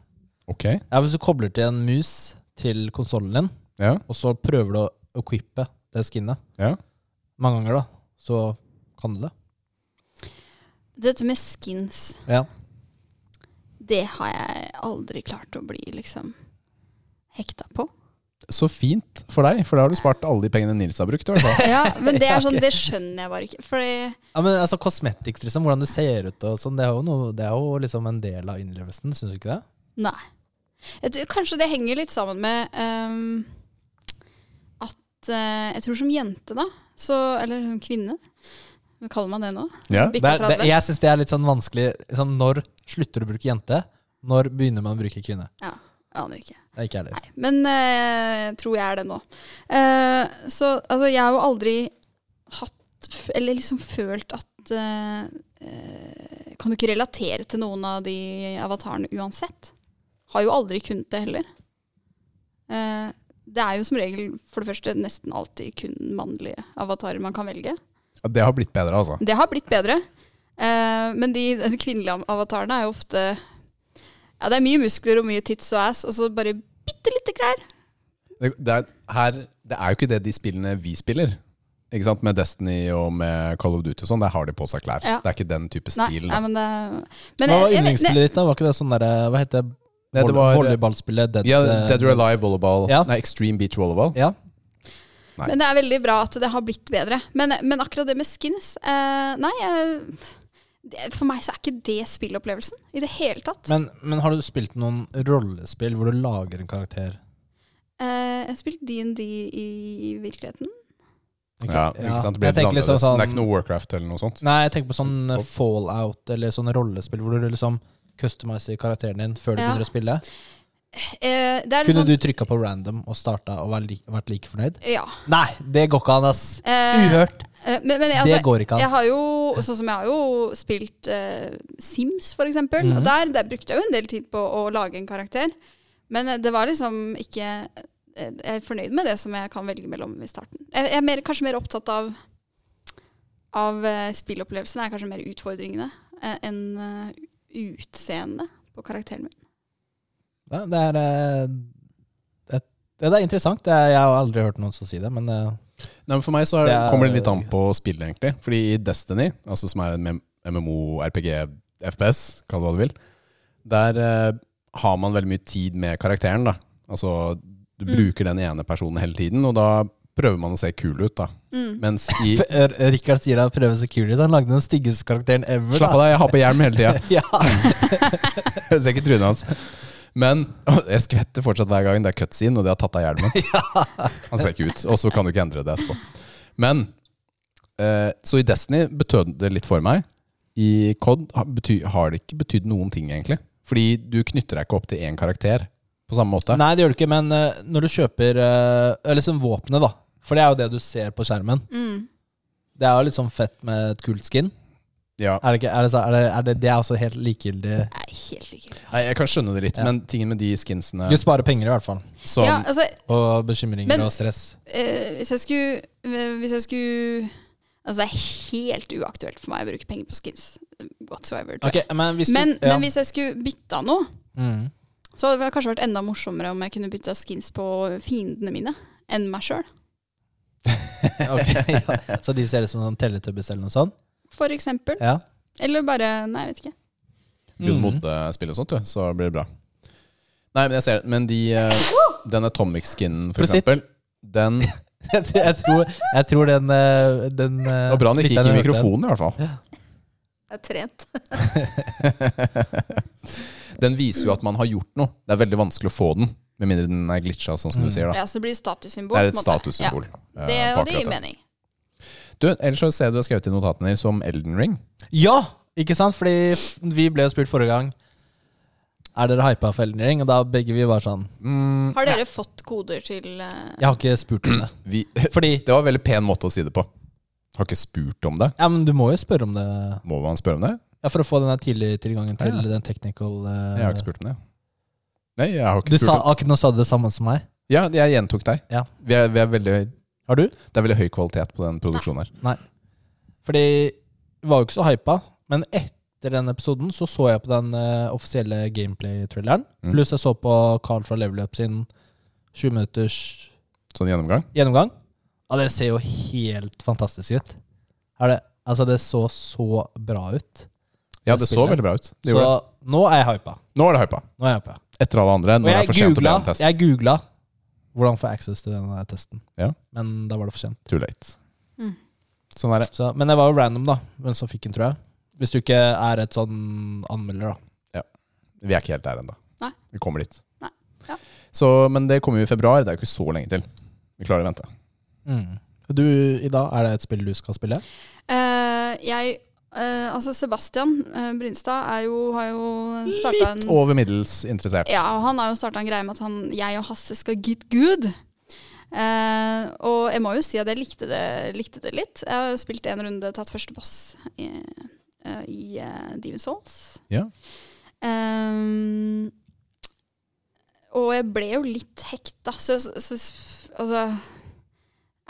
S2: Ok.
S1: Ja, hvis du kobler til en mus til konsollen din,
S2: Ja,
S1: og så prøver du å equippe det skinnet
S2: ja.
S1: mange ganger, da, så kan du det.
S3: Dette med skins
S1: Ja.
S3: Det har jeg aldri klart å bli liksom hekta på.
S2: Så fint for deg, for da har du spart alle de pengene Nils har brukt. i hvert fall.
S3: Ja, men det er sånn, det skjønner jeg bare ikke. Fordi
S1: ja, men altså Cosmetics, liksom, hvordan du ser ut og sånn, det er jo, noe, det er jo liksom en del av innlevelsen, syns du ikke det?
S3: Nei. Jeg tror, kanskje det henger litt sammen med ehm, at eh, Jeg tror som jente, da, så Eller som kvinne. Hva kaller man det nå?
S2: Ja.
S1: det,
S3: Bikka
S1: er, det
S3: 30?
S1: jeg syns det er litt sånn vanskelig sånn, Når slutter du å bruke jente? Når begynner man å bruke kvinne?
S3: Ja, jeg aner ikke.
S1: Det er Ikke jeg heller.
S3: Nei, men eh, jeg tror jeg er det nå. Eh, så altså, jeg har jo aldri hatt f- Eller liksom følt at eh, eh, Kan du ikke relatere til noen av de avatarene uansett? Har jo aldri kunnet det heller. Eh, det er jo som regel for det første nesten alltid kun mannlige avatarer man kan velge.
S2: Ja, Det har blitt bedre, altså.
S3: Det har blitt bedre. Eh, men de, de kvinnelige avatarene er jo ofte Ja, det er mye muskler og mye tits og ass, og så bare bitte lite klær.
S2: Det, det, er, her, det er jo ikke det de spillene vi spiller. Ikke sant? Med Destiny og med Call of Duty og sånn, der har de på seg klær.
S3: Ja.
S2: Det er ikke den type
S3: Nei,
S2: stil.
S3: nei,
S2: da.
S3: men det men
S1: Hva var
S3: jeg- jeg vet-
S1: yndlingsspillet ditt, da? Var ikke det sånn derre Hva heter det?
S2: Nei, det
S1: Volley-
S2: var-
S1: Volleyballspillet? Dead, eh,
S2: ja, Dead or Alive volleyball.
S1: Ja.
S2: Nei, Extreme Beach volleyball.
S1: Ja.
S2: Nei.
S3: Men det er veldig bra at det har blitt bedre. Men, men akkurat det med skins eh, Nei, jeg, det, for meg så er ikke det spillopplevelsen i det hele tatt.
S1: Men, men har du spilt noen rollespill hvor du lager en karakter?
S3: Eh, jeg har spilt DND i virkeligheten.
S1: Ikke-
S2: Ja, ikke sant? Det, blir
S1: Jeg tenker
S2: litt
S1: liksom
S2: annerledes.
S1: sånn
S2: det er ikke noe Warcraft eller noe sånt.
S1: Nei, jeg tenker på sånn eh, fallout eller sånne rollespill hvor du liksom customiser karakteren din før du
S3: Ja.
S1: begynner å spille.
S3: Eh, det er litt
S1: Kunne
S3: sånn,
S1: du trykka på random og starta og vært, li vært like fornøyd?
S3: Ja.
S1: Nei, det går ikke an, ass!
S3: Eh,
S1: Uhørt!
S3: eh, men, men,
S1: Det
S3: altså,
S1: går ikke
S3: Jeg
S1: an.
S3: har jo, sånn som jeg har jo spilt eh, Sims, for eksempel. Og der, der brukte jeg jo en del tid på å lage en karakter. Men eh, det var liksom ikke eh, Jeg er fornøyd med det som jeg kan velge mellom i starten. Jeg, jeg er mer, kanskje mer opptatt av Av eh, spillopplevelsen. Er kanskje mer utfordringene eh, enn eh, utseendet på karakteren min.
S1: Ja, det er eh, det, det er interessant. Det er, jeg har aldri hørt noen som si det, men eh,
S2: Nei, men For meg så er,
S1: Det er-
S2: kommer det litt an på spillet, egentlig. Fordi i Destiny, altså som er en mem- MMO, RPG, FPS, kall det hva du vil, der eh, har man veldig mye tid med karakteren. da. Altså, Du bruker den ene personen hele tiden, og da prøver man å se kul ut. da.
S3: Mm.
S2: Mens i
S1: P- R- Rikard sier han prøver security. Han lagde den styggeste karakteren ever.
S2: Slapp av deg, jeg har på hjelm hele tida.
S1: Ja.
S2: Jeg ser ikke trynet hans. Men jeg skvetter fortsatt hver gang det er cutscene, og de har tatt av hjelmen. Han ser ikke ut, og så kan du ikke endre det etterpå. Men eh, Så i Destiny betød det litt for meg. I COD har, bety, har det ikke betydd noen ting, egentlig. Fordi du knytter deg ikke opp til én karakter på samme måte.
S1: Nei, det gjør du ikke, men eh, når du kjøper eh, Eller som våpenet, da. For det er jo det du ser på skjermen.
S3: Mm.
S1: Det er jo litt sånn fett med et kult skin.
S2: Ja.
S1: Er det, ikke, er det, så, er det, er det, det er også helt likegyldig.
S3: Nei, helt ikke.
S2: Nei, jeg kan skjønne det litt,
S1: Ja.
S2: men tingen med de skinsene
S1: Du sparer penger, i hvert fall.
S2: som
S3: Ja, altså,
S1: Og bekymringer
S3: Men-
S1: og stress.
S3: eh, hvis jeg skulle eh, Hvis jeg skulle Altså, det er helt uaktuelt for meg å bruke penger på skins whatsoever. tror jeg.
S1: Ok, men hvis du
S3: Men,
S1: ja.
S3: men hvis jeg skulle bytta noe,
S1: Mm.
S3: så hadde det kanskje vært enda morsommere om jeg kunne bytta skins på fiendene mine enn meg sjøl.
S1: Ok, ja. Så de ser ut som sånn Teletubbies eller noe sånt?
S3: For eksempel.
S1: Ja.
S3: Eller bare Nei, jeg vet ikke.
S2: Gun
S1: Mm.
S2: Modde-spill og sånt, du, så blir det bra. Nei, men jeg ser det. Men de, eh, den Atomic-skinnen, for
S1: Prosit.
S2: eksempel, Den Det
S1: Jeg, tror- jeg, tror, jeg tror den, eh, den Det
S2: var bra den ikke gikk i mikrofonen, i hvert fall.
S3: Jeg er trent.
S2: Den viser jo at man har gjort noe. Det er veldig vanskelig å få den, med mindre den er glitcha, sånn
S1: Mm.
S2: som du sier. da.
S3: Ja, så det blir statussymbol.
S2: Det er
S3: på
S2: et
S3: en måte.
S2: statussymbol.
S3: Ja.
S2: eh,
S3: Det,
S2: på
S3: og det
S2: akkurat
S3: gir mening.
S2: Du, ellers så ser jeg du har skrevet i notatene dine som Elden Ring.
S1: Ja, ikke sant? Fordi f- vi ble jo spurt forrige gang Er dere hypa for Elden Ring? Og da begge vi var sånn
S2: Mm,
S3: Har dere fått koder til eh,
S1: Jeg har ikke spurt om det.
S2: vi,
S1: Fordi
S2: det var en veldig pen måte å si det på. Har ikke spurt om det.
S1: Ja, men du må jo spørre om det.
S2: Må man spørre om det?
S1: Ja, For å få den der tidlig tilgangen til
S2: Ja.
S1: den technical eh,
S2: Jeg har ikke spurt om det. Nei, jeg har
S1: Du
S2: ikke spurt
S1: sa,
S2: om det.
S1: akkurat nå sa du det samme som meg.
S2: Ja, jeg gjentok deg.
S1: Ja.
S2: Vi er, vi er veldig,
S1: Har du?
S2: det er veldig høy kvalitet på den produksjonen her.
S1: Fordi vi var jo ikke så hypa, men etter den episoden så så jeg på den eh, offisielle gameplay-thrilleren.
S2: Mm.
S1: Pluss jeg så på Carl fra Level Up sin 20 minutters
S2: Sånn gjennomgang.
S1: gjennomgang. Ja, det ser jo helt fantastisk ut. Er det, altså, det så så bra ut.
S2: Ja, det så
S1: Spillet.
S2: veldig bra ut. Det
S1: Så
S2: gjorde det.
S1: nå er jeg hypa.
S2: Nå er det hypa.
S1: Nå er jeg hypa.
S2: Etter alle andre. Nå
S1: Og
S2: er det
S1: jeg
S2: for sent å bli
S1: googla,
S2: en test.
S1: jeg googla hvordan få access til denne testen.
S2: Ja.
S1: Men da var det for sent.
S2: Too late.
S3: Mm.
S2: Sånn er det.
S1: Så, men det var jo random, da. Hvem som fikk den, tror jeg. Hvis du ikke er et sånn anmelder, da.
S2: Vi er ikke helt der ennå.
S3: Nei.
S2: Vi kommer dit.
S3: Nei. Ja.
S2: Så, men det kommer jo i februar. Det er jo ikke så lenge til. Vi klarer å vente. Mm.
S1: Du, i dag, er det et spill du skal spille?
S3: eh, Jeg eh, Altså, Sebastian eh, Brynstad er jo, har jo starta en
S2: Litt over middels interessert.
S3: Ja, og han har jo starta en greie med at han, jeg og Hasse skal get good. Eh, og jeg må jo si at jeg likte det, likte det litt. Jeg har jo spilt en runde, tatt første boss i, eh, i eh, Demon's Souls.
S2: Ja.
S3: Ehm, og jeg ble jo litt hekta, så, så, så altså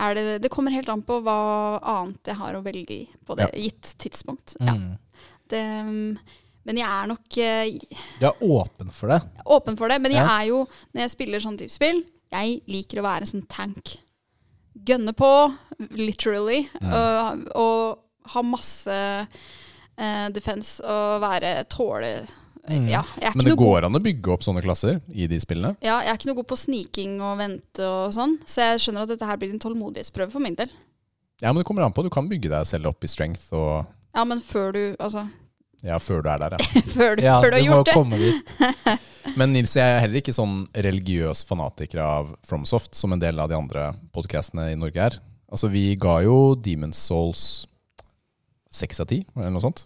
S3: er det, det kommer helt an på hva annet jeg har å velge i på det gitt tidspunkt.
S1: Mm.
S3: Ja, det, men jeg er nok eh,
S1: Du er åpen for det?
S3: åpen for det, men jeg
S1: Ja.
S3: er jo, når jeg spiller sånn type spill, jeg liker å være en sånn tank. Gønne på, literally, og, og ha masse eh, defense og være tåle eh,
S1: Mm.
S3: Ja, jeg er ikke
S2: Men det
S3: noe god
S2: går an å bygge opp sånne klasser i de spillene.
S3: ja, jeg er ikke noe god på sniking og vente og sånn, så jeg skjønner at dette her blir en tålmodighetsprøve for min del.
S2: Ja, men det kommer an på. Du kan bygge deg selv opp i strength og
S3: Ja, men før du Altså,
S2: ja, før du er der, ja.
S3: før du, før du har
S1: må
S3: gjort det.
S1: komme dit.
S2: Men Nils, jeg er heller ikke sånn religiøs fanatiker av FromSoft som en del av de andre podcastene i Norge er. Altså, vi ga jo Demon's Souls 6 av 10, eller noe sånt.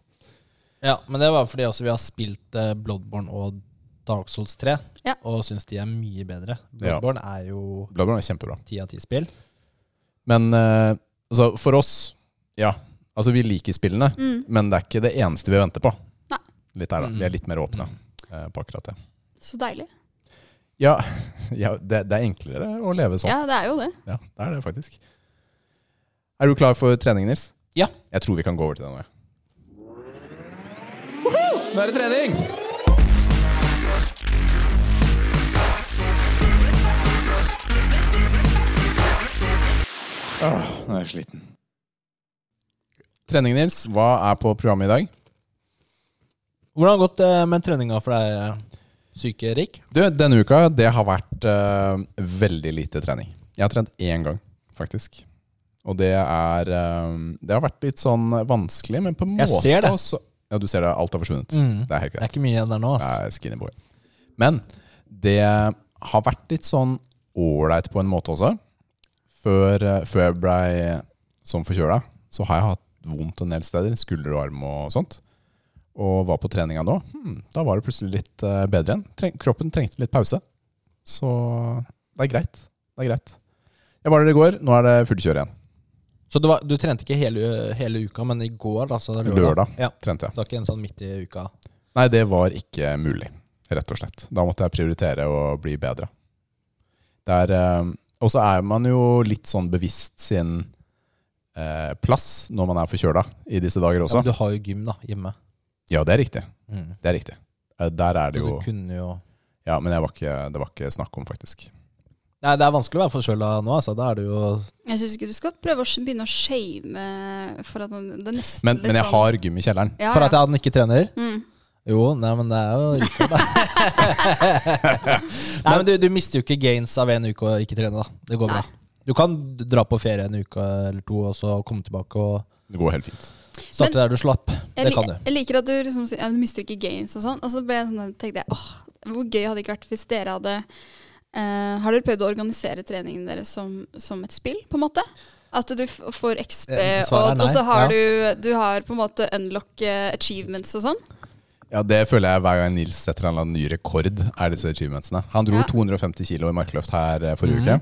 S1: Ja, men det var fordi også vi har spilt eh, Bloodborne og Dark Souls 3,
S3: Ja.
S1: og syns de er mye bedre.
S2: Ja.
S1: Bloodborne er jo
S2: Blablabla, kjempebra.
S1: ti av ti spill.
S2: Men eh, altså, for oss, ja. Altså, vi liker spillene,
S3: Mm.
S2: men det er ikke det eneste vi venter på.
S3: Nei.
S2: Litt der, da. Vi er litt mer åpne
S1: Mm.
S2: eh, på akkurat det.
S3: Så deilig.
S2: Ja, ja det, det er enklere å leve sånn.
S3: Ja, det er jo det.
S2: Ja, det er det faktisk. Er du klar for trening, Nils?
S1: Ja.
S2: Jeg tror vi kan gå over til det nå. Nå er det trening! Åh, Ah, nå er jeg sliten. Trening, Nils. Hva er på programmet i dag?
S1: Hvordan har det gått eh, med treninga for deg, eh, syke Rik?
S2: Du, denne uka det har vært eh, veldig lite trening. Jeg har trent én gang, faktisk. Og det er eh, Det har vært litt sånn vanskelig, men på en
S1: Jeg
S2: måte
S1: ser det.
S2: også- Ja, du ser det. Alt har forsvunnet.
S1: Mm.
S2: Det er helt
S1: Det er
S2: greit.
S1: ikke mye igjen der nå, ass.
S2: Jeg er skinny boy. Men det har vært litt sånn ålreit på en måte også. Før, eh, før jeg blei sånn forkjøla, så har jeg hatt vondt en del steder. Skulder og arm og sånt. Og var på treninga nå. Hmm, da var det plutselig litt eh, bedre igjen. Treng, kroppen trengte litt pause. Så det er greit. Det er greit. Jeg var der i går. Nå er det fullt kjør igjen.
S1: Så du, var, du trente ikke hele, hele uka, men i går, altså det er lørdag.
S2: Lørdag
S1: Ja.
S2: trente jeg.
S1: Det var ikke en sånn midt i uka.
S2: Nei, det var ikke mulig, rett og slett. Da måtte jeg prioritere å bli bedre. Der, eh, og så er man jo litt sånn bevisst sin eh, plass når man er forkjøla i disse dager
S1: Ja,
S2: også.
S1: men du har jo gym da, hjemme.
S2: Ja, det er riktig. Det er riktig. Eh, Der er
S1: Så
S2: det jo
S1: du kunne jo
S2: Ja, men jeg var ikke, det var ikke snakk om, faktisk.
S1: Nei, det er vanskelig å være forkjøla nå, altså. Da er det jo
S3: Jeg syns ikke du skal prøve å sh- begynne å shame eh, for at den- det er nesten
S2: Men,
S3: litt
S2: men jeg
S3: sånn-
S2: har gym i kjelleren.
S3: ja,
S1: For
S3: ja.
S1: at han ikke trener?
S3: Mm.
S1: Jo, nei, men det er jo Rikard, da. nei, men du, du mister jo ikke gains av en uke å ikke trene, da. Det går bra.
S3: Nei.
S1: Du Du kan dra på ferie en uke eller to, og så komme tilbake og
S2: Det går helt fint.
S1: starte der du slapp.
S3: Jeg,
S1: Det kan
S3: li-
S1: du.
S3: jeg liker at du liksom sier ja, du mister ikke games og sånn. Og så ble jeg sånn, tenkte jeg åh, hvor gøy hadde det ikke vært hvis dere hadde eh, Har dere prøvd å organisere treningen deres som, som et spill, på en måte? At du f får XP,
S1: Eh,
S3: og,
S1: svaret er nei,
S3: og så har
S1: ja.
S3: du, du har på en måte unlock eh, achievements og sånn?
S2: Ja, Det føler jeg hver gang Nils setter en eller annen ny rekord. er disse achievementsene. Han dro
S3: Ja.
S2: 250 kilo i markløft her eh, forrige uke.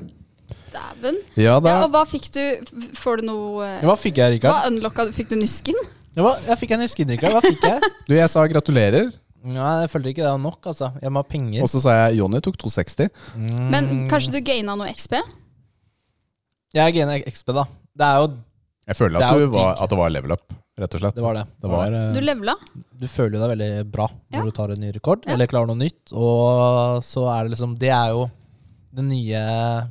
S3: Dæven.
S2: Ja,
S3: Ja,
S2: da.
S3: og hva fikk du? F- Får du noe eh,
S1: Ja, Hva fikk jeg,
S3: Hva
S1: Rikard?
S3: unlocka du? Fikk du nysken?
S1: Ja, hva- jeg fikk en skinnrikker. Hva fikk jeg?
S2: Du, Jeg sa gratulerer,
S1: Nei, jeg følte ikke det var nok, altså. Jeg må ha penger.
S2: og så sa jeg Jonny tok 260.
S1: Mm.
S3: Men kanskje du gaina noe XP?
S1: Jeg er gene XP, da. Det er jo
S2: Jeg føler
S1: Det er jo
S2: at, du var,
S1: digg.
S2: at det var level up, rett og slett.
S1: Det var det.
S2: Det var, eh,
S3: Du levela?
S1: Du føler jo deg veldig bra når
S3: Ja.
S1: du tar en ny rekord,
S3: Ja.
S1: eller klarer noe nytt. Og så er det liksom Det er jo det nye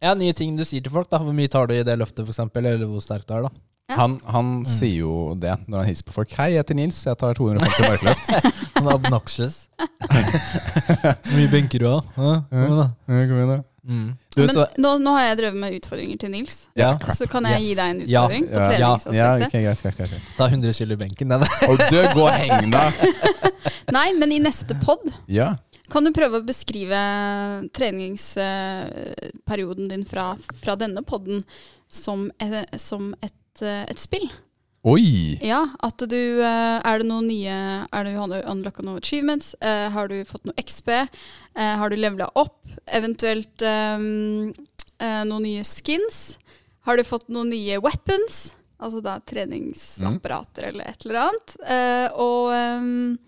S1: Ja, nye ting du sier til folk. da Hvor mye tar du i det løftet, f.eks., eller hvor sterk du er. da
S3: Ja.
S2: Han, han
S1: Mm.
S2: sier jo det når han hilser på folk. 'Hei, jeg heter Nils, jeg tar 250 markløft'.
S1: Sånn obnoxious. Hvor mye benker du av? Hæ? Kom igjen, da.
S2: Ja, kom igjen da.
S1: Mm.
S2: Du,
S3: Men
S2: så,
S3: nå, nå har jeg drevet med utfordringer til Nils.
S1: Ja.
S3: Så kan jeg gi
S1: Yes.
S3: deg en
S1: Ja.
S3: utfordring på
S2: Ja.
S1: Ja.
S3: treningsaspektet.
S2: ja, ok, greit, greit, greit, greit.
S1: Ta 100 kilo i benken. Nei, nei.
S2: Og du, gå og heng deg!
S3: Nei, men i neste pod
S2: Ja.
S3: kan du prøve å beskrive treningsperioden din fra, fra denne poden som, eh, som et, eh, et spill.
S2: Oi!
S3: Ja, at du eh, Er det noen nye Er du, Har du unlocka noen achievements? Eh, Har du fått noe XP? Eh, Har du levela opp? Eventuelt eh, eh, noen nye skins? Har du fått noen nye weapons? Altså da treningsapparater eller et eller annet. Eh, og ehm,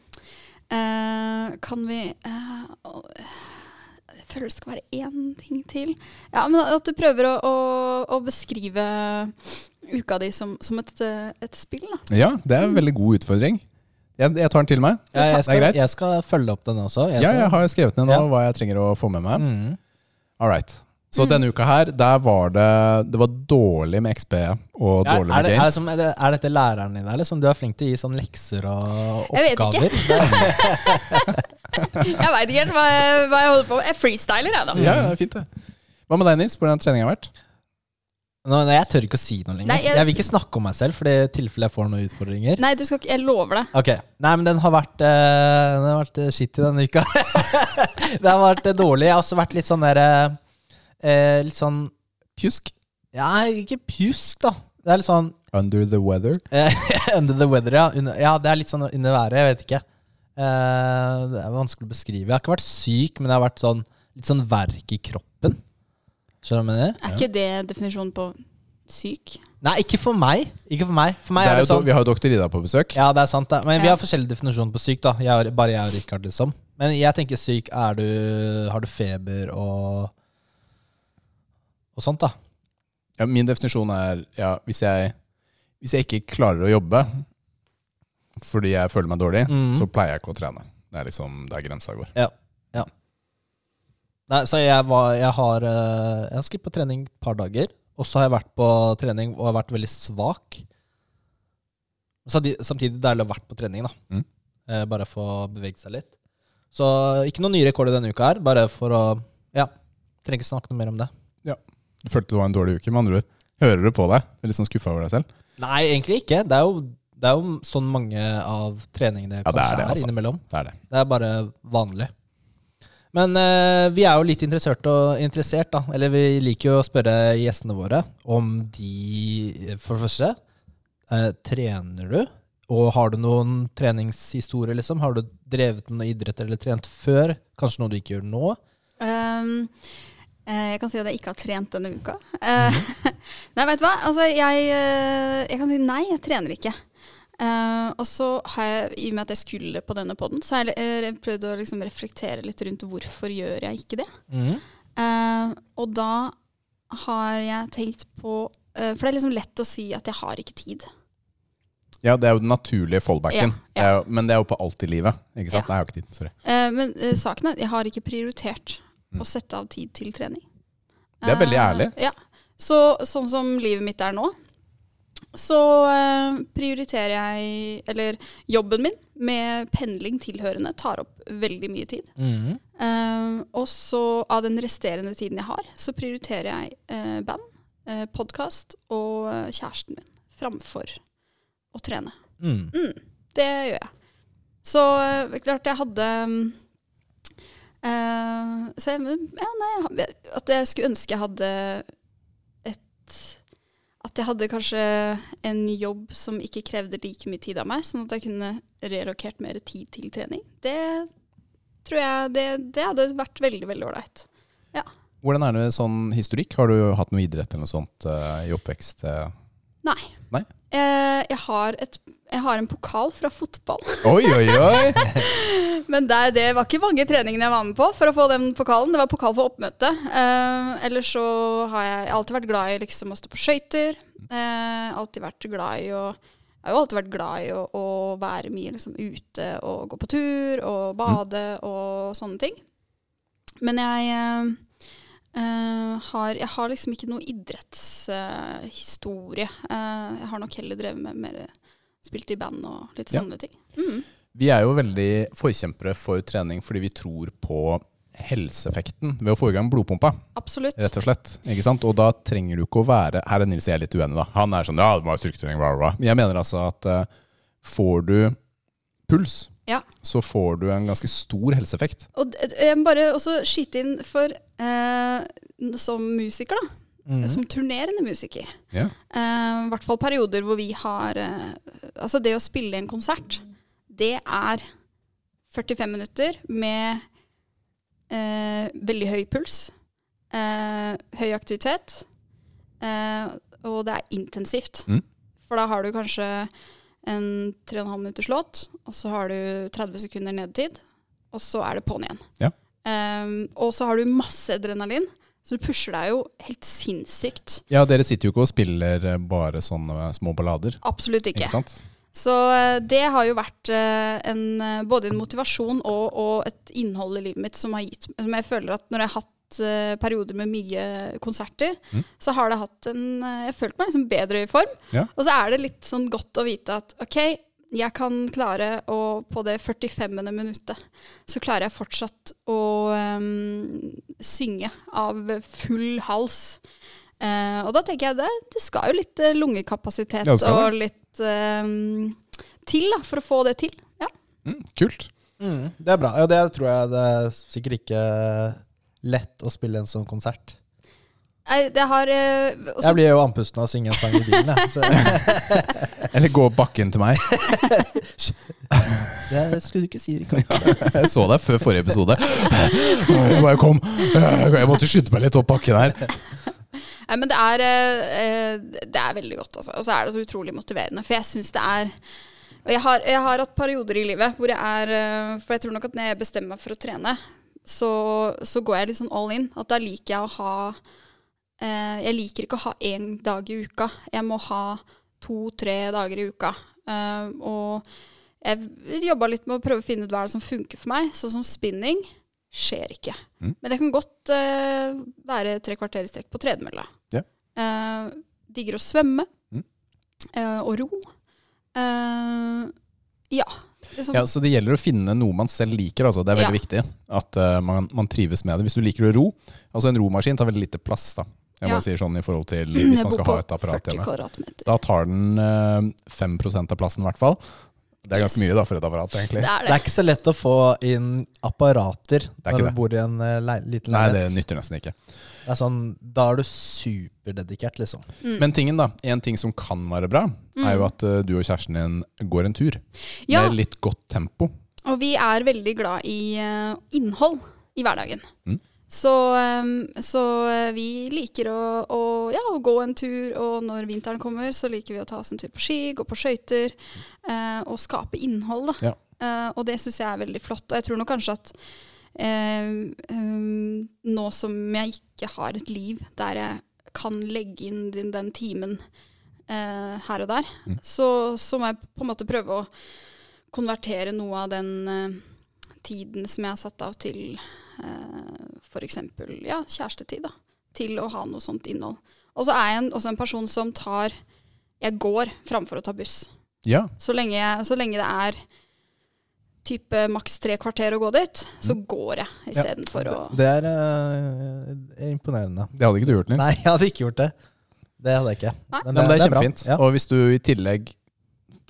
S3: eh, kan vi eh, å- Jeg føler det skal være én ting til. Ja, men at du prøver å, å, å beskrive uka di som, som et, eh, et spill, da.
S2: Ja, det er en veldig god utfordring. Jeg, jeg tar den til meg.
S1: Ja, jeg,
S2: det er
S1: skal,
S2: greit.
S1: jeg skal følge opp den også.
S2: Ja, jeg
S1: skal-
S2: har skrevet ned nå
S1: Ja.
S2: hva jeg trenger å få med meg.
S1: mm.
S2: All right. Så denne uka her, der var det Det var dårlig med XP og
S1: er,
S2: dårlig
S1: er,
S2: med
S1: det, sånn? er, det
S2: gains.
S1: som, er, det, er dette læreren din, eller? Som du er flink til å gi sånn lekser og
S3: Jeg vet ikke.
S1: oppgaver?
S3: Jeg veit ikke helt hva jeg, hva jeg holder på med. Jeg freestyler, jeg, da.
S2: Ja, ja, fint det. Hva med deg, Nils? Hvordan har treninga vært?
S1: Nå, nei, jeg tør ikke å si noe lenger.
S3: Nei,
S1: jeg...
S3: jeg-
S1: vil ikke snakke om meg selv, for i tilfelle jeg får noen utfordringer.
S3: Nei, du skal ikke Jeg lover deg.
S1: Ok, Nei, men den har vært, eh, den har vært eh, shitty denne uka. det har vært eh, dårlig. Jeg har også vært litt sånn derre eh, Litt sånn
S2: Pjusk.
S1: Ja, ikke pjusk, da. Det er litt sånn
S2: Under the weather.
S1: eh, Under the weather, ja. Under, ja, det er litt sånn under været. Jeg vet ikke. Eh, det er vanskelig å beskrive. Jeg har ikke vært syk, men jeg har vært sånn litt sånn verk i kroppen. Skjønner du hva jeg mener?
S3: Er ikke det definisjonen på syk?
S1: Nei, ikke for meg. Ikke for meg. For meg er,
S2: Det er
S1: det
S2: jo,
S1: sånn
S2: do- vi har jo doktor Ida på besøk.
S1: Ja, det er sant. Det. Men vi
S3: Ja.
S1: har forskjellig definisjon på syk. da jeg, og- Bare jeg og Rikard, liksom. Men jeg tenker syk er du Har du feber og Og sånt, da.
S2: Ja, min definisjon er ja, hvis, jeg, hvis jeg ikke klarer å jobbe fordi jeg føler meg dårlig,
S1: Mhm.
S2: så pleier jeg ikke å trene. Det er liksom der grensa går.
S1: Nei, så jeg, var, jeg har eh, Jeg har skippet på trening et par dager. Og så har jeg vært på trening og har vært veldig svak. Samtidig, samtidig deilig å ha vært på trening, da.
S2: Mm.
S1: Eh, bare få beveget seg litt. Så ikke noen nye rekorder denne uka her, bare for å Ja. Trenger ikke snakke noe mer om det.
S2: Du følte det var en dårlig uke, med andre ord. Hører du på deg? Du er litt sånn skuffa over deg selv?
S1: Nei, egentlig ikke. Det er jo, det er jo sånn mange av treningene
S2: Ja, det er
S1: kanskje
S2: det,
S1: er,
S2: altså.
S1: innimellom.
S2: Det er det.
S1: Det er bare vanlig. Men eh, vi er jo litt interessert, og, interessert da. Eller vi liker jo å spørre gjestene våre om de For det første, eh, trener du? Og har du noen treningshistorie, liksom? Har du drevet med noe idrett eller trent før? Kanskje noe du ikke gjør nå?
S3: Ehm, eh, jeg kan si at jeg ikke har trent denne uka. Eh, nei, vet du hva? Altså, jeg, eh, jeg kan si nei, jeg trener ikke. Eh, og så har jeg, i og med at jeg skulle på denne poden, så har jeg eh, prøvd å liksom reflektere litt rundt hvorfor gjør jeg ikke det. Eh, og da har jeg tenkt på eh, For det er liksom lett å si at jeg har ikke tid.
S2: Ja, det er jo den naturlige fallbacken.
S3: Ja, ja.
S2: Det er jo, men det er jo på alt i livet. Ikke sant? Nei,
S3: Ja.
S2: jeg har ikke tid. Sorry.
S3: Eh, men eh, saken er at jeg har ikke prioritert
S2: Mm.
S3: å sette av tid til trening.
S2: Det er veldig
S3: Eh,
S2: ærlig.
S3: ja. Så, sånn som livet mitt er nå, så eh, prioriterer jeg, eller jobben min med pendling tilhørende, tar opp veldig mye tid.
S1: Mhm.
S3: Eh, og så av den resterende tiden jeg har, så prioriterer jeg eh, band, uh, podkast og eh, kjæresten min framfor å trene.
S1: Mm.
S3: Mm, det gjør jeg. Så eh, klart jeg hadde mm, eh, så jeg, ja, nei, jeg hadde- At jeg skulle ønske jeg hadde et At jeg hadde kanskje en jobb som ikke krevde like mye tid av meg, sånn at jeg kunne relokert mer tid til trening. Det tror jeg Det, det hadde vært veldig, veldig ålreit.
S2: Hvordan er det med sånn historikk? Har du hatt noe idrett eller noe sånt eh, i oppvekst? eh?
S3: Eh, Jeg, har et- jeg har en pokal fra fotball.
S2: Oi, oi, oi!
S3: Men det, det var ikke mange treningene jeg var med på for å få den pokalen. Det var pokal for oppmøte. Eh, ellers så har jeg alltid vært glad i liksom å stå på skøyter. Eh, alltid vært glad i å Jeg har jo alltid vært glad i å, å være mye liksom ute og gå på tur og bade og sånne ting. Men jeg eh, eh, har, jeg har liksom ikke noe idrettshistorie. Eh, jeg har nok heller drevet med mer spilt i band og litt
S2: Ja.
S3: sånne ting. Mm.
S2: Vi er jo veldig forkjempere for trening fordi vi tror på helseeffekten ved å få i gang blodpumpa.
S3: Absolutt.
S2: Rett og slett. Ikke sant? Og da trenger du ikke å være Her er Nils og jeg litt uenige, da. Han er sånn ja, det må være styrketrening, bla, bla. bla." Men jeg mener altså at eh, får du puls,
S3: Ja.
S2: så får du en ganske stor helseeffekt.
S3: Og d- d- jeg må bare også skyte inn for eh, n- som musiker, da. Som turnerende musiker.
S2: Mhm. Ja.
S3: Eh, I hvert fall perioder hvor vi har eh, Altså, det å spille en konsert, det er 45 minutter med eh, veldig høy puls, eh, høy aktivitet, eh, og det er intensivt.
S2: Mm.
S3: For da har du kanskje en 3,5 minutters låt, og så har du 30 sekunder nedetid, og så er det på'n igjen.
S2: Ja.
S3: Eh, og så har du masse adrenalin, så du pusher deg jo helt sinnssykt.
S2: ja, dere sitter jo ikke og spiller eh, bare sånne små ballader.
S3: Absolutt ikke.
S2: Ikke sant?
S3: Så eh, det har jo vært eh, en, eh, både en motivasjon og, og et innhold i livet mitt som, har gitt, som jeg føler at når jeg har hatt eh, perioder med mye konserter,
S2: Mm.
S3: så har det hatt en eh, Jeg har følt meg liksom bedre i form.
S2: Ja.
S3: Og så er det litt sånn godt å vite at OK, jeg kan klare å På det 45. minuttet så klarer jeg fortsatt å eh, synge av full hals. Eh, og da tenker jeg det, det skal jo litt eh, lungekapasitet
S2: Ja, det skal
S3: og litt eh, til da, for å få det til. Ja.
S2: Mm, kult.
S1: Mm, det er bra. Ja, det tror jeg det er sikkert ikke lett å spille en sånn konsert.
S3: Nei, det har eh, også,
S1: Jeg blir jo andpusten av å synge en sang i bilen. Jeg, så,
S2: Eller gå opp bakken til meg.
S1: det skulle du ikke si, Rikard.
S2: Jeg så deg før forrige episode. Jeg bare kom. Jeg måtte skynde meg litt opp bakken her.
S3: Nei, men det er, eh, eh, det er veldig godt, altså. Og så er det så utrolig motiverende. For jeg syns det er Og jeg har, jeg har hatt perioder i livet hvor jeg er eh, For jeg tror nok at når jeg bestemmer meg for å trene, så, så går jeg litt sånn all in. At da liker jeg å ha eh, Jeg liker ikke å ha én dag i uka. Jeg må ha to-tre dager i uka. Eh, og jeg jobba litt med å prøve å finne ut hva er det som funker for meg. Sånn som spinning skjer ikke.
S2: Mm.
S3: Men det kan godt eh, være tre kvarter i strekk på tredemølla.
S2: Ja.
S3: Eh, digger å svømme
S2: Mm.
S3: eh, og ro. Eh, ja. Liksom,
S2: Ja, så det gjelder å finne noe man selv liker. Altså. Det er veldig viktig at eh, man, man trives med det. Hvis du liker å ro Altså En romaskin tar veldig lite plass. da Jeg
S3: Ja.
S2: bare sier sånn i forhold til Hvis
S3: jeg
S2: man
S3: bor
S2: skal
S3: på
S2: ha et apparat
S3: 40
S2: hjemme.
S3: kvadratmeter.
S2: Da tar den eh, 5 av plassen, i hvert fall. Det er ganske mye da for et apparat, egentlig.
S3: Det er
S1: Det
S3: det.
S1: er ikke så lett å få inn apparater
S2: ikke
S1: når du
S2: det.
S1: bor i en eh, lei- liten
S2: Nei, det
S1: leilighet.
S2: nytter nesten ikke.
S1: Det er sånn, da er du superdedikert, liksom.
S3: Mm.
S2: Men tingen da, en ting som kan være bra, er jo at eh, du og kjæresten din går en tur.
S3: Ja.
S2: Med litt godt tempo.
S3: Og vi er veldig glad i eh, innhold i hverdagen.
S2: Mm.
S3: Så, eh, så eh, vi liker å, å, ja, å gå en tur, og når vinteren kommer, så liker vi å ta oss en tur på ski, gå på skøyter, eh, og skape innhold. Da.
S2: Ja.
S3: Eh, og det syns jeg er veldig flott. Og jeg tror nok kanskje at eh, eh, nå som jeg ikke har et liv der jeg kan legge inn den, den timen eh, her og der,
S2: Mm.
S3: så, så må jeg på en måte prøve å konvertere noe av den eh, tiden som jeg har satt av til eh, f.eks. Ja, kjærestetid, da, til å ha noe sånt innhold. Og så er jeg en, også en person som tar Jeg går framfor å ta buss.
S2: Ja.
S3: Så lenge, jeg, så lenge det er type maks tre kvarter å gå dit, så går jeg
S2: Ja.
S3: istedenfor å
S1: Mm. Det er eh, imponerende.
S2: Det hadde ikke du gjort, Nils.
S1: Nei, jeg hadde ikke gjort det. Det hadde jeg ikke.
S2: Ja,
S3: Nei.
S2: men det er
S1: bra.
S2: kjempefint.
S1: Ja.
S2: Og hvis du i tillegg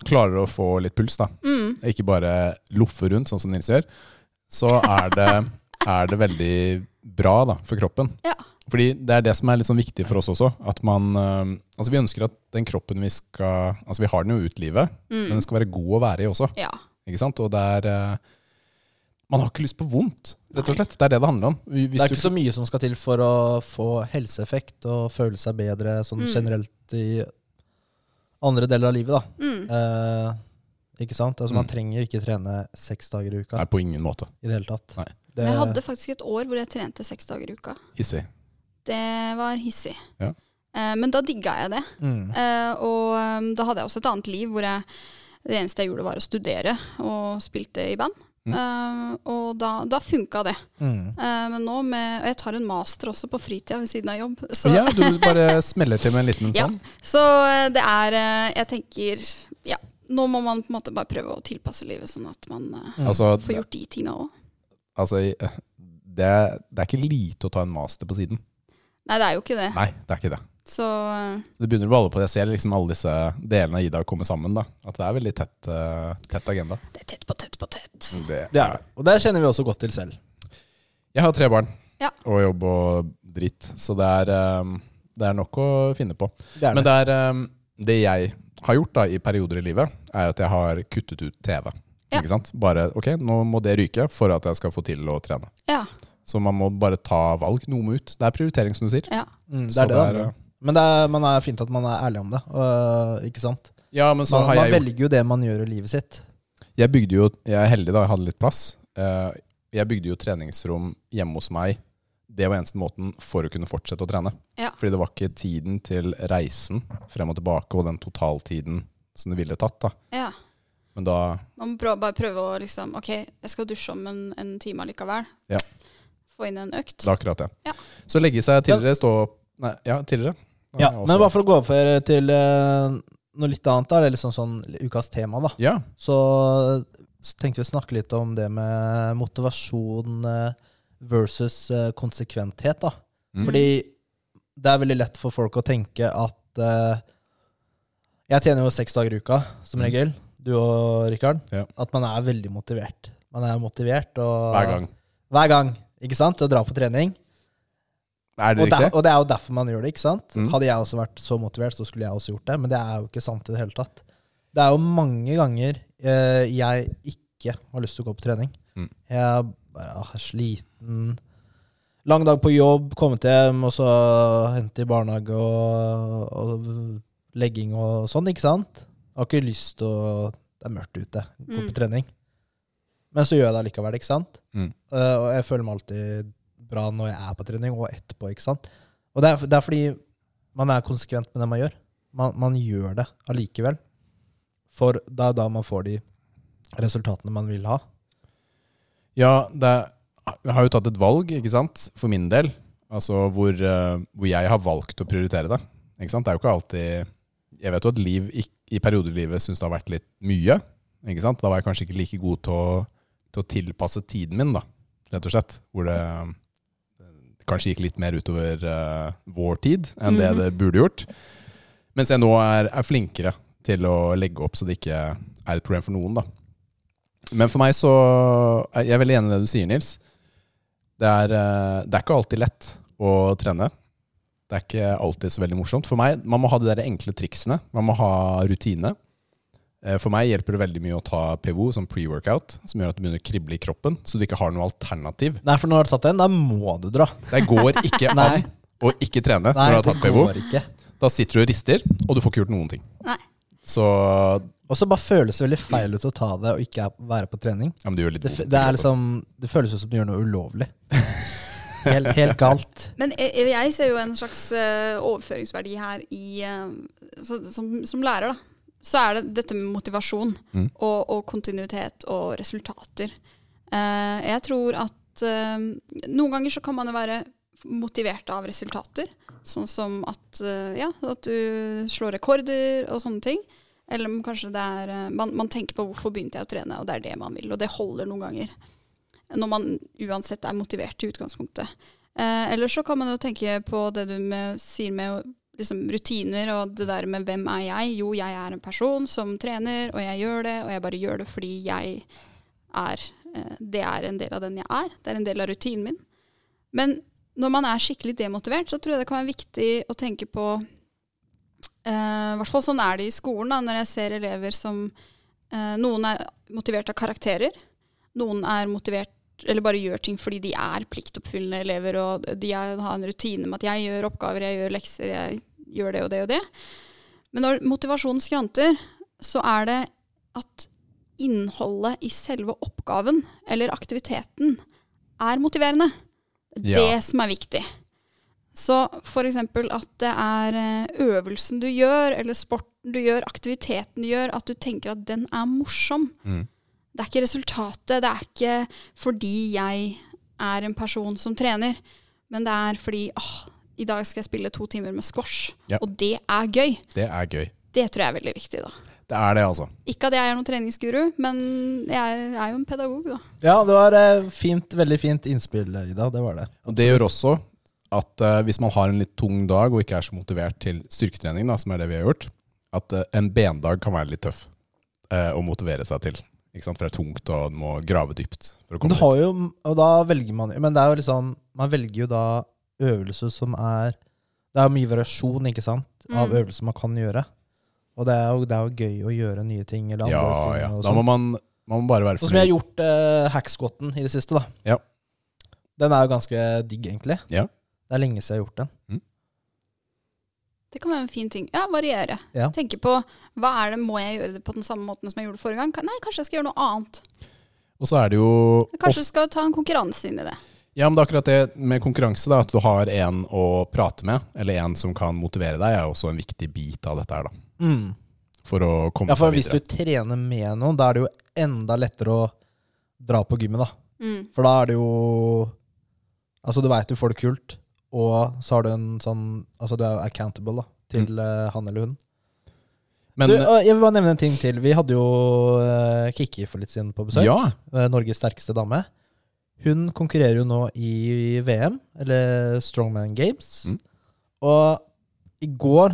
S2: klarer å få litt puls, da,
S3: mm,
S2: ikke bare loffe rundt, sånn som Nils gjør, så er det, er det veldig bra da, for kroppen.
S3: Ja.
S2: Fordi det er det som er litt sånn viktig for oss også. At man, eh, altså vi ønsker at den kroppen vi skal Altså vi har den jo ut livet, men
S3: mm,
S2: den skal være god å være i også.
S3: Ja.
S2: Ikke sant? Og det er eh, Man har ikke lyst på vondt, rett og
S3: Nei.
S2: slett. Det er det det handler om. Hvis
S1: Det er
S2: du-
S1: ikke så mye som skal til for å få helseeffekt og føle seg bedre sånn
S3: Mm.
S1: generelt i andre deler av livet, da.
S3: Mm,
S1: Eh, ikke sant? Altså, Man
S2: Mm.
S1: trenger ikke trene seks dager i uka
S2: Nei, på ingen måte.
S1: i det hele tatt.
S2: Nei.
S1: Det,
S3: Men jeg hadde faktisk et år hvor jeg trente seks dager i uka.
S2: Hissig.
S3: Det var hissig.
S2: Ja.
S3: Eh, men da digga jeg det.
S1: mm.
S3: Eh, og eh, da hadde jeg også et annet liv hvor jeg, det eneste jeg gjorde, var å studere og spilte i band.
S2: Mm.
S3: Eh, og da, da funka det.
S1: Mm.
S3: Eh, men nå med Og jeg tar en master også på fritida ved siden av jobb. Så,
S2: Ja, du bare smeller til med en liten en
S3: Ja.
S2: sånn.
S3: så eh, det er eh, Jeg tenker Ja, nå må man på en måte bare prøve å tilpasse livet sånn at man eh,
S1: Mm.
S2: Altså,
S3: får gjort de tinga òg.
S2: altså det, det er ikke lite å ta en master på siden.
S3: Nei, det er jo ikke det.
S2: Nei, det er ikke det.
S3: Så eh,
S2: Det begynner å balle på. Jeg ser liksom alle disse delene av Ida komme sammen. da. At det er veldig tett, eh, tett agenda.
S3: det er tett på tett på tett.
S2: Det
S1: det er det. Og det kjenner vi også godt til selv.
S2: Jeg har tre barn
S3: Ja.
S2: og jobb og dritt, så det er, eh, det er nok å finne på.
S1: Det er det.
S2: Men det, er, eh, det jeg har gjort da, i perioder i livet, er jo at jeg har kuttet ut TV.
S3: Ja.
S2: Ikke sant? Bare ok, nå må det ryke for at jeg skal få til å trene.
S3: Ja.
S2: Så man må bare ta valg. Noe må ut. Det er prioritering, som du sier.
S3: ja.
S1: Mm, det,
S2: Så eh,
S1: er det, da. Men det er, man er fint at man er ærlig om det. øh, ikke sant?
S2: Ja, men så
S1: Man,
S2: har
S1: man
S2: jeg gjort
S1: velger jo det man gjør i livet sitt.
S2: Jeg bygde jo Jeg er heldig, da. Jeg hadde litt plass. Eh, Jeg bygde jo treningsrom hjemme hos meg. Det var eneste måten for å kunne fortsette å trene.
S3: Ja.
S2: Fordi det var ikke tiden til reisen frem og tilbake og den totaltiden som det ville tatt. da.
S3: ja.
S2: Men da
S3: Man må prøve, bare prøve å liksom OK, jeg skal dusje om en, en time allikevel.
S2: Ja.
S3: Få inn en økt.
S2: det er akkurat det.
S3: Ja.
S2: Så legge seg tidligere, stå opp Nei, ja, tidligere.
S1: Ja,
S2: også-
S1: men bare for å gå over til øh, noe litt annet, da, det er liksom sånn ukas tema, da.
S2: Ja.
S1: Så tenkte vi å snakke litt om det med motivasjon øh, versus øh, konsekventhet, da.
S2: Mm.
S1: Fordi det er veldig lett for folk å tenke at eh, Jeg tjener jo seks dager i uka, som
S2: Mm.
S1: regel. Du og Rikard.
S2: Ja.
S1: At man er veldig motivert. Man er motivert og
S2: Hver gang.
S1: Hver gang, ikke sant? Til å dra på trening.
S2: Er det
S1: Og, der,
S2: riktig?
S1: og det er jo derfor man gjør det, ikke sant?
S2: Mm.
S1: Hadde jeg også vært så motivert, så skulle jeg også gjort det. Men det er jo ikke sant i det hele tatt. Det er jo mange ganger eh, jeg ikke har lyst til å gå på trening.
S2: Mm.
S1: Jeg bare ah, er sliten. Lang dag på jobb, kommet hjem, og så hente i barnehage og, og legging og sånn, ikke sant? Jeg har ikke lyst til å Det er mørkt ute, gå på
S3: Mm.
S1: trening. Men så gjør jeg det allikevel, ikke sant?
S2: Mm.
S1: Eh, og jeg føler meg alltid bra når jeg er på trening, og etterpå, ikke sant? Og det er, det er fordi man er konsekvent med det man gjør. Man, man gjør det allikevel. For det er da man får de resultatene man vil ha.
S2: Ja, det er, jeg har jo tatt et valg, ikke sant, for min del. Altså hvor, eh, hvor jeg har valgt å prioritere det. Ikke sant? Det er jo ikke alltid Jeg vet jo at liv i, i perioder i livet syns det har vært litt mye. Ikke sant? Da var jeg kanskje ikke like god til å, til å tilpasse tiden min, da, rett og slett. Hvor det eh, kanskje gikk litt mer utover eh, vår tid enn det det burde gjort. Mens jeg nå er, er flinkere til å legge opp så det ikke er et problem for noen, da. Men for meg så er Jeg er veldig enig i det du sier, Nils. Det er, eh, det er ikke alltid lett å trene. Det er ikke alltid så veldig morsomt. For meg, Man må ha de der enkle triksene. Man må ha rutine. Eh, For meg hjelper det veldig mye å ta PVO som pre-workout, som gjør at det begynner å krible i kroppen, så du ikke har noe alternativ.
S1: Nei, for når du har tatt den, da må du dra.
S2: Det går ikke
S1: Nei.
S2: an å ikke trene
S1: Nei,
S2: når du har
S1: det
S2: tatt PVO.
S1: går ikke.
S2: Da sitter du og rister, og du får ikke gjort noen ting.
S3: Nei.
S2: Så ja,
S1: Og så bare føles det veldig feil ut å ta det og ikke er- være på trening.
S2: men det gjør litt
S1: Det, f-
S2: vondt i
S1: det, er
S2: kroppen.
S1: liksom, det føles jo som du gjør noe ulovlig. Helt, helt galt.
S3: Men jeg, jeg ser jo en slags eh, overføringsverdi her i eh, så, som, som lærer, da. Så er det dette med motivasjon
S2: Mm.
S3: og, og kontinuitet og resultater. Eh, jeg tror at eh, noen ganger så kan man jo være motiverte av resultater. Sånn som at, eh, ja, at du slår rekorder og sånne ting. Eller om kanskje det er eh, man, man tenker på hvorfor begynte jeg å trene, og det er det man vil. Og det holder noen ganger. Når man uansett er motivert i utgangspunktet. Eh, eller så kan man jo tenke på det du med, sier med å- liksom, rutiner og det der med hvem er jeg? Jo, jeg er en person som trener, og jeg gjør det, og jeg bare gjør det fordi jeg er eh, Det er en del av den jeg er. Det er en del av rutinen min. Men når man er skikkelig demotivert, så tror jeg det kan være viktig å tenke på eh, I hvert fall sånn er det i skolen, da, når jeg ser elever som eh, Noen er motivert av karakterer. Noen er motivert eller bare gjør ting fordi de er pliktoppfyllende elever, og de er, har en rutine med at jeg gjør oppgaver, jeg gjør lekser, jeg gjør det og det og det. Men når motivasjonen skranter, så er det at innholdet i selve oppgaven eller aktiviteten er motiverende.
S2: Ja.
S3: Det som er viktig. Så for eksempel at det er eh, øvelsen du gjør, eller sporten du gjør, aktiviteten du gjør, at du tenker at den er morsom.
S2: Mm.
S3: Det er ikke resultatet, det er ikke fordi jeg er en person som trener, men det er fordi åh, i dag skal jeg spille to timer med squash,
S2: Ja.
S3: og det er gøy.
S2: Det er gøy.
S3: Det tror jeg er veldig viktig, da.
S2: Det er det, altså.
S3: Ikke at jeg er noen treningsguru, men jeg er jo en pedagog, da.
S1: Ja, det var eh, fint, veldig fint innspill, Ida. Det var det.
S2: Og det gjør også at eh, hvis man har en litt tung dag og ikke er så motivert til styrketrening, da, som er det vi har gjort, at eh, en bendag kan være litt tøff eh, å motivere seg til. Ikke sant? For det er tungt, og du må grave dypt for å
S1: Men
S2: komme
S1: Du har
S2: dit.
S1: jo, og da velger man Men det er jo liksom Man velger jo da øvelser som er Det er jo mye variasjon, ikke sant, av
S3: Mm.
S1: øvelser man kan gjøre. Og det er jo, det er jo gøy å gjøre nye ting eller andre
S2: Ja,
S1: ting.
S2: ja.
S1: Og
S2: Da må
S1: sånn.
S2: man, man må bare være
S1: Sånn som jeg har
S2: fornøyd.
S1: gjort eh, hacksquatten i det siste, da.
S2: Ja.
S1: Den er jo ganske digg, egentlig.
S2: Ja.
S1: Det er lenge siden jeg har gjort den.
S3: Det kan være en fin ting. Ja, variere.
S1: Ja.
S3: Tenke på hva er det, må jeg gjøre det på den samme måten som jeg gjorde det forrige gang? Kan- Nei, kanskje jeg skal gjøre noe annet.
S2: Og så er det jo
S3: Kanskje du skal ta en konkurranse inn i det.
S2: Ja, men det er akkurat det med konkurranse, da, at du har en å prate med, eller en som kan motivere deg, er også en viktig bit av dette her, da.
S1: Mm.
S2: For å komme
S1: Ja, for
S2: seg
S1: hvis du
S2: videre.
S1: trener med noen, da er det jo enda lettere å dra på gymmet, da.
S3: Mm.
S1: For da er det jo Altså, du veit du får det kult, og så har du en sånn Altså, du er jo accountable, da, til eh, han eller hun.
S2: Mm. Men
S1: du, og jeg vil bare nevne en ting til. Vi hadde jo eh, Kikki for litt siden på besøk.
S2: ja,
S1: eh, Norges sterkeste dame. Hun konkurrerer jo nå i VM, eller Strongman Games.
S2: Mm.
S1: Og i går,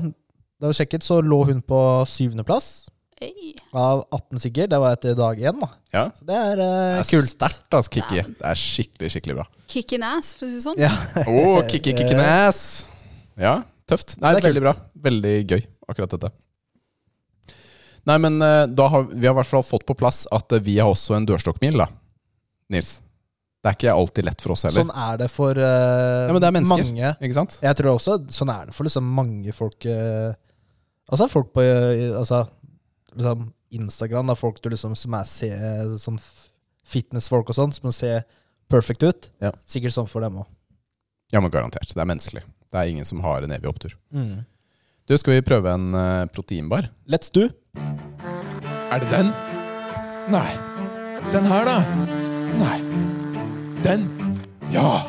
S1: da vi sjekket, så lå hun på syvendeplass
S3: Hey.
S1: av 18 sikkert. Det var etter dag én, da.
S2: ja.
S1: Så det er, eh,
S2: Det er
S1: kult.
S2: sterkt, altså, Kikki. Det er skikkelig, skikkelig bra.
S3: Kick in ass, for å si det sånn.
S1: Ja.
S2: Å, Kikki kicking ass! Ja, tøft. Nei,
S1: Det er
S2: veldig bra. Veldig gøy, akkurat dette. Nei, men eh, da har vi har i hvert fall fått på plass at eh, vi har også en dørstokkmil, da. Nils. Det er ikke alltid lett for oss heller.
S1: Sånn er det for eh,
S2: Ja, men det er mennesker.
S1: mange.
S2: Ikke sant?
S1: Jeg tror også sånn er det for liksom mange folk eh, Altså folk på eh, altså, liksom Instagram, da, folk du liksom, som er se, sånn f- fitnessfolk og sånn, som ser perfect ut.
S2: Ja.
S1: Sikkert sånn for dem òg.
S2: Ja, men garantert. Det er menneskelig. Det er ingen som har en evig opptur.
S1: Mm.
S2: Du, skal vi prøve en eh, proteinbar?
S1: Let's do.
S2: Er det den? Nei. Den her, da? Nei. Den? Ja!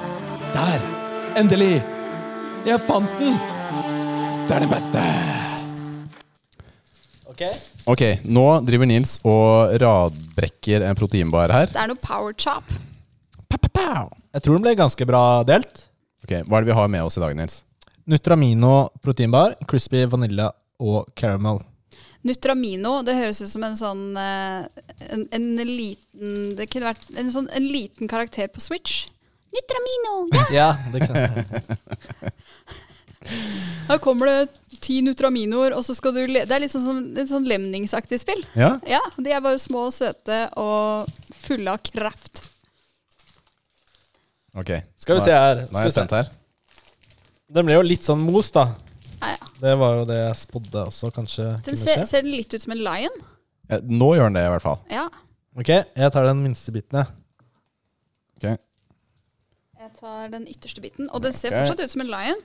S2: Der! Endelig! Jeg fant den! Det er det beste!
S1: Ok.
S2: Ok, nå driver Nils og radbrekker en proteinbar her.
S3: Det er noe power chop.
S2: Pow, pow, pow.
S1: Jeg tror den ble ganske bra delt.
S2: Ok, Hva er det vi har med oss i dag, Nils?
S1: Nutramino proteinbar, crispy vanilje og caramel.
S3: Nutramino, det høres ut som en sånn eh, en, en liten Det kunne vært en, sånn, en liten karakter på Switch. Nutramino! Ja!
S1: Ja, det kan jeg.
S3: Her kommer det ti Nutraminoer, og så skal du le Det er litt sånn, som- litt sånn lemningsaktig spill.
S2: Ja?
S3: Ja, de er bare små og søte og fulle av kraft.
S2: Ok.
S1: Skal vi se her.
S2: Nå er jeg spent her.
S1: Den ble jo litt sånn mos, da.
S3: Ja, ja.
S1: Det var jo det jeg spådde også, kanskje.
S3: Den
S1: kunne
S3: ser,
S1: skje.
S3: ser den litt ut som en lion?
S2: Eh, Nå gjør den det, i hvert fall.
S3: Ja.
S1: Ok, jeg tar den minste biten, jeg.
S2: Ok.
S3: Jeg tar den ytterste biten. Og den ser
S2: Ok.
S3: fortsatt ut som en lion.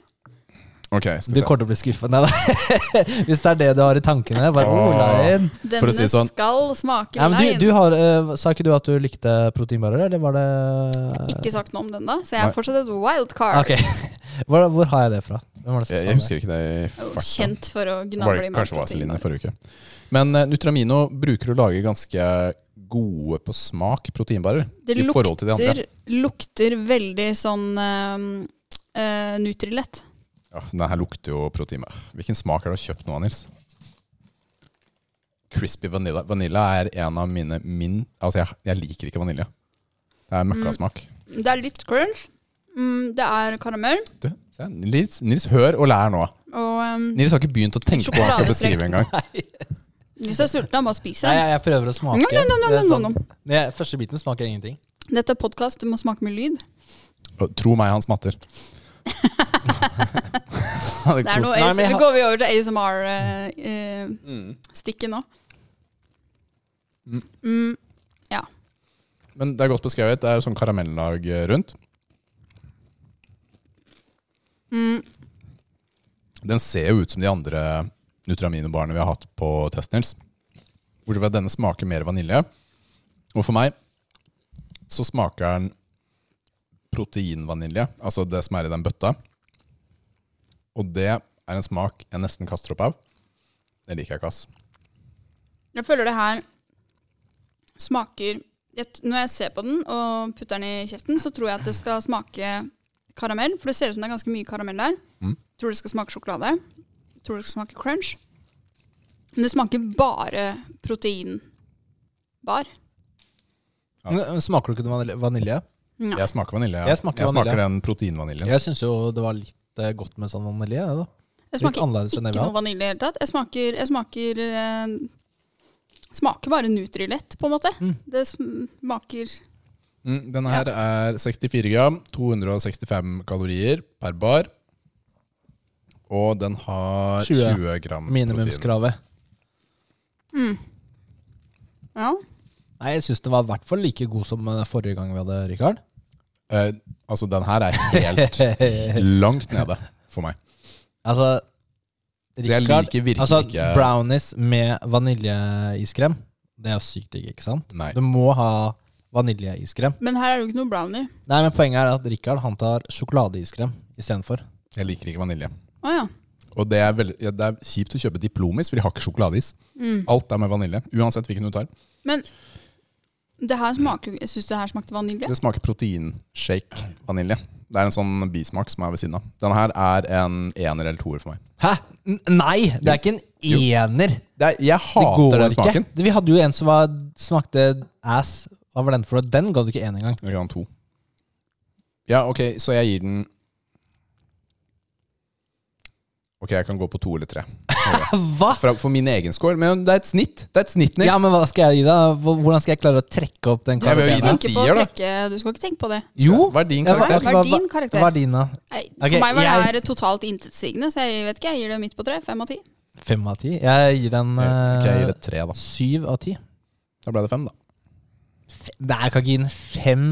S2: Ok, skal
S1: Du
S2: vi se.
S1: kommer til å bli skuffet. Nei, da. Hvis det er det du har i tankene. Bare
S2: Åh.
S1: roll deg inn.
S2: For å si det sånn.
S3: skal smake
S1: Ja, men
S3: lein.
S1: du, du har, eh, sa ikke du at du likte proteinbarer, eller var det Ah,
S3: Ikke sagt noe om den, da, så jeg
S2: Nei.
S3: er fortsatt et wildcard.
S1: Ok. Hvor, hvor har jeg det fra? Hvem var det som sa
S2: Jeg, jeg
S1: det?
S2: husker ikke det. i
S3: Jeg er jo
S2: farta.
S3: Kjent for å
S2: Var
S3: gnable
S2: det
S3: i
S2: kanskje Vaseline
S3: meg.
S2: forrige uke. Men eh, Nutramino bruker å lage ganske gode på smak proteinbarer.
S3: Det
S2: i forhold til de andre.
S3: lukter, lukter veldig sånn ehm, eh, Nutrilett.
S2: Ja, den her lukter jo proteinbar. Hvilken smak har du kjøpt nå, Nils? Crispy vanilla. Vanilla er en av mine min, Altså, jeg, jeg liker ikke vanilje. Det er møkkasmak.
S3: Det er litt crunch. Mm, det er karamell.
S2: Du, se, Nils, Nils, hør og lær nå.
S3: Og um,
S2: Nils har ikke begynt å tenke på hva han skal
S3: Sjokoladestrek.
S2: beskrive engang.
S3: hvis jeg er sulten, jeg bare spiser.
S1: Nei, jeg, jeg prøver å smake.
S3: Nom, nom, nom, nom,
S1: Det er
S3: nom, nom.
S1: Men jeg, første biten smaker ingenting.
S3: Dette er podkast, du må smake med lyd.
S2: Og Tro meg, han smatter. Han
S3: Det
S2: koser-
S3: er noe
S1: Nei, men jeg
S3: ASMR.
S1: har-
S3: Vi går vi over til ASMR-stikket eh, nå. Mm,
S2: Men det er godt beskrevet. Det er sånn karamellag eh, rundt.
S3: mm,
S2: Den ser jo ut som de andre Nutramino-barene vi har hatt på test, Nils. Bortsett fra at denne smaker mer vanilje. Og for meg så smaker den proteinvanilje, altså det som er i den bøtta. Og det er en smak jeg nesten kaster opp av. Det liker jeg ikke, ass.
S3: jeg føler det her smaker jeg, t- Når jeg ser på den og putter den i kjeften, så tror jeg at det skal smake karamell. For det ser ut som det er ganske mye karamell der.
S2: Mm.
S3: Tror det skal smake sjokolade. Tror det skal smake crunch. Men det smaker bare proteinbar.
S2: Ja.
S1: Men Smaker du ikke vanilje- vanilje?
S3: Ja.
S2: Jeg smaker vanilje.
S1: Jeg smaker vanilje.
S2: den proteinvaniljen.
S1: Jeg syns jo det var litt eh, godt med sånn vanilje. jeg, Da.
S3: Jeg
S1: Litt
S3: smaker
S1: annerledes
S3: ikke
S1: enn det vi har
S3: noe vanilje i det hele tatt. Jeg smaker, jeg smaker eh, Smaker bare Nutrilett, på en måte.
S1: Mm.
S3: Det smaker
S2: Mm, denne her er 64 gram, 265 kalorier per bar. Og den har
S1: 20
S2: 20, gram protein.
S1: Minimumskravet.
S3: Ja.
S1: Nei, jeg syns den var i hvert fall like god som eh, forrige gang vi hadde Rikard.
S2: Eh, altså, den her er helt langt nede for meg.
S1: Altså,
S2: jeg
S1: Rikard-
S2: liker virkelig
S1: altså,
S2: ikke-
S1: Brownies med vaniljeiskrem, det er jo sykt digg, ikke sant?
S2: Nei.
S1: Du må ha vaniljeiskrem.
S3: Men her er det jo ikke noe brownie.
S1: Nei, men poenget er at Rikard han tar sjokoladeiskrem istedenfor.
S2: Jeg liker ikke vanilje.
S3: Å ja.
S2: Og det er, veld- ja, det er kjipt å kjøpe diplomis, for de har ikke sjokoladeis.
S1: Mm.
S2: Alt er med vanilje. Uansett hvilken du tar.
S3: Men det her smaker Jeg syns det her smakte vanilje.
S2: Det smaker proteinshake vanilje. Det er en sånn bismak som er ved siden av. Denne her er en ener eller toer for meg.
S1: Hæ? N nei! Det er ikke en ener!
S2: Det er, jeg
S1: Det går
S2: hater den
S1: ikke.
S2: smaken.
S1: Vi hadde jo en som var, smakte ass. Hva var den for? noe? Den ga du ikke én engang.
S2: Jeg ga den to. Ja, ok, så jeg gir den Ok, jeg kan gå på to eller tre.
S1: Hva?
S2: For, for min egen score. Men det er et snitt. Det er et snitt, Nils.
S1: Ja, men hva skal jeg gi deg? Hvor- Hvordan skal jeg klare å trekke opp den
S2: Jeg vil jo gi
S1: karakteren?
S2: deg-
S3: Ikke på å
S2: tier, da.
S3: trekke, du skal ikke tenke på det.
S1: Jo!
S2: Hva er din
S1: Jeg vet
S2: karakter?
S1: ikke hva-
S3: Hva er din karakter?
S1: Hva er din, da?
S3: Nei,
S1: Ok,
S3: for meg var
S1: jeg-
S3: det her totalt intetsigende, så jeg vet ikke. Jeg gir det midt på tre. Fem av ti.
S1: Fem av ti? Jeg gir den
S2: Ok, jeg gir det
S1: eh,
S2: tre, da.
S1: syv av ti.
S2: Da ble det fem, da.
S1: Fe- Det er Kagin fem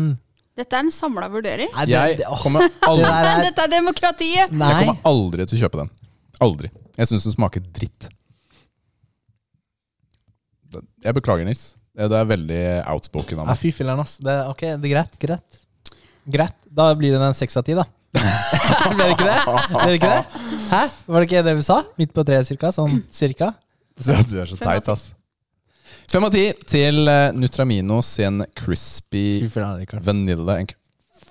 S3: Dette er en samla vurdering.
S1: Nei, det,
S2: Jeg
S1: det, åh,
S2: kommer aldri,
S1: det der
S3: Nei,
S1: er
S3: dette er demokratiet!
S1: Nei.
S2: jeg kommer aldri til å kjøpe den. Aldri. Jeg syns den smaker dritt. Det- Jeg beklager, Nils. Det det er veldig outspoken av
S1: Ja,
S2: meg.
S1: fy filleren, ass. Det, ok, det er greit. Greit. Greit. Da blir det en seks av ti, da. Ble det ikke det? Ble det ikke det? Hæ? Var det ikke det vi sa? Midt på treet, cirka? Sånn cirka?
S2: Så du er så
S3: Fem av
S2: teit, ass. Fem av ti til eh, Nutramino sin crispy
S1: Fy filleren, Rikard.
S2: Vanilla and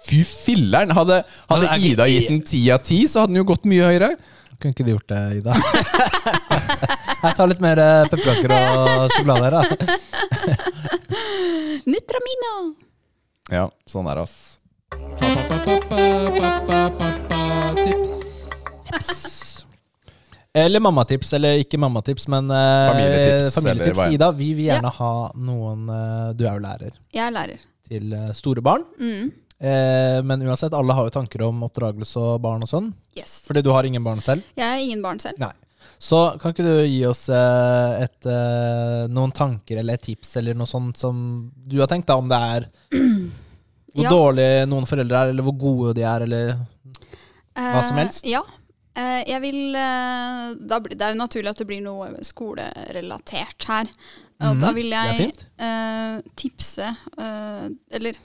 S2: Fy filleren! Hadde, hadde
S1: Altså, er ikke-
S2: Ida gitt den ti av ti, så hadde den jo gått mye høyere.
S1: Kunne ikke du gjort det, Ida? Jeg tar litt mer eh, pepperkaker og sjokolade her, da.
S3: Nutramino!
S2: Ja, sånn er det, ass. Tips.
S1: Eller mammatips, eller ikke mammatips, men eh,
S2: Familietips, eller
S1: familietips.
S2: hva enn.
S1: Ida, vi vil gjerne ha noen eh, Du er jo lærer
S3: Jeg er lærer.
S1: til eh, store barn.
S3: Mm.
S1: Eh, men uansett, alle har jo tanker om oppdragelse og barn og sånn.
S3: Yes.
S1: Fordi du har ingen barn selv.
S3: Jeg er ingen barn selv.
S1: Nei. Så kan ikke du gi oss eh, et, eh, noen tanker eller et tips eller noe sånt som du har tenkt, da, om det er hvor
S3: Ja.
S1: dårlige noen foreldre er, eller hvor gode de er, eller hva som
S3: Eh,
S1: helst?
S3: Ja. Eh, jeg vil eh, da blir, Det er jo naturlig at det blir noe skolerelatert her. Og da
S1: Mhm,
S3: vil
S1: Det er
S3: jeg
S1: fint.
S3: eh, tipse eh, Eller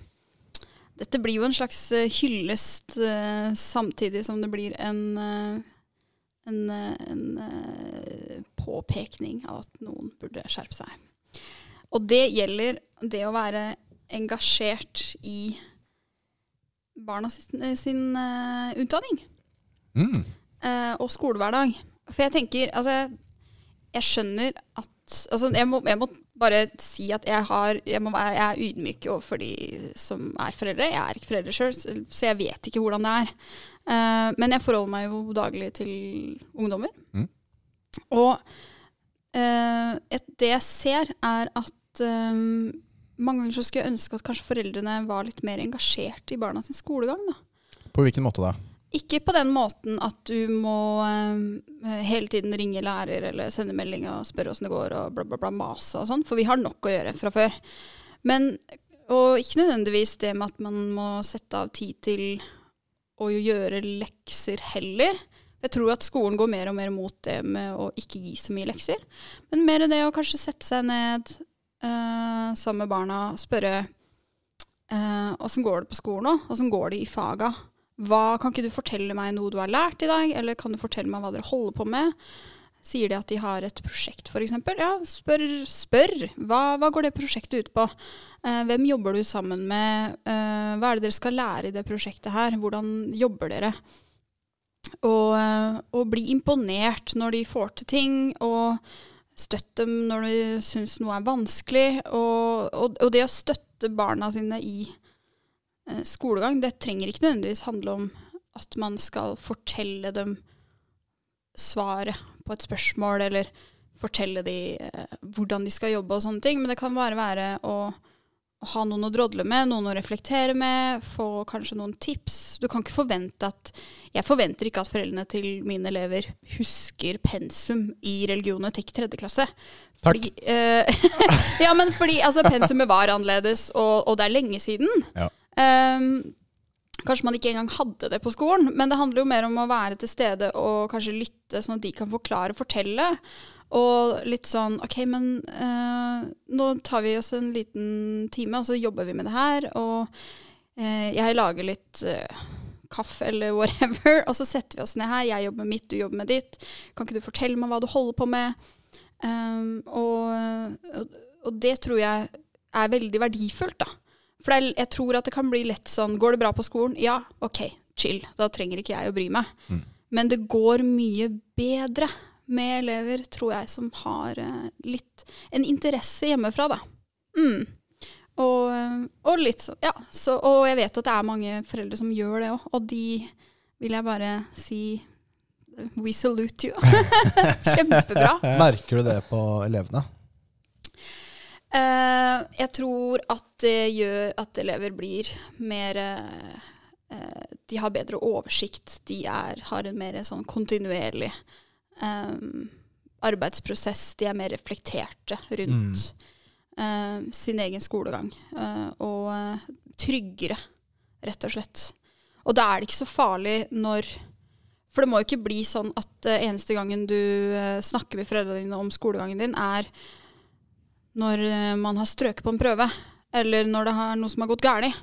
S3: dette blir jo en slags eh, hyllest eh, samtidig som det blir en eh, en, eh, en eh, påpekning av at noen burde skjerpe seg. Og det gjelder det å være engasjert i barna sin, sin eh, utdanning
S2: Mm.
S3: eh, og skolehverdag. For jeg tenker, altså Jeg, jeg skjønner at altså, jeg, må, jeg må bare si at jeg, har, jeg, må være, jeg er ydmyk overfor de som er foreldre. Jeg er ikke foreldre sjøl, så jeg vet ikke hvordan det er. Eh, men jeg forholder meg jo daglig til ungdommer.
S2: Mm.
S3: Og eh, et, det jeg ser, er at eh, mange ganger så skulle jeg ønske at kanskje foreldrene var litt mer engasjert i barna sin skolegang. da.
S2: På hvilken måte da?
S3: Ikke på den måten at du må eh, hele tiden ringe lærer eller sende melding og spørre åssen det går og bla, bla, bla, mase og sånn, for vi har nok å gjøre fra før. Men, og ikke nødvendigvis det med at man må sette av tid til å gjøre lekser heller. Jeg tror at skolen går mer og mer mot det med å ikke gi så mye lekser. Men mer det å kanskje sette seg ned eh, sammen med barna og spørre eh, åssen går det på skolen nå? Åssen går det i faga? Hva, kan ikke du fortelle meg noe du har lært i dag, eller kan du fortelle meg hva dere holder på med? Sier de at de har et prosjekt, f.eks.? Ja, spør. spør. Hva, hva går det prosjektet ut på? Eh, hvem jobber du sammen med? Eh, hva er det dere skal lære i det prosjektet her? Hvordan jobber dere? Og, eh, og bli imponert når de får til ting, og støtt dem når de syns noe er vanskelig. Og, og, og det å støtte barna sine i eh, skolegang, det trenger ikke nødvendigvis handle om at man skal fortelle dem svaret på et spørsmål, eller fortelle dem eh, hvordan de skal jobbe og sånne ting, men det kan bare være å, å ha noen å drodle med, noen å reflektere med, få kanskje noen tips. Du kan ikke forvente at Jeg forventer ikke at foreldrene til mine elever husker pensum i religion og etikk tredje klasse.
S2: Takk.
S3: Fordi, eh, ja, men fordi altså, pensumet var annerledes, og, og det er lenge siden.
S2: Ja.
S3: Ehm, kanskje man ikke engang hadde det på skolen, men det handler jo mer om å være til stede og kanskje lytte, sånn at de kan forklare og fortelle. Og litt sånn OK, men eh, nå tar vi oss en liten time, og så jobber vi med det her. Og eh, jeg lager litt eh, kaffe eller whatever, og så setter vi oss ned her. Jeg jobber med mitt, du jobber med ditt. Kan ikke du fortelle meg hva du holder på med? Um, og, og, og det tror jeg er veldig verdifullt, da. For det er, jeg tror at det kan bli lett sånn Går det bra på skolen? Ja, OK, chill. Da trenger ikke jeg å bry meg.
S2: Mm.
S3: Men det går mye bedre med elever, tror jeg, som har eh, litt En interesse hjemmefra, da. Mm. Og, eh, og litt sånn Ja. Så, og jeg vet at det er mange foreldre som gjør det òg, og de vil jeg bare si eh, We salute you. Kjempebra.
S1: Merker du det på elevene?
S3: Eh, jeg tror at det gjør at elever blir mer eh, eh, De har bedre oversikt. De er, har en mer sånn kontinuerlig eh, arbeidsprosess. De er mer reflekterte rundt eh, sin egen skolegang. eh, og eh, tryggere, rett og slett. Og da er det ikke så farlig når For det må jo ikke bli sånn at eh, eneste gangen du eh, snakker med foreldrene dine om skolegangen din, er når eh, man har strøket på en prøve, eller når det har noe som har gått galt.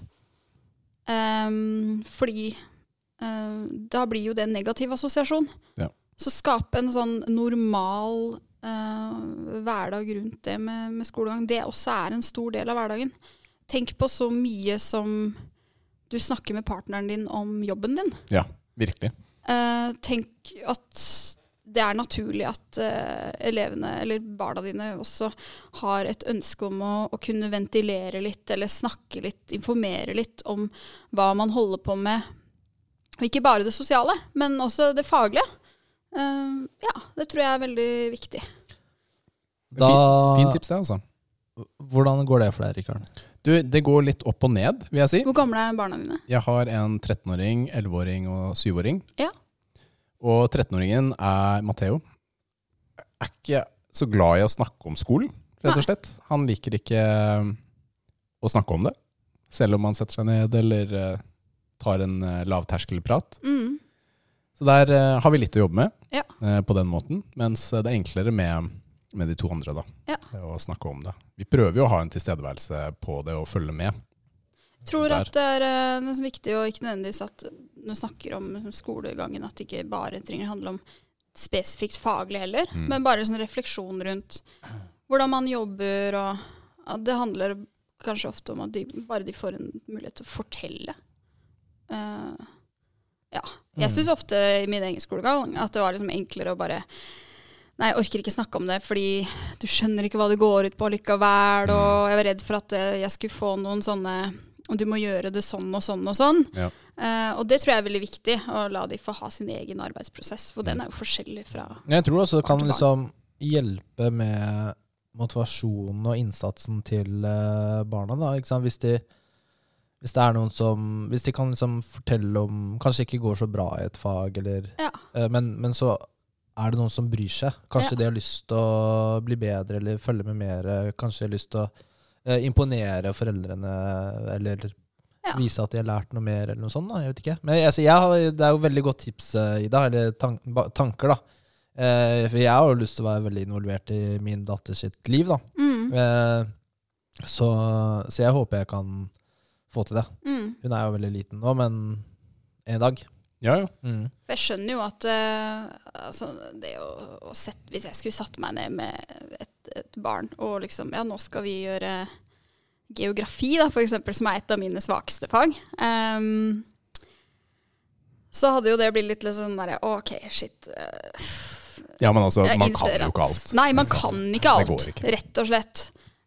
S3: Ehm, fordi eh, da blir jo det en negativ assosiasjon.
S2: Ja.
S3: Så skape en sånn normal eh, hverdag rundt det med, med skolegang. Det også er en stor del av hverdagen. Tenk på så mye som du snakker med partneren din om jobben din.
S2: Ja, virkelig.
S3: Eh, tenk at det er naturlig at eh, elevene, eller barna dine, også har et ønske om å, å kunne ventilere litt, eller snakke litt, informere litt om hva man holder på med. Og ikke bare det sosiale, men også det faglige. Eh, ja, det tror jeg er veldig viktig.
S1: Da,
S2: Fint tips, det, altså.
S1: Hvordan går det for deg, Rikard?
S2: Du, det går litt opp og ned, vil jeg si.
S3: Hvor gamle er barna dine?
S2: Jeg har en 13-åring, 11-åring og 7-åring.
S3: Ja.
S2: Og 13-åringen er Matheo. Er ikke så glad i å snakke om skolen, rett og slett. Han liker ikke um, å snakke om det, uh, selv om han setter seg ned eller eh, tar en eh, lavterskelprat.
S3: Mm.
S2: uh, Så der eh, har vi litt å jobbe med
S3: Ja.
S2: eh, på den måten. Mens uh, det er enklere med, med de to andre, da.
S3: Ja.
S2: Å snakke om det. Vi prøver jo å ha en tilstedeværelse på det og følge med.
S3: tror
S2: Der.
S3: at det er eh, noe som er viktig, og ikke nødvendigvis at når vi snakker om liksom, skolegangen, at det ikke bare trenger å handle om spesifikt faglig heller,
S2: Mm.
S3: men bare sånn refleksjon rundt hvordan man jobber, og at det handler kanskje ofte om at de, bare de får en mulighet til å fortelle. Eh, ja. Jeg syns ofte i min egen skolegang at det var liksom enklere å bare Nei, jeg orker ikke snakke om det, fordi du skjønner ikke hva det går ut på likevel, og jeg var redd for at eh, jeg skulle få noen sånne og du må gjøre det sånn og sånn og sånn.
S2: Ja.
S3: Eh, og det tror jeg er veldig viktig, å la de få ha sin egen arbeidsprosess. For den er jo forskjellig fra
S1: Men Jeg tror også det kan
S3: Barn til
S1: liksom hjelpe med motivasjonen og innsatsen til eh, barna. Da, ikke sant? Hvis, de, hvis det er noen som Hvis de kan liksom fortelle om Kanskje ikke går så bra i et fag, eller,
S3: Ja.
S1: eh, men, men så er det noen som bryr seg. Kanskje
S3: Ja.
S1: de har lyst til å bli bedre eller følge med mer. eh, Kanskje de har lyst til å eh, imponere foreldrene eller
S3: Ja.
S1: vise at de har lært noe mer, eller noe sånt. da, jeg vet ikke. Men jeg, altså, jeg har, det er jo veldig godt tips, eh, Ida, eller tan ba- tanker, da. Eh, for jeg har jo lyst til å være veldig involvert i min datters sitt liv, da.
S3: mm,
S1: Eh, så, så jeg håper jeg kan få til det.
S3: mm.
S1: Hun er jo veldig liten nå, men en dag.
S2: Ja, ja.
S1: Mm.
S3: For jeg skjønner jo at eh, altså, det å, å sette, Hvis jeg skulle satt meg ned med et, et barn og liksom Ja, nå skal vi gjøre geografi, da, for eksempel, som er et av mine svakeste fag. ehm, så hadde jo det blitt litt litt sånn derre OK, shit. eh,
S2: ja, men altså,
S3: jeg
S2: man kan
S3: innser
S2: jo
S3: at-
S2: ikke alt.
S3: Nei, man kan ikke
S2: Det
S3: alt,
S2: går ikke.
S3: rett og slett.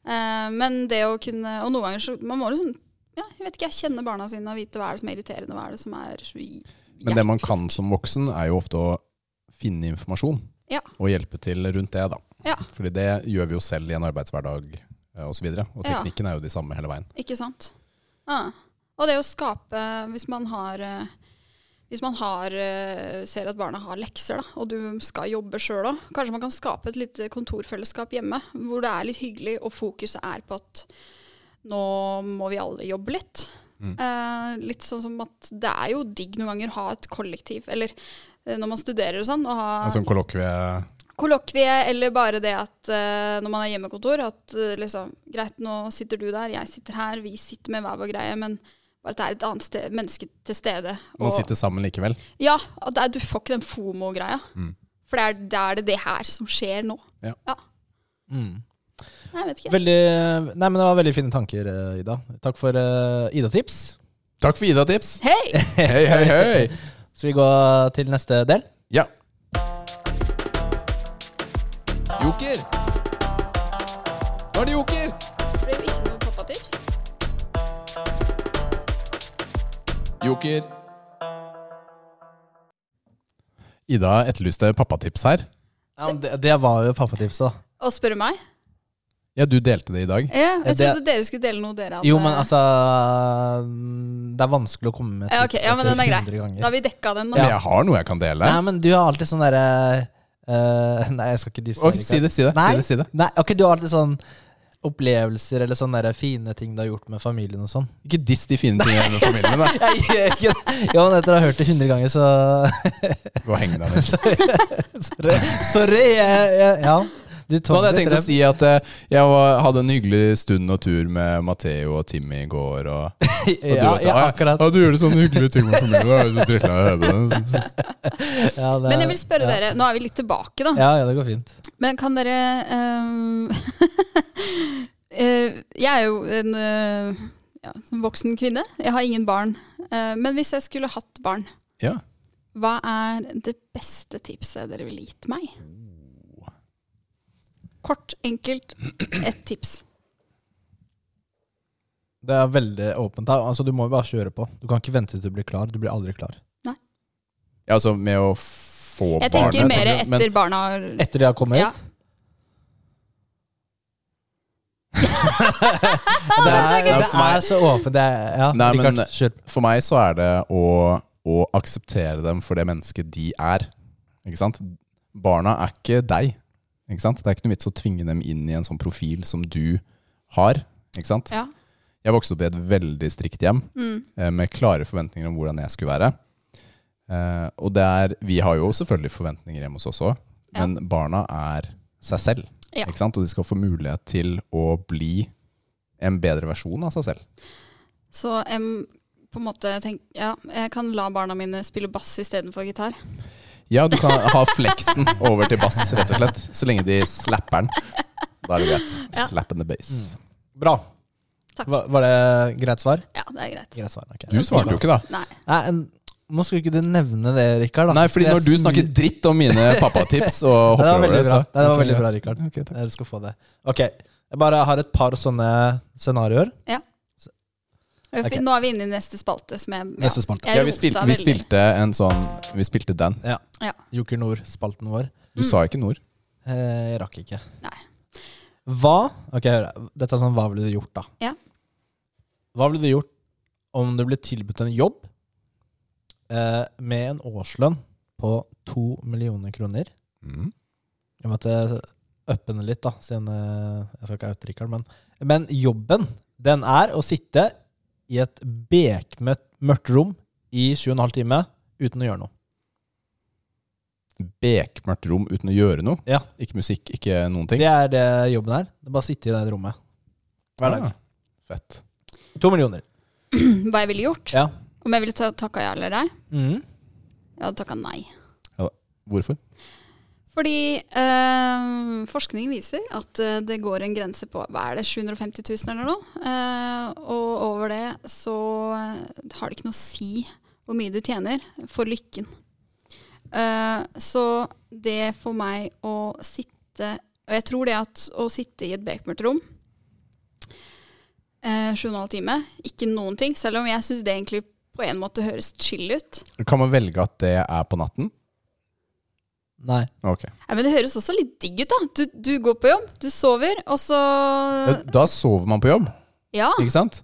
S3: Eh, men det å kunne Og noen ganger så Man må liksom ja, jeg vet ikke, jeg kjenner barna sine og vite hva er det som er irriterende, og hva er det som er
S2: Men det man kan som voksen, er jo ofte å finne informasjon
S3: Ja.
S2: og hjelpe til rundt det. da.
S3: Ja.
S2: Fordi det gjør vi jo selv i en arbeidshverdag eh, og så videre. Og
S3: Ja.
S2: teknikken er jo de samme hele veien.
S3: Ikke sant? Ja. Og det å skape Hvis man har eh, hvis man har, eh, ser at barna har lekser, da, og du skal jobbe sjøl òg, kanskje man kan skape et lite kontorfellesskap hjemme hvor det er litt hyggelig, og fokuset er på at nå må vi alle jobbe litt.
S2: Mm.
S3: Eh, litt sånn som at det er jo digg noen ganger å ha et kollektiv, eller eh, når man studerer og sånn, å ha
S2: En sånn kollokvie
S3: kollokvie, eller bare det at eh, når man er hjemmekontor, at eh, liksom Greit, nå sitter du der, jeg sitter her, vi sitter med hver vår greie, men bare at det er et annet sted, menneske til stede.
S2: Man sitter sammen likevel.
S3: Ja, og det er, du får ikke den FOMO-greia.
S2: Mm.
S3: For det er, det er det det her som skjer nå.
S1: Mm.
S3: Nei, jeg vet ikke.
S1: Veldig, nei, men det var veldig fine tanker, eh, Ida. Takk for eh, Ida-tips.
S2: Takk for Ida-tips!
S3: Hei!
S2: Hei, hei, hei!
S1: Skal vi gå til neste del?
S2: Ja. Joker! Nå er det joker!
S3: Det blir jo ikke noe pappatips.
S2: Joker. Ida etterlyste pappatips her.
S1: Ja, men det, det var jo pappatipset, da.
S3: Og spørre meg.
S2: Ja, du delte det i dag.
S3: Ja, jeg
S1: Det-
S3: trodde dere skulle dele noe dere hadde.
S1: Jo, men altså mm, Det er vanskelig å komme med
S3: Ja, ok, ja, men den er grei.
S1: ganger.
S3: Da har vi dekka den. nå.
S2: Men jeg har noe jeg kan dele.
S1: Nei, men du har alltid sånn derre eh, Nei, jeg skal ikke disse
S2: Ok, si det, si det.
S1: Nei,
S2: Si det, si det.
S1: nei, ok, du har alltid sånn opplevelser eller sånne der fine ting du har gjort med familien og sånn.
S2: Ikke diss de fine tingene med familien, da.
S1: Jeg gjør ikke det. Jo, men etter å ha hørt det hundre ganger, så
S2: Gå og heng deg ned.
S1: Sorry. sorry jeg, jeg, ja. Du
S2: Nå
S1: tåler
S2: hadde jeg
S1: litt
S2: tenkt å
S1: rem.
S2: si at eh, jeg var, hadde en hyggelig stund og tur med Matheo og Timmy i går. Og, og du
S1: ja,
S2: også.
S1: ja,
S2: «Ah,
S1: akkurat.
S2: Ja, du gjør det sånne hyggelige ting med familien. da er jeg så drittlei av å høre på det».
S1: Ja, det,
S3: Men jeg vil spørre
S1: ja.
S3: dere, nå er vi litt tilbake, da.
S1: Ja, ja, det går fint.
S3: Men kan dere ehm, eh, Jeg er jo en eh, ja, som voksen kvinne. Jeg har ingen barn. Eh, men hvis jeg skulle hatt barn,
S2: Ja.
S3: hva er det beste tipset dere ville gitt meg? Kort, enkelt, ett tips.
S1: Det er veldig åpent. da. Altså, Du må jo bare kjøre på. Du kan ikke vente til du blir klar. Du blir aldri klar.
S2: ja, altså med å få
S3: Jeg
S2: barnet,
S3: tenker mer
S2: tenker du, men-
S3: etter barna har
S1: Etter de har kommet
S3: Ja.
S1: hit? Det er,
S2: Nei,
S1: det
S2: for meg-
S1: er så åpent. Det er, ja,
S2: Nei, men-
S1: Richard, kjør.
S2: For meg så er det å, å akseptere dem for det mennesket de er. Ikke sant? Barna er ikke deg. Ikke sant? Det er ikke noe vits å tvinge dem inn i en sånn profil som du har. Ikke sant?
S3: Ja.
S2: Jeg vokste opp i et veldig strikt hjem
S3: Mm,
S2: eh, med klare forventninger om hvordan jeg skulle være. Eh, og det er, vi har jo selvfølgelig forventninger hjemme hos oss òg,
S3: Ja.
S2: men barna er seg selv.
S3: Ja.
S2: Ikke sant? Og de skal få mulighet til å bli en bedre versjon av seg selv.
S3: Så em, på en måte tenk, ja, jeg kan la barna mine spille bass istedenfor gitar.
S2: Ja, du kan ha fleksen over til bass, rett og slett. Så lenge de slapper den. Da er det greit.
S3: Ja.
S2: Slap in the
S1: Mm.
S2: bass.
S1: Bra.
S3: Takk.
S1: Var, var det greit svar?
S3: Ja, det er greit.
S1: Greit svar, ok.
S2: Du svarte jo ikke, da.
S3: Nei.
S1: Nei, en, nå skulle ikke du nevne det, Rikard. da.
S2: Nei, fordi
S1: Jeg
S2: når du
S1: snur-
S2: snakker dritt om mine pappatips og
S1: Nei, det
S2: hopper
S1: var
S2: over
S1: veldig
S2: det,
S1: bra,
S2: så
S1: Nei, det var veldig bra Rikard.
S2: Ok, takk.
S1: Jeg skal få det. Ok, jeg bare har et par sånne scenarioer. Ok.
S3: Nå er vi inne i neste spalte, som jeg ja.
S1: Neste spalte.
S3: Jeg
S2: Ja, vi,
S3: rota
S2: spilte, vi
S3: veldig.
S2: spilte en sånn Vi spilte den.
S1: Joker Nord-spalten vår.
S2: Du
S3: Mm.
S2: sa ikke nord.
S1: Eh, Jeg rakk ikke.
S3: Nei.
S1: Hva Ok, hør. her. Dette er sånn hva ville du gjort, da?
S3: Ja.
S1: Hva ville du gjort om du ble tilbudt en jobb eh, med en årslønn på to millioner kroner?
S2: Mm.
S1: Jeg eh, måtte uppe den litt, da, siden eh, jeg skal ikke oute Rikard, men Men jobben, den er å sitte i et bekmørkt mørkt rom i sju og en halv time uten å gjøre noe.
S2: Bekmørkt rom uten å gjøre noe.
S1: Ja.
S2: Ikke musikk, ikke noen ting.
S1: Det er det jobben er. Det er bare å sitte i det rommet hver dag.
S2: Ah, fett.
S1: To millioner.
S3: Hva jeg ville gjort?
S1: Ja.
S3: Om jeg ville ta- takka ja eller nei?
S1: Mhm.
S3: Jeg hadde takka nei.
S2: Hvorfor?
S3: Fordi eh, forskning viser at eh, det går en grense på hva er det, 750 000 eller noe. Eh, og over det så eh, har det ikke noe å si hvor mye du tjener for lykken. Eh, så det for meg å sitte Og jeg tror det at å sitte i et bekmørkt rom eh, sju og en halv time, ikke noen ting, selv om jeg syns det egentlig på en måte høres chill ut.
S2: Kan man velge at det er på natten?
S1: Nei.
S2: Ok.
S3: Nei, men Det høres også litt digg ut, da. Du, du går på jobb, du sover, og så
S2: Ja, Da sover man på jobb,
S3: Ja,
S2: ikke sant?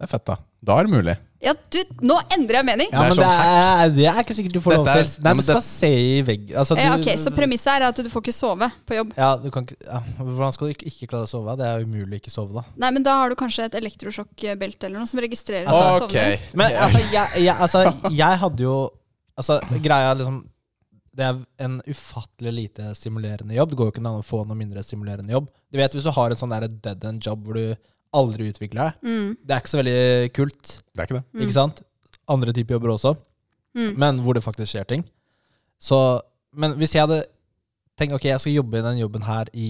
S2: Det er fett, da. Da er det mulig.
S3: ja du, nå endrer jeg mening!
S1: Ja,
S2: Det er
S1: men
S2: sånn
S1: det er, det er ikke sikkert du får lov
S2: Dette er-
S1: til. Nei,
S2: Ja, men
S1: du skal
S2: det-
S1: se i veggen. Altså,
S3: Ja,
S1: du-
S3: ok, Så premisset er at du får ikke sove på jobb.
S1: ja, du kan ikke, ja, Hvordan skal du ikke, ikke klare å sove? Det er jo umulig å ikke sove da.
S3: Nei, men da har du kanskje et elektrosjokkbelte eller noe som registrerer
S1: Altså,
S2: ok.
S3: sovning.
S1: Men altså, jeg, jeg, altså, jeg hadde jo Altså, greia er liksom Det er en ufattelig lite stimulerende jobb. Det går jo ikke an å få noe mindre stimulerende jobb. Du vet Hvis du har en sånn der dead end job hvor du aldri utvikler deg,
S3: Mm.
S1: det er ikke så veldig kult.
S2: Det er ikke det.
S1: Ikke sant? Andre typer jobber også,
S3: Mm.
S1: men hvor det faktisk skjer ting. Så, men hvis jeg hadde tenkt ok, jeg skal jobbe i den jobben her i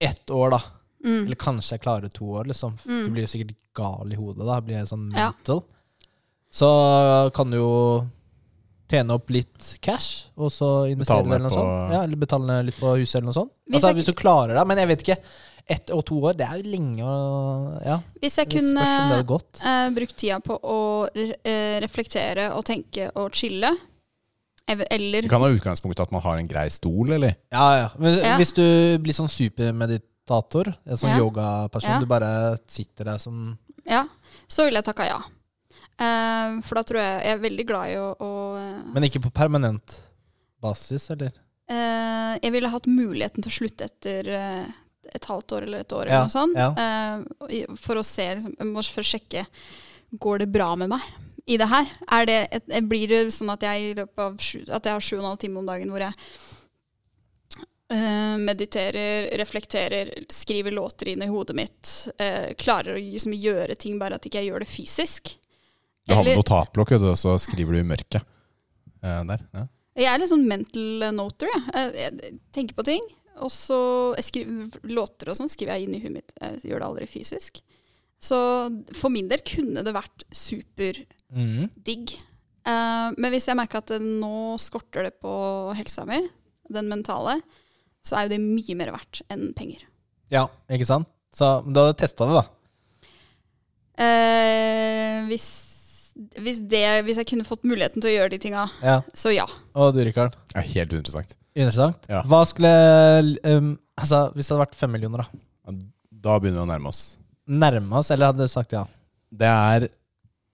S1: ett år, da.
S3: Mm.
S1: Eller kanskje jeg klarer to år, liksom.
S3: Mm.
S1: Du blir jo sikkert gal i hodet da. Blir helt sånn
S3: Ja.
S1: mental. Så kan du jo tjene opp litt cash, og så investere
S2: Betale
S1: det eller noe
S2: på-
S1: sånt. Ja, eller betale ned litt på huset eller noe sånt.
S3: Hvis
S1: altså,
S3: jeg-
S1: hvis du klarer det. Men jeg vet ikke. Ett og to år, det er jo lenge å Ja.
S3: Hvis jeg
S1: det spørs om
S3: kunne
S1: det hadde gått.
S3: eh, brukt tida på å re- eh, reflektere og tenke og chille, ev- eller
S2: Du kan ha utgangspunktet at man har en grei stol, eller?
S1: Ja, ja. Men
S3: Ja.
S1: hvis du blir sånn supermeditator, en sånn
S3: Ja.
S1: yogaperson,
S3: Ja.
S1: du bare sitter der som
S3: Ja. Så ville jeg takka ja. Eh, for da tror jeg jeg er veldig glad i å, å eh,
S1: Men ikke på permanent basis, eller?
S3: Eh, jeg ville hatt muligheten til å slutte etter eh, et halvt år eller et år,
S1: Ja,
S3: eller noe sånt.
S1: ja.
S3: Eh, og i- for å se liksom, Jeg må først sjekke Går det bra med meg i det her. Er det et, eh, blir det sånn at jeg, i løpet av sju, at jeg har sju og en halv time om dagen hvor jeg eh, mediterer, reflekterer, skriver låter inn i hodet mitt. eh, klarer å liksom, gjøre ting, bare at ikke jeg gjør det fysisk.
S2: Du har med
S3: Eller-
S2: notatblokk, vet du, og så skriver du i mørket. Eh, der. Ja.
S3: Jeg er litt sånn mental noter. Jeg, Eh, jeg, jeg tenker på ting. Og så jeg skriver låter og sånn skriver jeg inn i huet mitt. Jeg gjør det aldri fysisk. Så for min del kunne det vært superdigg.
S1: Mm.
S3: Eh, men hvis jeg merker at det nå skorter det på helsa mi, den mentale, så er jo det mye mer verdt enn penger.
S1: Ja, ikke sant? Så men du hadde testa det, da.
S3: Eh, hvis, hvis, det, hvis jeg kunne fått muligheten til å gjøre de tinga,
S1: Ja.
S3: så ja.
S1: Og du, Rikard?
S2: Det er helt uinteressant.
S1: Interessant.
S2: Ja.
S1: Hva skulle um, Altså, hvis det hadde vært fem millioner, da.
S2: Da begynner vi å nærme oss.
S1: Nærme oss, eller hadde du sagt ja?
S2: Det er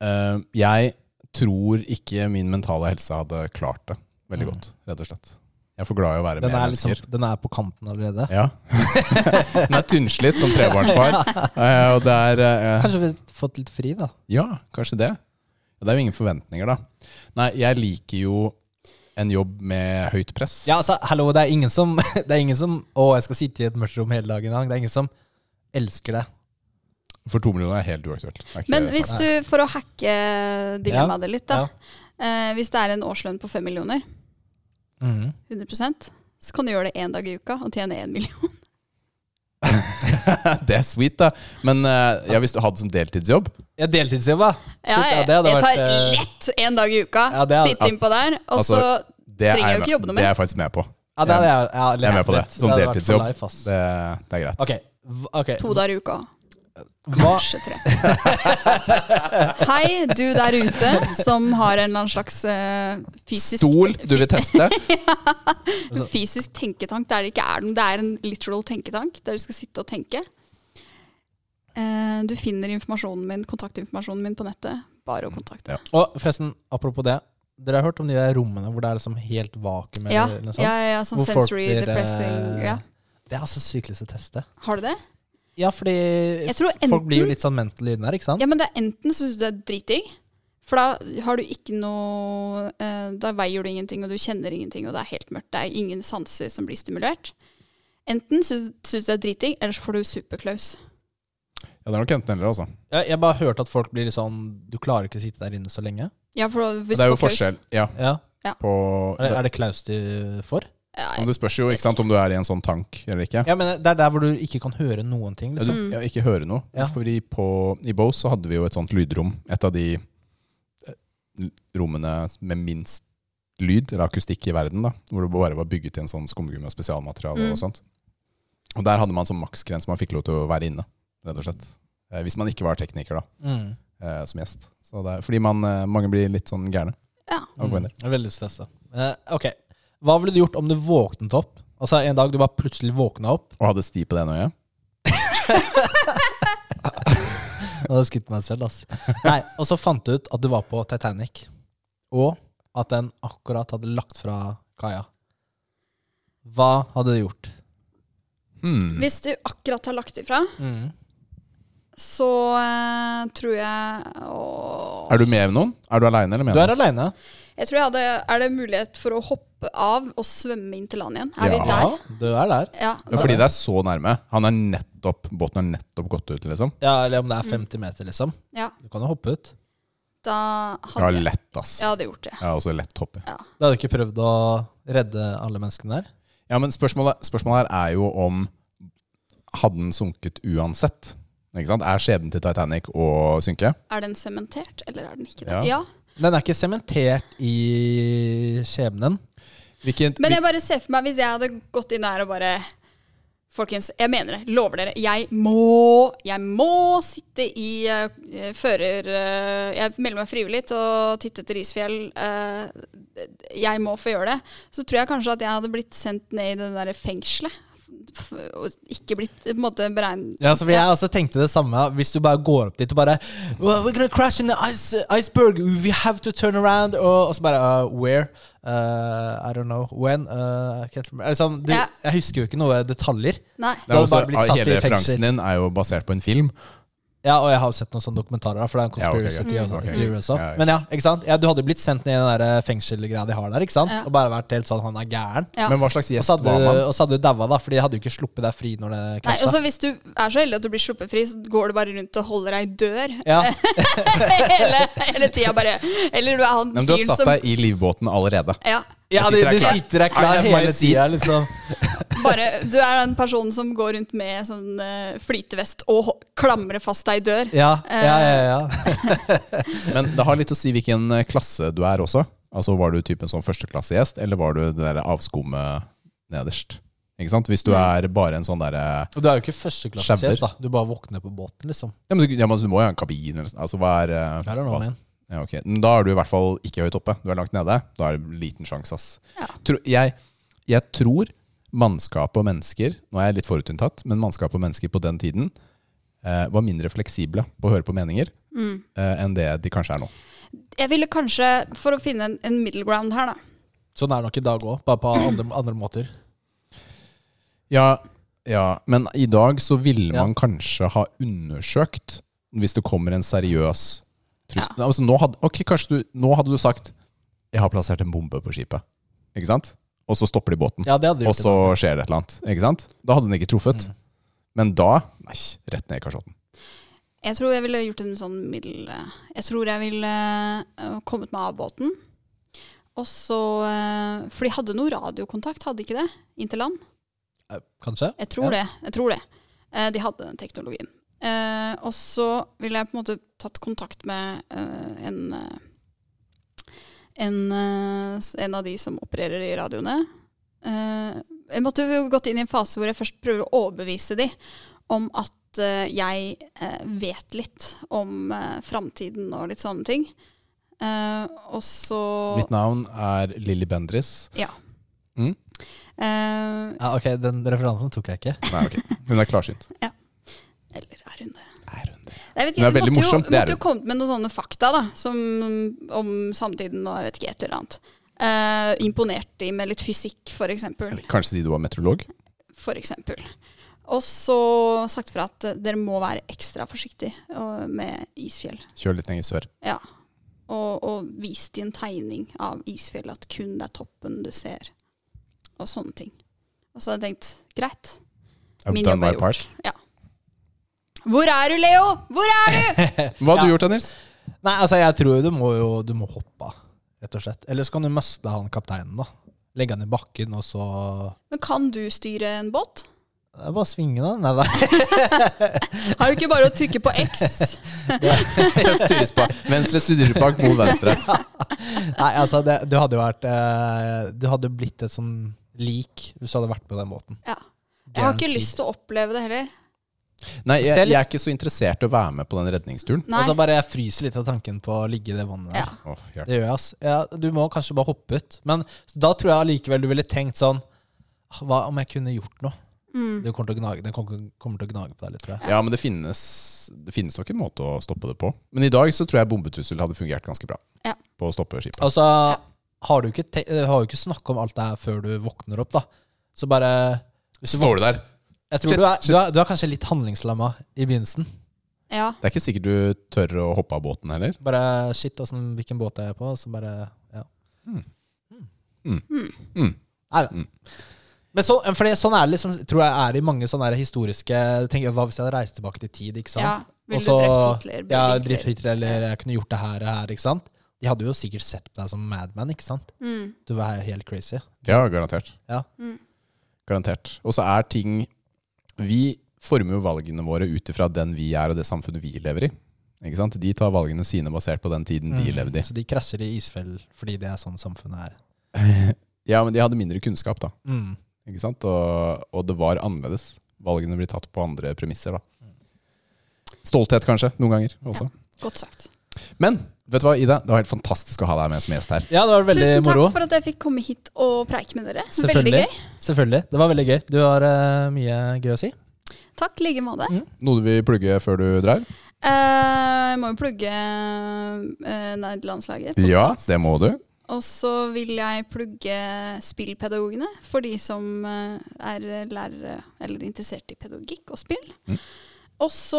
S2: eh, Jeg tror ikke min mentale helse hadde klart det veldig
S1: Mm.
S2: godt, rett og slett. Jeg er for glad i å være
S1: Den
S2: med
S1: er, liksom,
S2: mennesker.
S1: den er på kanten allerede.
S2: Ja. Den er tynnslitt som trebarnsfar. Eh, og det er eh,
S1: Kanskje vi hadde fått litt fri, da.
S2: Ja, kanskje det. Det er jo ingen forventninger, da. Nei, jeg liker jo en jobb med høyt press.
S1: Ja, altså, hallo, det er ingen som Det er ingen som Å, jeg skal sitte i et mørkt rom hele dagen lang. Det er ingen som elsker det.
S2: For to millioner er helt uaktuelt. Det er ikke
S3: Men
S2: sant.
S3: hvis du, for å hacke dilemmaet ditt litt, da.
S1: Ja.
S3: Eh, hvis det er en årslønn på fem millioner,
S1: Mhm.
S3: 100 så kan du gjøre det én dag i uka og tjene én million.
S2: Det er sweet, da. Men eh, ja, hvis du hadde som deltidsjobb
S1: Ja, deltidsjobb, da.
S3: Ja,
S1: Shit, ja,
S3: jeg,
S1: det hadde
S3: jeg tar
S1: vært, eh,
S3: lett én dag i uka,
S1: Ja, det hadde-
S3: sitte innpå der, og
S2: altså,
S3: så
S2: det
S3: Trenger
S2: er
S3: jo ikke jobbe noe mer.
S2: Det er jeg faktisk med på.
S1: Ja, det hadde jeg, jeg,
S2: Jeg er med på det. Som deltidsjobb.
S1: Det.
S2: Det, det er greit.
S1: Ok, hva- ok,
S3: to dager i uka.
S1: eh, Hva,
S3: Kanskje tre. Hei, du der ute som har en eller annen slags eh, fysisk
S2: Stol du vil teste.
S3: En fysisk tenketank der det ikke er noen. Det er en literal tenketank der du skal sitte og tenke. Eh, du finner informasjonen min, kontaktinformasjonen min på nettet.
S1: Mm.
S3: Bare å kontakte.
S2: Ja.
S1: og forresten, apropos det. Dere har hørt om de der rommene hvor det er liksom helt vakuum?
S3: Ja,
S1: eller noe sånt?
S3: ja, ja, ja sånn
S1: Hvor folk
S3: sensory
S1: blir, eh,
S3: depressing. Ja.
S1: Det er altså sykt lyst til å teste.
S3: Har du det?
S1: Ja, fordi
S3: Jeg tror
S1: folk blir jo
S3: enten-
S1: litt sånn mentally inne ikke sant?
S3: Ja, men det er enten syns du det er dritdigg, for da har du ikke noe eh, Da veier du ingenting, og du kjenner ingenting, og det er helt mørkt. Det er ingen sanser som blir stimulert. Enten syns syns du det er dritdigg, eller så får du superklaus.
S2: Ja, det er nok enten eller, altså.
S1: Jeg, jeg bare hørte at folk blir litt sånn Du klarer ikke å sitte der inne så lenge.
S3: Ja, for hvis
S2: Det er
S3: du
S2: jo
S3: får klaus-
S2: forskjell ja,
S1: Ja.
S2: på
S1: Er, det- er det klaus du får?
S3: Ja,
S2: Men Det spørs jo ikke sant, om du er i en sånn tank eller ikke.
S1: Ja, men Det er der hvor du ikke kan høre noen ting.
S2: Ja,
S1: Liksom.
S2: du, ja, ikke høre noe.
S1: Ja.
S2: Fordi på, I Bose så hadde vi jo et sånt lydrom. Et av de eh, rommene med minst lyd, eller akustikk, i verden. da Hvor det bare var bygget i en sånn skumgummi og spesialmateriale.
S3: Mm.
S2: Og sånt Og der hadde man sånn maksgrense man fikk lov til å være inne, rett og slett. Eh, Hvis man ikke var tekniker, da,
S1: Mm.
S2: eh, som gjest. Så det er, fordi man, eh, mange blir litt sånn gærne.
S3: ja.
S2: av å gå inn der.
S1: Mm. Jeg er veldig stressa. Eh, ok, Hva ville du gjort om du våknet opp? Altså En dag du bare plutselig våkna opp.
S2: Og hadde sti på det ene øyet.
S1: Jeg hadde skutt meg selv, ass. Nei, Og så fant du ut at du var på Titanic, og at den akkurat hadde lagt fra kaia. Hva hadde du gjort?
S2: Hmm.
S3: Hvis du akkurat har lagt ifra,
S1: Mm.
S3: så eh, tror jeg å,
S2: Er du med noen? Er du aleine eller med
S1: Du er
S2: noen?
S1: aleine.
S3: Jeg tror jeg hadde Er det mulighet for å hoppe av og svømme inn til land igjen? Er vi der?
S1: Ja, du er der.
S3: Ja.
S2: Ja, fordi det er så nærme. Han er nettopp, Båten er nettopp gått ut, liksom.
S1: Ja, Eller om det er 50 meter, liksom.
S3: ja.
S1: Du kan jo hoppe ut.
S3: Da
S2: Ja,
S3: hadde jeg
S2: lett, ass.
S3: Jeg hadde gjort det.
S2: Jeg er også lett hoppet.
S1: Du hadde ikke prøvd å redde alle menneskene der?
S2: Ja, men spørsmålet, spørsmålet her er jo om Hadde den sunket uansett? Ikke sant? Er skjebnen til Titanic å synke?
S3: Er den sementert, eller er den ikke
S2: Ja.
S3: det? Ja.
S1: Den er ikke sementert i skjebnen.
S2: Hvilket,
S3: Men jeg bare ser for meg hvis jeg hadde gått inn der og bare Folkens, jeg mener det. Lover dere. Jeg må Jeg må sitte i eh, fører... eh, jeg melder meg frivillig til å titte til Risfjell. eh, jeg må få gjøre det. Så tror jeg kanskje at jeg hadde blitt sendt ned i det der fengselet. F- Og ikke blitt på en måte beregnet
S1: Ja, så jeg også tenkte det samme. Hvis du bare går opp dit og bare well, We're gonna crash in the ice, iceberg. We have to turn around. Og, og så bare uh, Where? Uh, I don't know. When? Uh, I can't remember. Liksom, du,
S3: Ja.
S1: Jeg husker jo ikke noe detaljer.
S3: Nei.
S2: det er
S1: hadde
S2: også,
S1: bare blitt satt i
S2: hele
S1: fengsel.
S2: referansen din er jo basert på en film.
S1: Ja, og jeg har jo sett noen sånne dokumentarer, da, for det er en
S2: Ja, ok,
S1: conspiracy
S2: greit.
S1: theory og
S2: Mm.
S1: sånn,
S2: Ok,
S1: theory
S2: greit.
S1: også.
S2: Ja, ja.
S1: Men ja, ikke sant? Ja, du hadde jo blitt sendt ned i den der fengselgreia de har der, ikke sant?
S3: Ja.
S1: Og bare vært helt sånn Han er gæren.
S3: Ja.
S2: Men hva slags
S1: Og
S2: gjest
S1: så hadde,
S2: var man?
S1: og så hadde du daua, da, for de hadde jo ikke sluppet deg fri når det
S3: Nei,
S1: krasja.
S3: og så Hvis du er så heldig at du blir sluppet fri, så går du bare rundt og holder ei dør
S1: ja.
S3: hele, hele tida. bare Eller du er han
S2: Nei, men du har
S3: fyren
S2: satt
S3: som
S2: deg i livbåten allerede.
S3: ja,
S1: ja,
S2: Jeg
S1: de, de
S2: sitter her klar.
S1: sitter der
S2: I
S1: klar
S2: have my
S1: hele
S2: seat.
S1: tida, liksom.
S3: bare, Du er den personen som går rundt med sånn eh, flytevest og ho- klamrer fast ei dør.
S1: Ja, ja, ja. ja.
S2: Men det har litt å si hvilken eh, klasse du er også. Altså Var du typen sånn førsteklassegjest, eller var du det der avskummet nederst? Ikke sant? Hvis du
S1: Mm.
S2: er bare en sånn derre
S1: Og du er jo ikke førsteklassegjest, da. Du bare våkner på båten, liksom.
S2: Ja, men du, ja, men du må jo ha en kabin eller sånn. Altså, hva er, eh,
S1: I don't know,
S2: hva-
S1: man.
S2: Ja, ok. Men Da er du i hvert fall ikke høyt oppe. Du er langt nede. Da er det liten sjanse, ass.
S3: Ja.
S2: Tro, jeg, jeg tror mannskap og mennesker Nå er jeg litt forutinntatt, men mannskap og mennesker på den tiden eh, var mindre fleksible på å høre på meninger
S1: Mm.
S2: eh, enn det de kanskje er nå.
S3: Jeg ville kanskje, for å finne en, en middle ground her, da
S1: Sånn er det nok i dag òg, bare på andre, andre måter.
S2: Ja, ja, men i dag så ville
S1: Ja.
S2: man kanskje ha undersøkt hvis det kommer en seriøs Trus- Altså, nå, hadde, ok, kanskje du, nå hadde du sagt 'Jeg har plassert en bombe på skipet'. Ikke sant? Og så stopper de båten.
S1: Ja, det hadde du
S2: og
S1: gjort.
S2: så skjer det et eller annet. Ikke sant? Da hadde den ikke truffet. Men da Nei, rett ned i kasjotten.
S3: Jeg tror jeg ville gjort en sånn middel Jeg tror jeg ville øh, kommet meg av båten. Og så øh, For de hadde noe radiokontakt, hadde de ikke det? Inn til land?
S1: Eh, Kanskje?
S3: Jeg tror det. jeg tror det. Eh, de hadde den teknologien. Eh, og så ville jeg på en måte tatt kontakt med eh, en eh, en, eh, s- en av de som opererer de radioene. Eh, jeg måtte jo gått inn i en fase hvor jeg først prøver å overbevise de om at eh, jeg eh, vet litt om eh, framtiden og litt sånne ting. Eh, og så
S2: Mitt navn er Lilly Bendris.
S3: eh,
S1: Ja, ok, Den referansen tok jeg ikke.
S2: Nei, ok. Hun er klarsynt.
S3: Eller er hun det?
S2: Er hun det?
S3: Jeg
S2: Hun
S3: vet ikke,
S2: er veldig
S3: måtte
S2: morsom,
S3: Jo,
S2: det er
S3: måtte jo
S2: hun.
S3: kommet med noen sånne fakta da, som, om samtiden og jeg vet ikke, et eller annet. Eh, imponert de med litt fysikk, for eksempel.
S2: Eller kanskje si du var meteorolog?
S3: For eksempel. Og så sagt fra at eh, dere må være ekstra forsiktig og- med isfjell.
S2: Kjør litt lenger sør.
S3: Ja. Og, og vist de en tegning av isfjell, at kun det er toppen du ser. Og sånne ting. Og så hadde jeg tenkt, greit.
S2: I've
S3: Min
S2: done
S3: jobb er
S2: my part.
S3: Hvor er du, Leo? Hvor er du?
S2: Hva hadde du gjort da, Nils?
S1: Nei, altså, jeg tror du må jo du må hoppe av, rett og slett. Eller så kan du møste han kapteinen, da. Legge han i bakken, og så
S3: Men kan du styre en båt?
S1: Det er bare å svinge, da. Nei, nei.
S3: Har du ikke bare å trykke på X?
S2: Styres på. Venstre styrespak mot venstre.
S1: nei altså, det, du hadde jo vært eh, Du hadde blitt et sånn lik hvis du hadde vært på den båten.
S3: Ja. Jeg har ikke lyst til å oppleve det heller.
S2: Nei, jeg,
S1: Se litt-
S2: jeg er ikke så interessert i å være med på den redningsturen.
S3: Nei.
S1: Altså, bare jeg fryser litt av tanken på å ligge i det vannet der.
S3: Ja.
S2: Åh, hjelp.
S1: Det gjør jeg, ass. Ja, du må kanskje bare hoppe ut. Men da tror jeg allikevel du ville tenkt sånn Hva om jeg kunne gjort noe? Det kommer til å gnage, det kommer, kommer til å gnage på deg litt, tror jeg.
S2: Ja, men det finnes, det finnes nok en måte å stoppe det på. Men i dag så tror jeg bombetrussel hadde fungert ganske bra.
S3: Ja.
S2: På å stoppe skipet.
S1: Altså, har du ikke, te- har jo ikke snakka om alt det her før du våkner opp, da. Så bare hvis du,
S2: Står du der?
S1: Jeg tror
S2: Shit,
S1: du er, du, er, du er kanskje litt handlingslamma i begynnelsen.
S3: Ja.
S2: Det er ikke sikkert du tør å hoppe av båten heller.
S1: Bare shit, åssen, hvilken båt er jeg på? Så bare Ja.
S2: Hmm.
S1: Hmm.
S3: Hmm.
S2: Mm.
S1: Nei, nei. Men så, fordi sånn er det liksom, tror jeg er i mange sånne her historiske tenker, Hva hvis jeg hadde reist tilbake til tid, ikke sant?
S3: ja. Ville
S1: Også-
S3: du drept Hitler? ble
S1: Ja,
S3: Hitler.
S1: Drept Hitler, eller jeg kunne gjort det her og her, ikke sant? De hadde jo sikkert sett på deg som madman, ikke sant?
S3: Mm.
S1: Du var helt crazy.
S2: Ja, garantert.
S1: Ja.
S3: Mm.
S2: Garantert. Og så er ting Vi former jo valgene våre ut ifra den vi er, og det samfunnet vi lever i. Ikke sant? De tar valgene sine basert på den tiden Mm. de levde i.
S1: Mm. Så de krasjer i isfell fordi det er sånn samfunnet er.
S2: Ja, men de hadde mindre kunnskap, da.
S1: Mm.
S2: Ikke sant? Og, og det var annerledes. Valgene blir tatt på andre premisser, da. Stolthet, kanskje, noen ganger også.
S3: Godt sagt.
S2: Men vet du hva, Ida? Det var helt fantastisk å ha deg med som gjest her.
S1: Ja, det var veldig
S3: Tusen takk
S1: moro.
S3: for at jeg fikk komme hit og preike med dere. Veldig
S1: Selvfølgelig.
S3: gøy.
S1: Selvfølgelig. Det var veldig gøy. Du har eh, mye gøy å si.
S3: Takk, i like måte.
S1: Mm.
S2: Noe du vil plugge før du drar?
S3: Eh, jeg må jo plugge uh, Nerdelandslaget.
S2: Ja, det må du.
S3: Og så vil jeg plugge spillpedagogene, for de som eh, er lærere eller interessert i pedagogikk og spill.
S2: Mm.
S3: Og så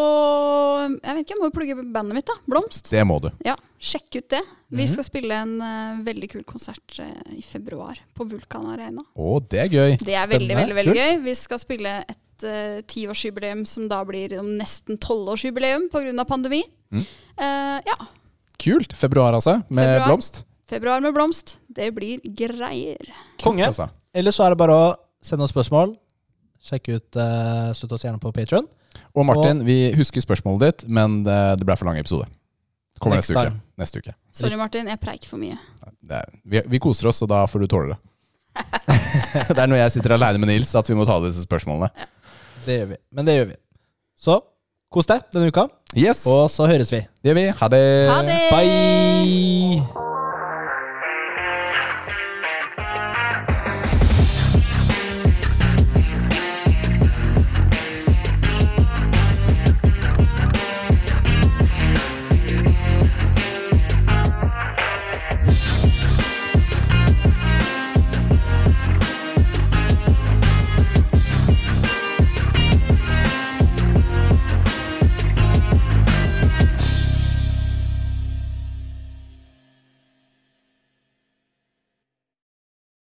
S3: Jeg vet ikke, jeg må jo plugge bandet mitt, da. Blomst.
S2: Det må du.
S3: Ja, sjekk ut det. Vi
S1: Mhm.
S3: skal spille en eh, veldig kul konsert eh, i februar på Vulkan Arena.
S2: Å, det er gøy.
S3: Det er veldig,
S1: Spennende.
S3: veldig veldig gøy. Vi skal spille et eh, tiårsjubileum som da blir om nesten tolvårsjubileum pga. pandemi.
S2: Mhm.
S3: Eh, ja.
S2: Kult. Februar, altså. Med
S3: Februar.
S2: blomst.
S3: Februar med blomst. Det blir greier.
S1: Konge.
S2: Altså.
S1: Ellers så er det bare å sende oss spørsmål. Sjekk ut eh, Støtt oss gjerne på Patron.
S2: Og Martin, vi husker spørsmålet ditt, men det, det ble for lang episode. Kommer
S1: Next
S2: neste uke.
S1: time.
S2: neste uke.
S3: Sorry, Martin, jeg preiker for mye.
S2: Det er, vi, vi koser oss, og da får du tåle det. det er når jeg sitter aleine med Nils at vi må ta disse spørsmålene.
S1: Det gjør vi. Men det gjør vi. Så kos deg denne uka,
S2: Yes,
S1: og så høres vi.
S2: det gjør vi. Ha det.
S3: Ha det!
S1: Bye!